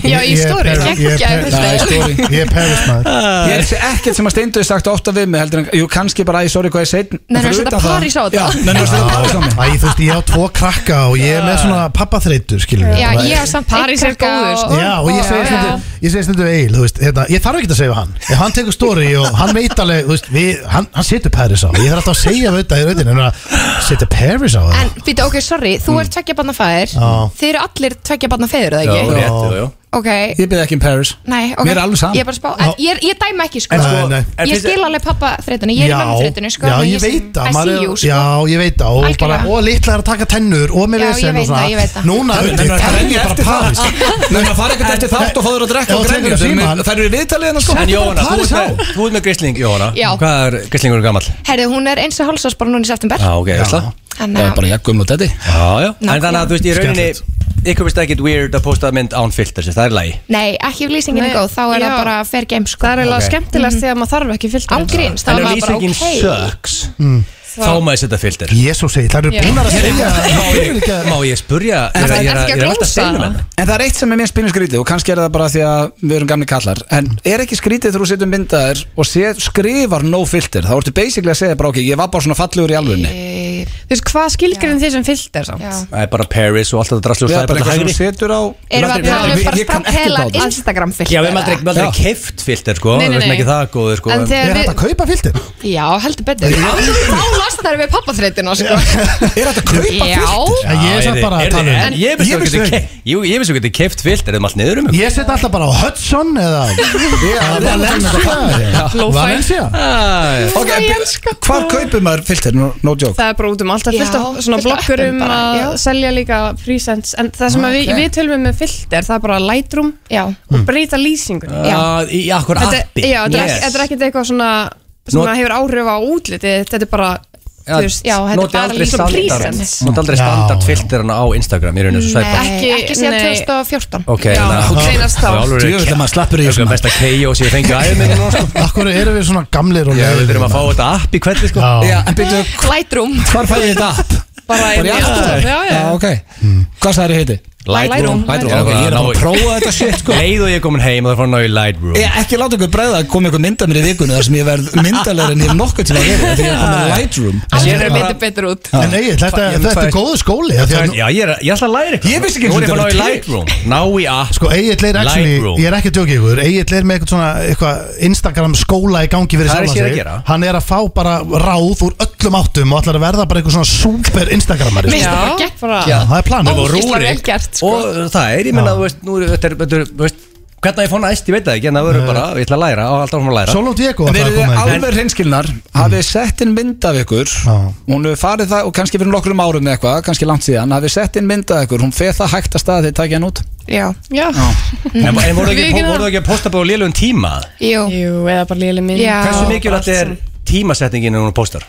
F: Já, í
C: Ég er
F: stóri,
C: Paris- ég er
F: geggja
C: Paris-
A: Það er stóri
C: ég er perismæður
F: <laughs>
A: Ég er ekkert sem að steindu sagt ofta við mig heldur en, jú, kannski bara, æ, sorry, hvað ég seit
F: Nei, nei, setja París á þetta.
A: Já, menn að setja París á mig
C: Æ, þú veist, ég á tvo krakka og ég er með svona pappaþreytur, skilur við
F: Já,
C: Bara-
F: ég á samt
E: París er
F: eitt krakka
E: góður, sko.
C: Já, og ég segi stundum, ég segi stundum Egil, þú veist, hérna, ég þarf ekki að segja við hann Ef hann tekur stóri og hann veit alveg, þú veist, við, hann, hann setur Paris á Ég þarf alltaf að segja við þetta í rautinu, en að setja Paris á það
F: En, býta, ok, sorry, þú ert tveggja barna fæðir
C: Já.
F: Þið eru allir tveggja barna fæðir, það
B: Já,
F: ekki?
B: rétt, jú, jú
F: ok,
A: Ég byrði ekki um
B: <laughs>
A: Paris
F: nei, ok
A: Mér er alveg sama.
F: Ég er bara að spá, en, ég, er- ég dæma ekki, sko
C: En sko- Nei, nei.
B: En
F: Ég
B: finnst-
F: skil alveg pappa þreytunni, ég er í mamma þreytunni, sko
C: já,
F: en
C: ég veit
F: I
C: það maður
F: see
C: er-
F: you, sko
C: Já, ég veit það og, bara,
F: Algjörlega.
C: og litla er að taka tennur og með
F: Já, ég
C: vesen
F: veit
C: og svona.
F: það, ég veit það.
C: Núna,
A: Nei,
C: auðvitað, það er ég bara París
A: Nei, það fara ekkert eftir þátt og fóður að drekka
C: Já,
A: og
C: tekur
A: grenja
C: upp símann.
A: Það eru viðtalið hennar sko
B: En Jóhanna, þú
C: París
B: ert með, þú ert með grisling Jóhanna,
F: Já.
B: hvað er grislingur gammal?
F: Herðu, hún er eins og hálsás bara núna í september
B: Já, ok, veistla
A: Það
F: Þannig
A: er
F: að,
A: bara jakkum og detti
B: Já, já, en
F: Nákvæmlega.
B: þannig að þú veist, í rauninni ykkur veist ekkit weird að posta mynd án filter sem það er lægi
F: nei, ekki ef lýsingin
E: Nei,
F: er góð, þá er
E: já.
F: það bara fair game, sko
E: Það er eiginlega
B: Ok.
E: skemmtilegast þegar maður þarf ekki sko. filter
F: Ángríns, þá
B: En ef
F: er maður bara
B: lýsingin
F: ok
B: sucks
A: Mm.
B: þá maður setja filter
C: Jésús segir, það eru
F: Já.
C: búnar að segja
B: Má ég- Má ég spurja, ég er- ég er
F: Ertu ekki að
B: ég er alltaf
F: glósa?
B: steinum henn
A: En það er eitt sem er mér spynu skrítið og kannski er það bara því að við erum gamli kallar en er ekki skrítið þegar þú setur myndaðir og sé, skrifar no filter þá ertu basically að segja bara ok, ég var bara svona fallegur í alvörunni
E: Þú veist, hvað skilgjörðin þið sem filter samt?
F: Já.
B: Það er bara Paris og allt þetta draslu og
A: Já,
B: það er bara
A: eitthvað sem
B: hægri
A: þú setur á
F: Erum við að tala um
A: Ég-
F: bara
A: ég kann ekkert á
F: sprapela
A: þetta.
F: Instagram filter?
B: Já, við erum aldrei, aldrei keift filter sko,
E: Nei,
B: við
E: nei,
B: veistum
E: nei.
B: ekki það góður sko
F: En
B: en-
C: Er
F: þegar
C: þetta
F: við,
C: að kaupa filtir?
F: já, heldur betur Já, Þá losnar við pappaþreytina, sko
A: Er þetta að kaupa
F: Já,
A: filter?
C: Já, ég er samt
B: þið-
C: bara að
B: þið-
C: tala um-
B: en Ég
C: Ég
B: veist þú
C: vissi það
B: getur keift Jú, ég veist þú getur keift filter eða allt niður um ykkur.
C: Ég set alltaf bara á Hudson eða <laughs>
A: Já,
C: Valencia Valencia
B: Æ,
A: Ok, en byrja- hvar kaupir maður filter? No, no joke
E: Það er bara út um alltaf
F: Já,
E: fullt af svona
F: fullt af
E: blokkurum
F: öppum bara,
E: að
F: já. Ah,
E: selja líka presents en það sem okay.
A: Ok.
E: við, við tölum um með filter það er bara Lightroom
F: já
E: og breyta lýsingunni
F: Já.
B: að- Í akkur
E: Þetta,
B: appi
E: já, þetta, er,
B: Ah, Yes.
E: þetta er ekkert eitthvað svona sem
B: Not-
E: hefur áhrif á útlitið þetta er bara, þú veist,
F: já, þetta er
B: Noti
F: bara
B: aldrei
F: lýsing
B: standard-
E: presets.
B: Noti aldrei
C: Já,
B: standard
C: já.
B: filterana á Instagram Í rauninu svo svæpa
F: Ekki,
E: Ekki-
F: ekki síðan
E: nei.
F: 2014
B: Ok,
E: Já,
B: þannig að-
E: seinast þá.
B: Það er alveg-
A: Djöfull er maður slappur í
B: Það
A: þessu,
B: er
A: maður.
B: besta chaos ég fengi á æfum
C: Akkur eru við svona gamlir og
B: Já, við þurfum að fá
C: leiðir?
B: þetta app í hvernig sko
C: Já.
A: Já, en byrju,
F: Lightroom
A: hvar fæði þetta app?
E: bara
A: Bara í aftur? Ah.
E: já, já.
A: Já, ok Hvað sagði þér heiti?
B: Lightroom
A: Lightroom, ok, ég er að prófa þetta shit sko
B: Leið og ég er komin heim og það er fann að ná í Lightroom
A: Ég ekki láta ykkur bræða að koma ykkur mynda mér í vikunni þar sem ég verð myndalegri en ég hef nokkuð til að vera þegar ég er komin í Lightroom
B: Síðan er
F: Aldrei
B: bara-
F: betur betur út
C: En nei, þetta
B: Ég-
C: þetta er
B: tvær-
C: góðu skóli af því að nú-
B: Já, ég er ég ætla að læra eitthvað
A: Ég vissi ekki
B: Nú er ég
A: einu
B: fann að ná í
A: sinni þetta
B: Lightroom Ná í app
C: Sko, Egil er actually,
B: Lightroom.
C: ég er ekki að djókið ykkur Egil er með eitthvað svona eitthvað Instagram skóla í gangi
B: Það
C: fyrir
B: er
C: sjálfan
B: sér að
C: sig.
B: gera.
C: Hann er að fá bara ráð úr öllum áttum og ætlar að verða bara eitthvað svona super Instagramari
F: Mér
C: sko.
F: finnst það bara
E: Já.
F: gekk bara
C: Já, Það er planið
B: og
F: Ógeðslega vel
B: rúrik
F: gert, sko.
B: og það er, ég meina, þú veist, nú er þetta er, þetta er, þú veist hvernig ég fór næst, ég veit það ekki, en það verður bara ég ætla að læra, á allt áfram að læra
C: Solo Diego
A: En Mm.
C: ætlar
A: eru
C: að
A: þið
C: koma í
A: alveg reynskilnar hafið sett inn mynd af ykkur
C: Já.
A: hún hefur farið það og kannski fyrir nokkrum árum eða eitthvað, kannski langt síðan hafið sett inn mynd af ykkur, hún feð það hægt að staða þegar takja hann út
F: Já,
E: Já.
B: en, en voru ekki,
E: Við getum-
B: voru ekki að posta bara á lélugum tíma
F: jú
E: Jú, eða bara léli minn
F: Já.
B: hversu mikilvægt er tímasetningin en hún postar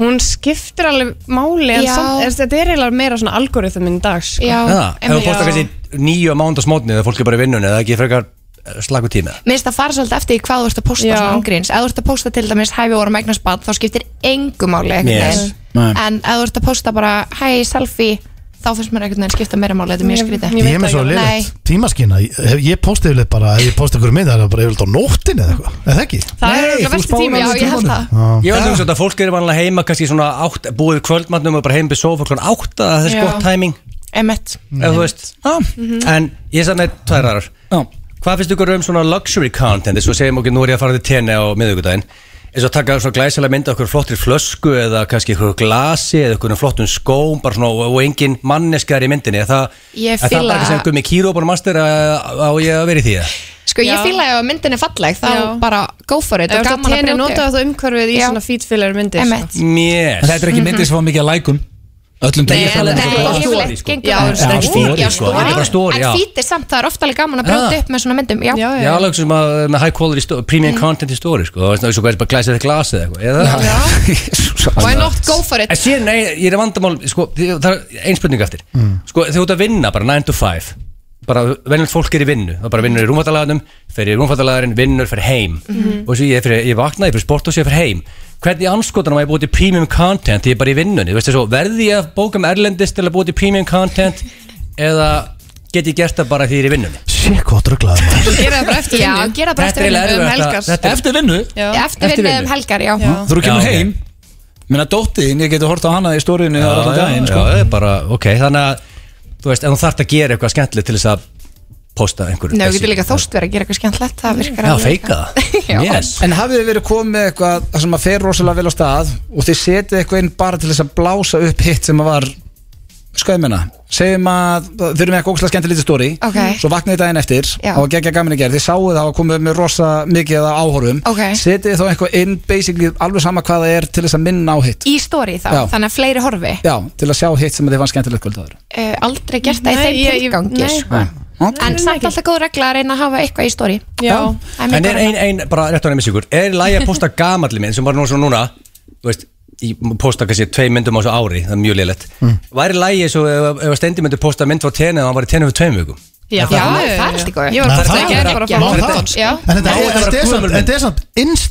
E: Hún skiptir alveg máli en
F: Já.
E: samt, er, þetta er eiginlega meira svona algoritminn í dag sko.
F: Já,
B: Já, ef hún
F: einmitt.
B: postar kannski nýju mánda smótni eða fólk er bara í vinnunni eða ekki frekar eh, slaku tíma
F: Mér finnst það fara svolítið eftir í hvað þú ert að posta
E: Já.
F: svona ángríns Ef þú ert að posta til dæmis hæfi vorum eignast bad þá skiptir engu máli einhvern
B: Yes.
F: veginn.
A: Nei.
F: En ef þú ert að posta bara hæ, selfie þá finnst mér einhvern veginn skipta meira máli Þetta er mjög skrítið
E: Ég
C: Ég
E: veit
C: er með
E: það
C: svo
E: ekki.
C: liðið tímaskína Ég- hef- Ég postið yfirleitt bara, ef ég postið ykkur mynd Það er bara yfirleitt á nóttin eða eitthvað, eða ekki?
E: Það er
A: Nei,
E: eiginlega
A: þú
E: versti
A: spáir
E: tími
F: Já, ég held það
B: Ég var að hugsa þetta að fólk eru vanlega heima kannski svona átt, búið við kvöldmannum og bara heim byrð sofa klokkan átta það er
E: Já.
B: gott timing
F: Emmett
B: ef þú veist en ég sann með tvær aðrar
A: Mhm. Já.
B: hvað finnst ykkur um svona luxury content eins og segjum okkur nú er ég að fara til tenni á miðugudaginn eins og taka svona glæsilega mynda okkur flottri flösku eða kannski ykkur glasi eða ykkur flottum skóm bara svona og, og engin manneskar í myndinni er það, er
F: Ég
B: það
F: fíla-
B: bara ekki sem gummi kýró bara master að- á ég að vera í því eða?
F: Sko ég
E: Já.
F: fíla ef að myndin er falleg þá
E: Já.
F: bara go for it
E: Ef
F: og
E: þetta
F: gaman að
E: tenni
F: brjóta
E: notaðu það umhverfið í
F: Já.
E: svona feedfiller myndir sko.
F: Emmett
B: Yes.
A: en þetta er ekki myndir sem fá mikið að lækum öllum
E: Nei,
A: degi
E: en-
A: það
E: nei,
A: lendir
B: bara
F: Nei,
A: ykkur.
B: story,
F: yfirleitt
B: sko.
F: gengur
E: Já,
A: já,
F: það
A: story,
F: Já,
A: sko.
B: Þetta er bara story, já. Ah.
F: En fítið samt, það er ofta alveg gaman að brjóta
B: Já.
F: upp með svona myndum Já,
E: Já,
B: Já, alveg sem að með high quality story, premium content í story sko, það er svo hvað er bara glæsið eða glasið eða eitthvað eða?
A: Jesus,
F: why not go for it
B: En síðan, nei, ég er vandamál, sko, því- það er einspurning eftir Sko, þegar þú ert að vinna bara 9 to 5 Bara, venjulegt fólk er í vinnu Það bara vinnur í rúmfattalaganum, fer í rúmfattalagarinn, vinnur, fer heim Og svo ég, fyrir, ég vakna, ég fyrir sport og sér fer heim Hvernig anskotanum að ég búið til premium content Því ég er bara í vinnunni, þú veist þessu Verði ég að bóka með erlendist til að búið til premium content Eða get ég gert það bara því ég er í vinnunni
C: Sér hvað dröglaði maður
E: Gera það bara eftir
F: Já,
E: vinnu.
F: gera bara eftir
B: eiginlega
F: vinnu um
B: erfiðasta-
F: helgar
B: þetta er-
A: eftir vinnu
E: Já.
F: Eftir vinnu um helgar, já
A: þú eru
B: Já,
A: kemur
B: ok.
A: heim minna dóttiðin, ég getur hort á hana í stóriðinu
B: Já, já, já,
A: sko.
B: það er bara, ok, þannig að þú veist, ef hún þarf að gera eitthvað skemmtilegt til þess að posta einhverju
F: Nei, við getum líka þóst verið að gera eitthvað skemmtilegt Það virkar
B: Já,
F: alveg.
B: feika
G: <laughs>
B: það
F: <laughs> Já.
B: Yes
A: En hafið þið verið komið með eitthvað þar sem að fer rosalega vel á stað og þið setið eitthvað inn bara til þess að blása upp hitt sem að var skæmina segjum að þau eru með eitthvað ógslag skemmtilegt stóri
F: Ok.
A: svo vaknaði daginn eftir
F: Já.
A: og geggja gaman að gera þið sáuð það að komið með rosa mikið af áhorfum
F: Ok.
A: setið þið þá eitthvað inn basically alveg sama hvað það er til þess að minna á hitt
G: Í stóri þá,
A: Já.
G: þannig að fleiri horfi
A: já, til að sjá hitt sem þið fann skemmtilegt kvöld áður
G: uh, Aldrei gert það í
E: Nei,
G: þeim
E: ég- ég-
G: tilgangi
E: nei.
G: sko.
A: Ok.
G: En samt
E: ekki.
G: alltaf góð regla að reyna að hafa eitthvað í stóri
E: Já,
G: En
B: En er ein, ein, bara rétt á nefnir sigur Er lægi að posta gamalli minn sem bara nú svo núna Þú veist, ég posta kannski tvei myndum á svo ári Það er mjög liðlegt Væri lægi eins og ef, ef Stendi myndi posta mynd frá tenni og hann var í tenni fyrir tveim vikum
E: já,
G: Já, það er allt í góðu.
E: Ég var
C: Nei,
E: bara
C: það
E: það
C: er
E: ekki bara að
G: geggjað.
E: fá
C: Má
E: okkur
C: það?
E: dans.
G: Já.
C: En þetta
B: Má þetta
C: er- þetta
B: vera
C: er samt-
B: gömul mynd?
C: þetta er samt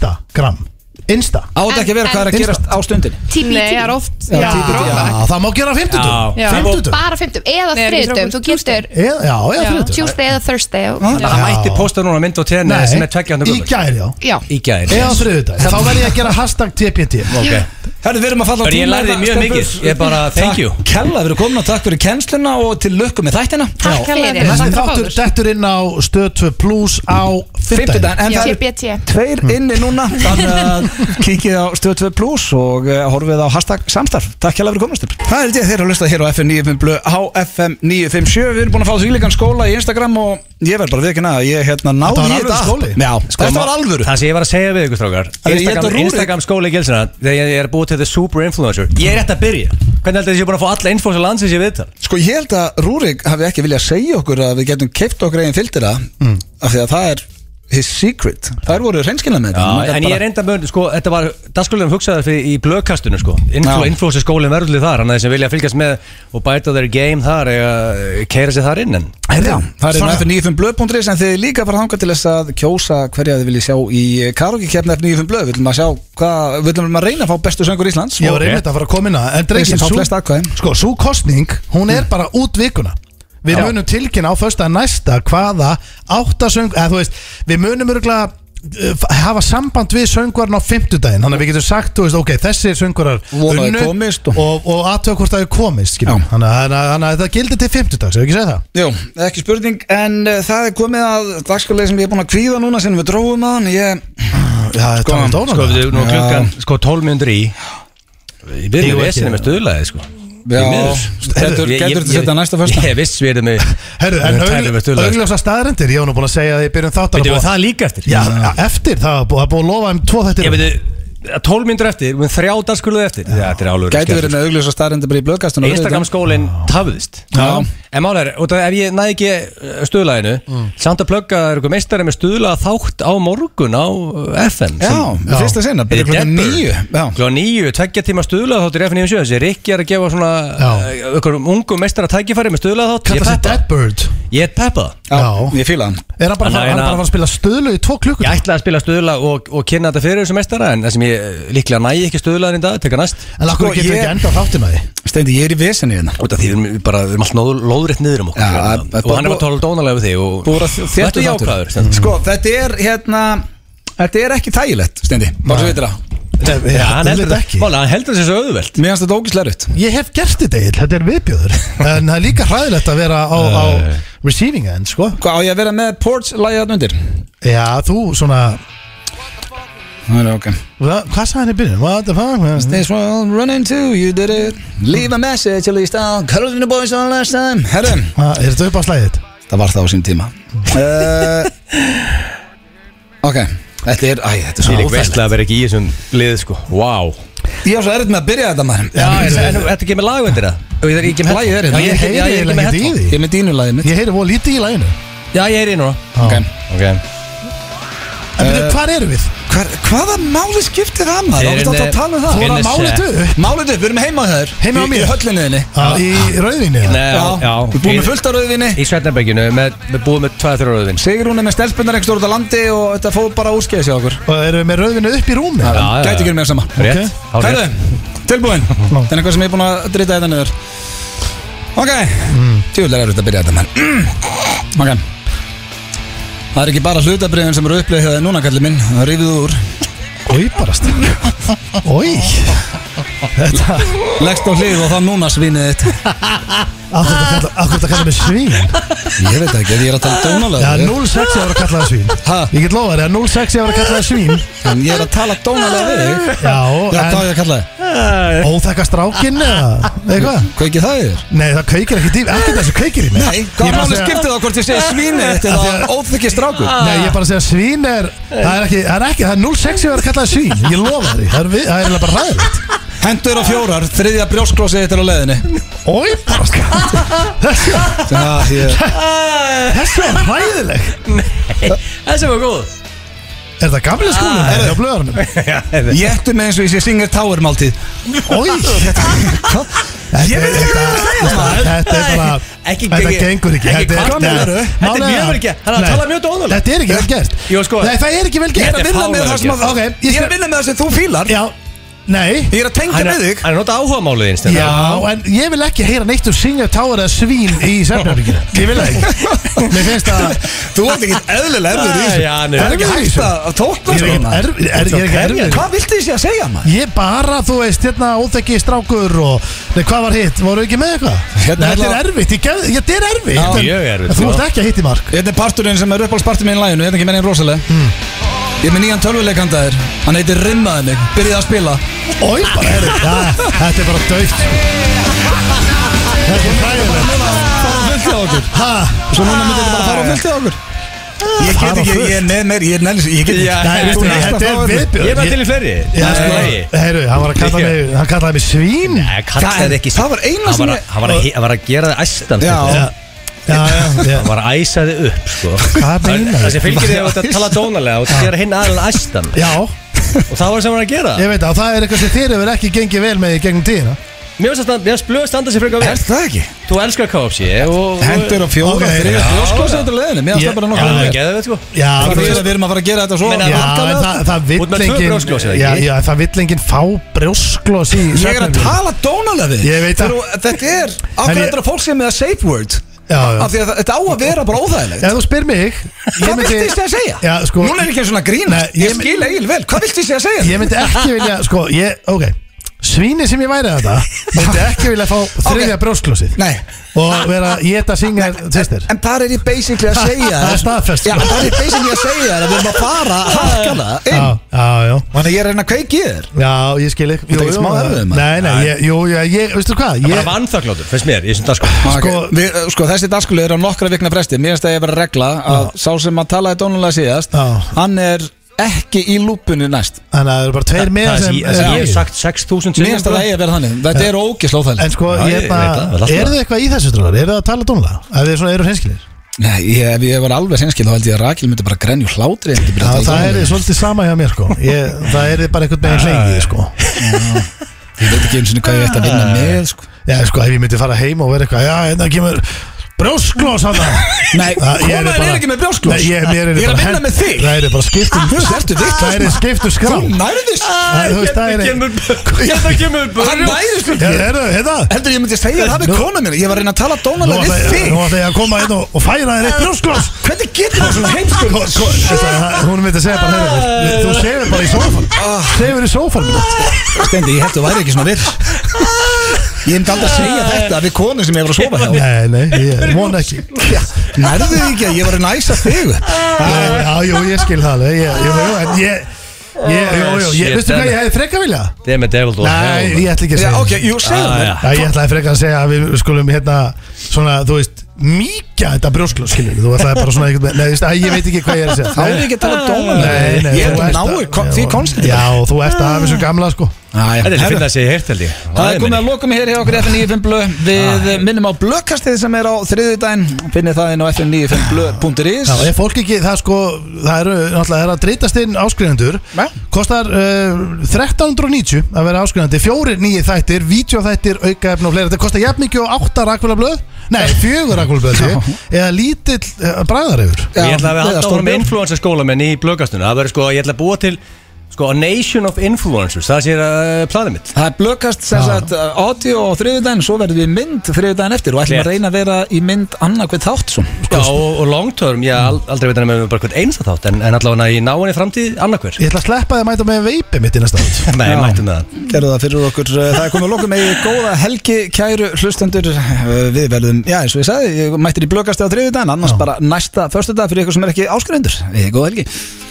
C: Instagram Insta
A: átt ekki að vera
G: En-
A: hvað er að
C: en-
A: gerast á stundinni
G: TBT
E: Nei, það er oft
A: Já, TBT,
E: já.
C: Já, það má gera á
B: Já.
E: Já.
C: 50 50
G: Bara fimmtum, eða
E: Nei, við
G: þriðutum
E: þurfum
G: Þú getur
C: Eða- Já, eða
E: Já.
C: 50
G: Tuesday eða Thursday og-
B: Þannig að hann mætti posta núna mynd frá tenni sem er tveggja
C: Nei, í gær já
G: Já,
B: Í gær
C: Eða þriðudag Þá verð ég að gera hashtag TPT
B: okay.
A: Herðu, við erum að falla á
B: Hörru, ég
A: tíma
B: lærði
A: hérna,
B: mjög
A: stelpur.
B: mikið. Ég bara, thank you.
A: Takk Kella, við erum komin og takk fyrir kennsluna og til lukku með þættina
G: takk fyrir
C: Næsti
E: Takk fyrir
C: þáttur
E: báður.
C: dettur inn á stöð 2 plus á 50
A: Fimmtudaginn, en það eru
F: TBT
A: tveir inni <laughs> núna Þannig að kikið á stöð 2 plus og uh, horfið á hashtag samstarf Takk kella fyrir komast upp Það er þetta þeir eru að hlusta hér á FM 95 blö á FM 957 Við erum búin að fá þvílíkan skóla í Instagram og ég verð bara við ekki naða Ég hérna náði í
C: Þetta var alvöru skóli?
A: Já, þetta var alvöru
B: Sko, Það sem ég var að segja við ykkur strákar
A: Það er- ég held að
B: Instagram,
A: Rúrik-
B: Instagram skóli gilsina Þegar ég er búið til the super influencer Ég er rétt að byrja Hvernig heldur þið að ég er búin að fá alla infos að landsins ég viðtal?
A: Sko ég held að Rúrik hafi ekki viljað segja okkur að við getum keipt okkur eigin filtera af því að það er his secret Það er voru reynskilna með þetta Hann
B: Já,
A: gat
B: en ég
A: bara-
B: er enda mun, sko, þetta var dagskulegum hugsaður fyrir í blöðkastunum, sko
A: Já.
B: Influencer skólinn verðurlið þar, hann að þeir sem vilja fylgjast með og bæta þeir game þar eða keira sér þar inn en
A: Herra, það er
C: Svona.
A: F95 blöð.ris en þið er líka bara þangað til þess að kjósa hverja þið viljið sjá í karokikefni F95 blöð við viljum að sjá hvað, við viljum að reyna að fá bestu söngur Íslands
C: Ég var einmitt að fara að koma inn að En
A: Þeir
C: drengjum,
A: sem fá flest atkvæðin.
C: sko, svo kostning Hún
A: Mm.
C: er bara út vikuna Við munum tilkynna á fösta næsta Hvaða áttasöng eða, þú veist, Við munum örgulega hafa samband við söngvarn á fimmtudaginn þannig að við getum sagt, þú veist, ok, þessir söngvarar
A: Vona að þau komist
C: og,
A: og-
C: og, og aðtöða hvort það er komist skilur.
A: Já.
C: þannig að- þannig að þannig að það gildi til fimmtudags, hefur ekki segið það?
A: Jú, ekki spurning en uh, það er komið að dagskalegi sem ég er búin að kvíða núna sinni við dróðum að hann ég,
C: Já, það er
A: Sko,
C: talað
B: Sko,
C: dónalega
B: við erum nú
A: Já.
B: klukkan, sko, 12 minnur í Við
C: Eigum
B: erum
C: við ekki-
B: vesinni með stuðlaði, sko
A: Já,
B: Því miður.
A: getur-
B: Ég- ég-
A: getur þetta setja næsta föstudag?
B: Ég viss við erum
C: Herru, en
B: við
C: augljósa staðarendir, ég var nú búin að segja að ég byrjum þáttar
B: Veitum við það líka eftir?
C: Já, eftir, það var búið að búið að lofa um tvo
B: Ég
C: þættir
B: veit, 12 minnur eftir, við erum þrjá dagskulegum eftir Já, þetta er álur
A: gæti verið með augljósa starrendi bara í blöðkastunum
B: Instagram skólinn tafðist
A: Já.
B: En mál er, út af ef ég næði ekki uh, stuðlaginu Samt að plugga er eitthvað meistari með stuðla þátt á morgun á uh, FM
A: Já, í fyrsta sinna, byrja klokkan níu Já,
B: Klokkan níu, tveggja tíma stuðla þáttur FM 97 Þessi Rikki er að gefa svona
C: Já.
B: uh, Ykkur ungum meistara tækifæri með stuðla þátt Ég
C: Kallar sig
B: peppa,
C: Deadbird
B: ég er peppa það.
A: já,
C: Já.
A: ég fíla hann
C: Er hann bara að fara-
B: Hann er-
C: hann er bara að fara að spila stöðlu í tvo klukkur
B: Ég ætlaði að spila stuðla og, og kynna þetta fyrir þessu meistara En það sem ég uh, líklega næði ekki stuðlaðin í dag, teka næst
C: En
A: Sko,
C: akkur getur
A: ég-
C: ekki enda þáttir með því
A: Steindi, ég er í vesinni hérna
B: Út af því við erum bara, við erum alltaf lóðrétt niður um okkur
A: Já,
B: hérna.
A: það er
B: Og hann er
A: bara-
B: bara tóla dónalega við þig og Mm.
A: Búið að þéttu
B: Vertu jákvæður, Steindi.
A: Sko, þetta er hérna Þetta er ekki þægilegt, Steindi, bara svo veitir það
C: Nei,
B: Já, hann heldur
C: auðvitað ekki.
B: það Mála, hann heldur þessu auðvelt
A: Mér finnst þetta ógislega rutt
C: Ég hef gert þetta eiginlega, þetta er
B: <laughs>
C: viðbjóður En það er líka hræðilegt að vera á, á receiving end, sko
A: Hvað á ég að vera með Ports lagið hann undir?
C: Já, þú svona,
A: Það er ok
C: hva- hvað sagði hann í byrjun? What the fuck?
A: This world running to you did it Leave a message at least I'll call the boys on last time Herrum
C: Hvað- Er þetta upp á slæðið?
A: Það var það á sín tíma <laughs> uh, Ok Þetta er, æ, þetta er svo
B: Ég lík
A: óþægilegt
B: veistlega að vera ekki í þessum lið sko Vá
A: Ég á svo erfitt með að byrja þetta maður
B: Já, en en- ertu ekki með lag undir það? Og ég er ekki með
A: Lagið er hérna.
B: Já, ég er-
C: Ég
B: já,
C: heyri
B: ég er ekki
C: eiginlega
B: með headphone
C: ekki í því
A: Ég er með dínu lagið mitt
C: Ég heyri voða lítið í læginu
B: Já, ég er í núna
A: Ok
B: Ok
C: En
B: Eh,
C: uh, hvar eru við?
A: Hvar, Hvaða máli skiptir það maður? Það
B: Þeir
A: var
B: eru-
A: alltaf að tala um það
B: Þeir
A: Voru
B: eru-
A: að máli
C: Málið duð
A: Málið upp, við erum heima á þér
C: Heima á
A: Í-
C: mér.
A: Í höllinni þinni
C: Í rauðinu
B: Ah. Nei, já, já
A: Við erum búin með fullt á rauðvinni
B: Í Svetnabækjunu, við búum með 2-3 rauðvin
A: Sigrún er með stelpunar ekki stórt á landi og þetta fóð bara úrskeiðis hjá okkur
C: Og erum við með rauðinu upp í rúmi?
B: já, já.
A: Gæti ekki mér sama
B: Rétt
C: Ok.
B: á rétt.
A: Hæðu, tilbúin Það er eitthvað sem ég er búin að drita þetta niður Ok,
B: Mm.
A: tjúlega er þetta að byrja þetta menn Ok Það er ekki bara hlutabriðin sem eru upplegið þegar núna kallið minn Það rífið úr
C: Í barast Í Þetta
A: Leggst á hlið og þá núna svinið þitt
C: Akkur þetta kallar mig svín
A: Ég veit það ekki, ég er að tala
C: Já,
A: dónalega
C: 06 ég var að kalla það svín
A: Ha?
C: Ég get lofa þér að 06 ég var að kalla það svín
A: En ég er að tala dónalega við þig
C: Já,
A: Já, hvað á
C: en
A: ég að kalla þig?
C: óþekka strákinn eða eitthvað
A: Hvað ekki það í þér?
C: Nei, það kveikir ekkert í Ekkert þessu kveikir í mig
A: Nei,
C: Ég
A: hvað
C: bara
A: máli
C: segja-
A: skiptir þá hvort ég segi svíni eða óþykki strákur?
C: Nei, ég er bara að segja svín er Það er ekki, það er ekki, það er 06 ég var að kalla það svín Ég lofa þér, það er, við, það er eiginlega bara ræðilegt
A: Hendur á fjórar, þriðja brjósklósið þetta er á leiðinni
C: Ói, bara skátt Þessi var-
A: Já, ég
C: þessi var ræðileg
B: Þessi var góð
C: Er það gamlega
A: Ah,
C: skólinn? Er það á blöðarnum?
A: Jættu með eins og ég sé Singer Tower máltíð
C: Ói, þetta Ég veit ekki hvað það
B: maður.
C: Þetta er bara
B: Ekki-
C: Þetta
B: ekki-
C: gengur ekki
B: ekki
C: Þetta er-
B: hvað meinarðu?
C: Nei,
B: Þetta er
C: málið
B: mjög vel gert. Hann er að
C: Nei.
B: tala mjög dónalega.
C: Þetta er ekki vel gert
B: Jú, sko.
C: Nei, það er ekki vel
A: Ég
C: gert
A: er að vinna með það sem að
C: Ok, ég
A: Ég er
C: skal-
A: að vinna með það sem þú fílar
C: Já, nei
A: Ég er að tengja
B: Hann
A: með
B: er
A: þig
B: hann er nota áhuga málið einst
C: Já, en ég vil ekki heyra neitt um Singer Tower eða svín í Svefnarbyggina Ég vil það ekki Mér finnst að
A: Þú ert ekkert eðlilega erfður í
B: Æ, já,
A: þessu
B: nei.
A: Það er ekki
C: Erfiður í
A: hægt
C: þessu?
A: að tókna
C: Ég er ekkert erfið er, Ég er ekkert erfið
A: Hvað viltu þessi að segja maður?
C: Ég bara, þú veist, hérna óþekki strákur og Nei, hvað var hitt? Voru ekki með eitthvað?
A: Hérna
C: Nei, þetta
A: alla-
C: er erfitt, ég gef Þetta er erfitt
A: Já,
C: Þetta
B: mjög erfitt,
C: Þú
B: já.
C: ert ekki að hitt í mark
A: Þetta er parturinn sem er uppáhaldspartur minn í læginu, þetta er ekki menn einn rosalega Ég er með nýjan tölvuleikanda þér, hann heitir Rimmaði mig, byrjaði að spila
C: Ói, bara er þetta Þetta er bara dögt Þetta er hræðilegt
A: Fullt á okkur,
C: Ha?
A: svo núna myndi þetta bara fara á fullt á okkur Ég
C: Fara á
A: get ekki,
C: fullt?
A: ég er neð mér, ég er neðlis, ég get
B: Já,
A: ekki
C: Nei,
A: þú
C: veistu,
A: veist að
C: þetta
A: það
C: er
A: er-
C: viðbjörn
B: Ég var til í fleiri
C: Já,
B: Það er
C: sko,
B: lagi.
C: heyrðu, hann var að kalla mig Hann kallaði mig svín
B: Nei, kallaði ekki
A: Það var eina
B: Hann
A: sem
B: var að-
A: ég-
B: Hann var að- hann var að gera það æstan
A: Já.
B: sko.
C: Já, já, já, já.
B: Hann var að æsa þið upp sko.
C: Hvað meinar
B: Það
C: þú?
B: sem fylgir þig að tala dónalega og það gera hinn aðeins æstan
C: Já,
B: Og það var sem hann var að gera
C: ég veit að það er eitthvað sem þér hefur ekki gengið vel með í gegnum tíðina
B: Mér finnst að blöð standa sér frekar
A: Er
B: vel
A: það ekki?
B: Þú elskar KFC og
A: Hendur á fjóra,
C: Ok,
A: þriðja,
B: já.
A: brjósklosa þetta er leiðinu, mér finnst
C: Ég-
A: það bara
B: Já,
A: nokkuð
B: það er
A: vel.
B: geðveikt, sko.
C: Já,
A: Það
C: þú
A: er
C: veist
A: að við erum að fara að gera þetta svo
B: Meina,
C: Já,
A: vankalega.
C: en það, það
B: Út með
C: vill
B: tvö
C: engin
B: brjósklos, eða ekki?
C: já, já, það vill engin fá brjósklós í
A: Ég er að
C: svefnherbergi.
A: tala dónalega við
C: Ég veit
A: Þegar
C: að-
A: þú- Þetta er,
C: En
A: ákveður
C: ég-
A: þetta fólk sem er að safe word
C: Já, já.
A: Af því að það- þetta á að vera bara óþægilegt
C: Ef þú spyr mig
A: Hvað viltu ég sé að segja?
C: Já, sko,
A: Núna er ekki svona grínast,
C: Nei,
A: ég,
C: ég-
A: skil Egil vel Hvað viltu ég sé að segja?
C: Ég myndi ekki vilja, sko, ég, ok Svíni sem ég væri þetta Myndi ekki
A: <laughs>
C: vilja fá þriðja okay. brjósklósið
A: Nei,
C: Og vera að geta singa sýstir
A: en þar er ég basically að segja
C: Það er staðfest,
A: Já,
C: sko.
A: þar er ég basically að segja þér að við erum að fara harkala
C: Já,
A: inn
C: já, já
A: Þannig að ég er að reyna að kveiki í þér
C: Já, ég skil ekki
A: Þetta er ekki smá erfiður, maður.
C: Nei, nei, ég, jú, já, ég, veistu hvað
B: Bara
C: Ég,
B: vannþakláttur, finnst mér, í þessum dag sko
A: Sko, við, sko þessi dagskulu er á nokkra vikna fresti Mér finnst að ég vera að regla að sá sem að talaði dónulega síðast
C: Já.
A: Hann er ekki í lúpunni næst
C: þannig að það eru bara tveir með
B: Það
C: sem
B: sem
C: sem-
B: ég hef sagt sko. 6.000
A: Mér finnst að það eigi að vera þannig Þetta er ógisla
C: En
A: óþægilegt
C: sko,
B: Já, ég
C: ég,
B: veit það,
C: bara,
B: það er
C: er
B: alltaf.
C: þið eitthvað í þessu strólar? Er þið að tala dónulega? Ef þið svona eru hinskilir?
A: Nei, ég, ef ég var alveg sinnskil þá held ég að Rakil myndi bara grenju hlátri ef ég byrjaði
C: Já,
A: að tala
C: það er
A: dónalega.
C: svolítið sama hjá mér sko ég, Það er bara einhvern veginn hlengið sko
A: Ég veit ekki eins og hvað ég ætti að vinna með sko.
C: Já, sko, ef ég myndi fara heim og vera eitthvað Já, hérna kemur brjósklós hann
A: Nei, komaður er ekki með brjósklos.
C: Nei, ég,
A: Ég er
C: mér
A: að
C: bara
A: vinna
C: hent-
A: með þig.
C: Það er bara skiptum
A: Þú ertu vitlaus,
C: Það er
A: maður.
C: skiptum skrá
A: Þú nærðist
C: Það- þú veist, það er-
B: Hérna kemur
A: Hann
B: börjum
A: nærðist
C: Já, hérna, hérna
A: Heldur ég myndi segja það við
C: Nú-
A: kona mín Ég var að reyna að tala
C: Nú
A: dónalega við
C: ætla ég-
A: þig
C: nú ætla ég að koma hérna og- og færa þér eitt brjósklós
A: Hvernig getur það svona heimskur?
C: Ko- ko- það- Sko, Hún myndi segja bara hérna Þú sefur bara í
A: Ah.
C: sófan Sefur í sófan
A: Stendi, ég held þú væri ekki svona virs Ég myndi aldrei að segja þetta við konu sem Ah. ég var að sofa hjá
C: Nei, nei, ég vona ekki Já,
A: Nærðu þig ekki að Ah, ég var að næsa þig <laughs> upp?
C: Já, já, jú, ég skil það alveg Ég, jú, jú, en ég Ég, jú, jú, ég,
B: Shit,
C: veistu hvað
B: Dennis.
C: ég hefði frekka vilja?
B: Damn it, devil
C: Nei, ég ætla ekki að
A: Já,
C: segja
A: ok, jú, segðu
B: Ah,
A: mér
B: já.
C: Já, ég ætlaði frekka að segja að við skulum hérna Svona, þú veist, mýkja þetta brjósklu Skilur, við, þú ætlaði bara svona einhvern veginn Nei, þú veist, æ, ég veit ekki hvað ég er
A: Þá
C: að segja
A: er
C: Nei,
A: ekki að tala dónalega
C: nei,
A: Ég
C: nei, þú
A: held að
C: ert
A: náir kom-
C: já,
A: því konstið
C: Já, og þú ert að hafa þessu gamla, sko
A: Ah,
B: Þetta er fyrir
A: Það
B: það sem ég heirt held ég
A: er komið að lokum hér hjá okkur FN95 Blö Við minnum á blökkastið sem er á þriðjudaginn Finnir það inn á
C: Já,
A: FN95blö.is
C: ef fólk ekki, það sko, það eru náttúrulega það er að dreytast inn áskrifendur
A: Nei.
C: Kostar uh, 1390 að vera áskrifandi Fjórir nýjir þættir, vídeoþættir, aukaefn og fleira Þetta kostar jafn mikið og átta rakvölablöð Nei, fjögur rakvölablöð held ég. Eða lítill uh, bræðarefur
B: Ég ætla að
A: Já,
B: við halda áfram
A: stórbjór.
B: með influencer skólamenn í blöggastunum Það verður sko, ég ætla að búa til Sko, a nation of influencers, það sé uh, planið mitt
A: Það er blökast sem sagt audio á þriðudaginn, svo verðum við í mynd þriðudaginn eftir og ætlum
B: Rétt.
A: að reyna að vera í mynd annarkveit þátt svo.
B: Já, og, og long term, ég al- aldrei veit hann með bara hvert einsta þátt En, en allavega í náinni framtíð annarkvör
C: Ég ætla að sleppa því að mæta með veipið mitt í næsta átt
B: Nei, mættum með það
A: Gerðu það fyrir okkur, eh, það er komið að lokum eigi góða helgi kæru hlustendur Eh, við verðum, já eins og ég sagði, ég mættir í blökast á þriðudaginn, annars bara næsta förstudag fyrir ykkur sem er ekki áskrifundur, eigi góða helgi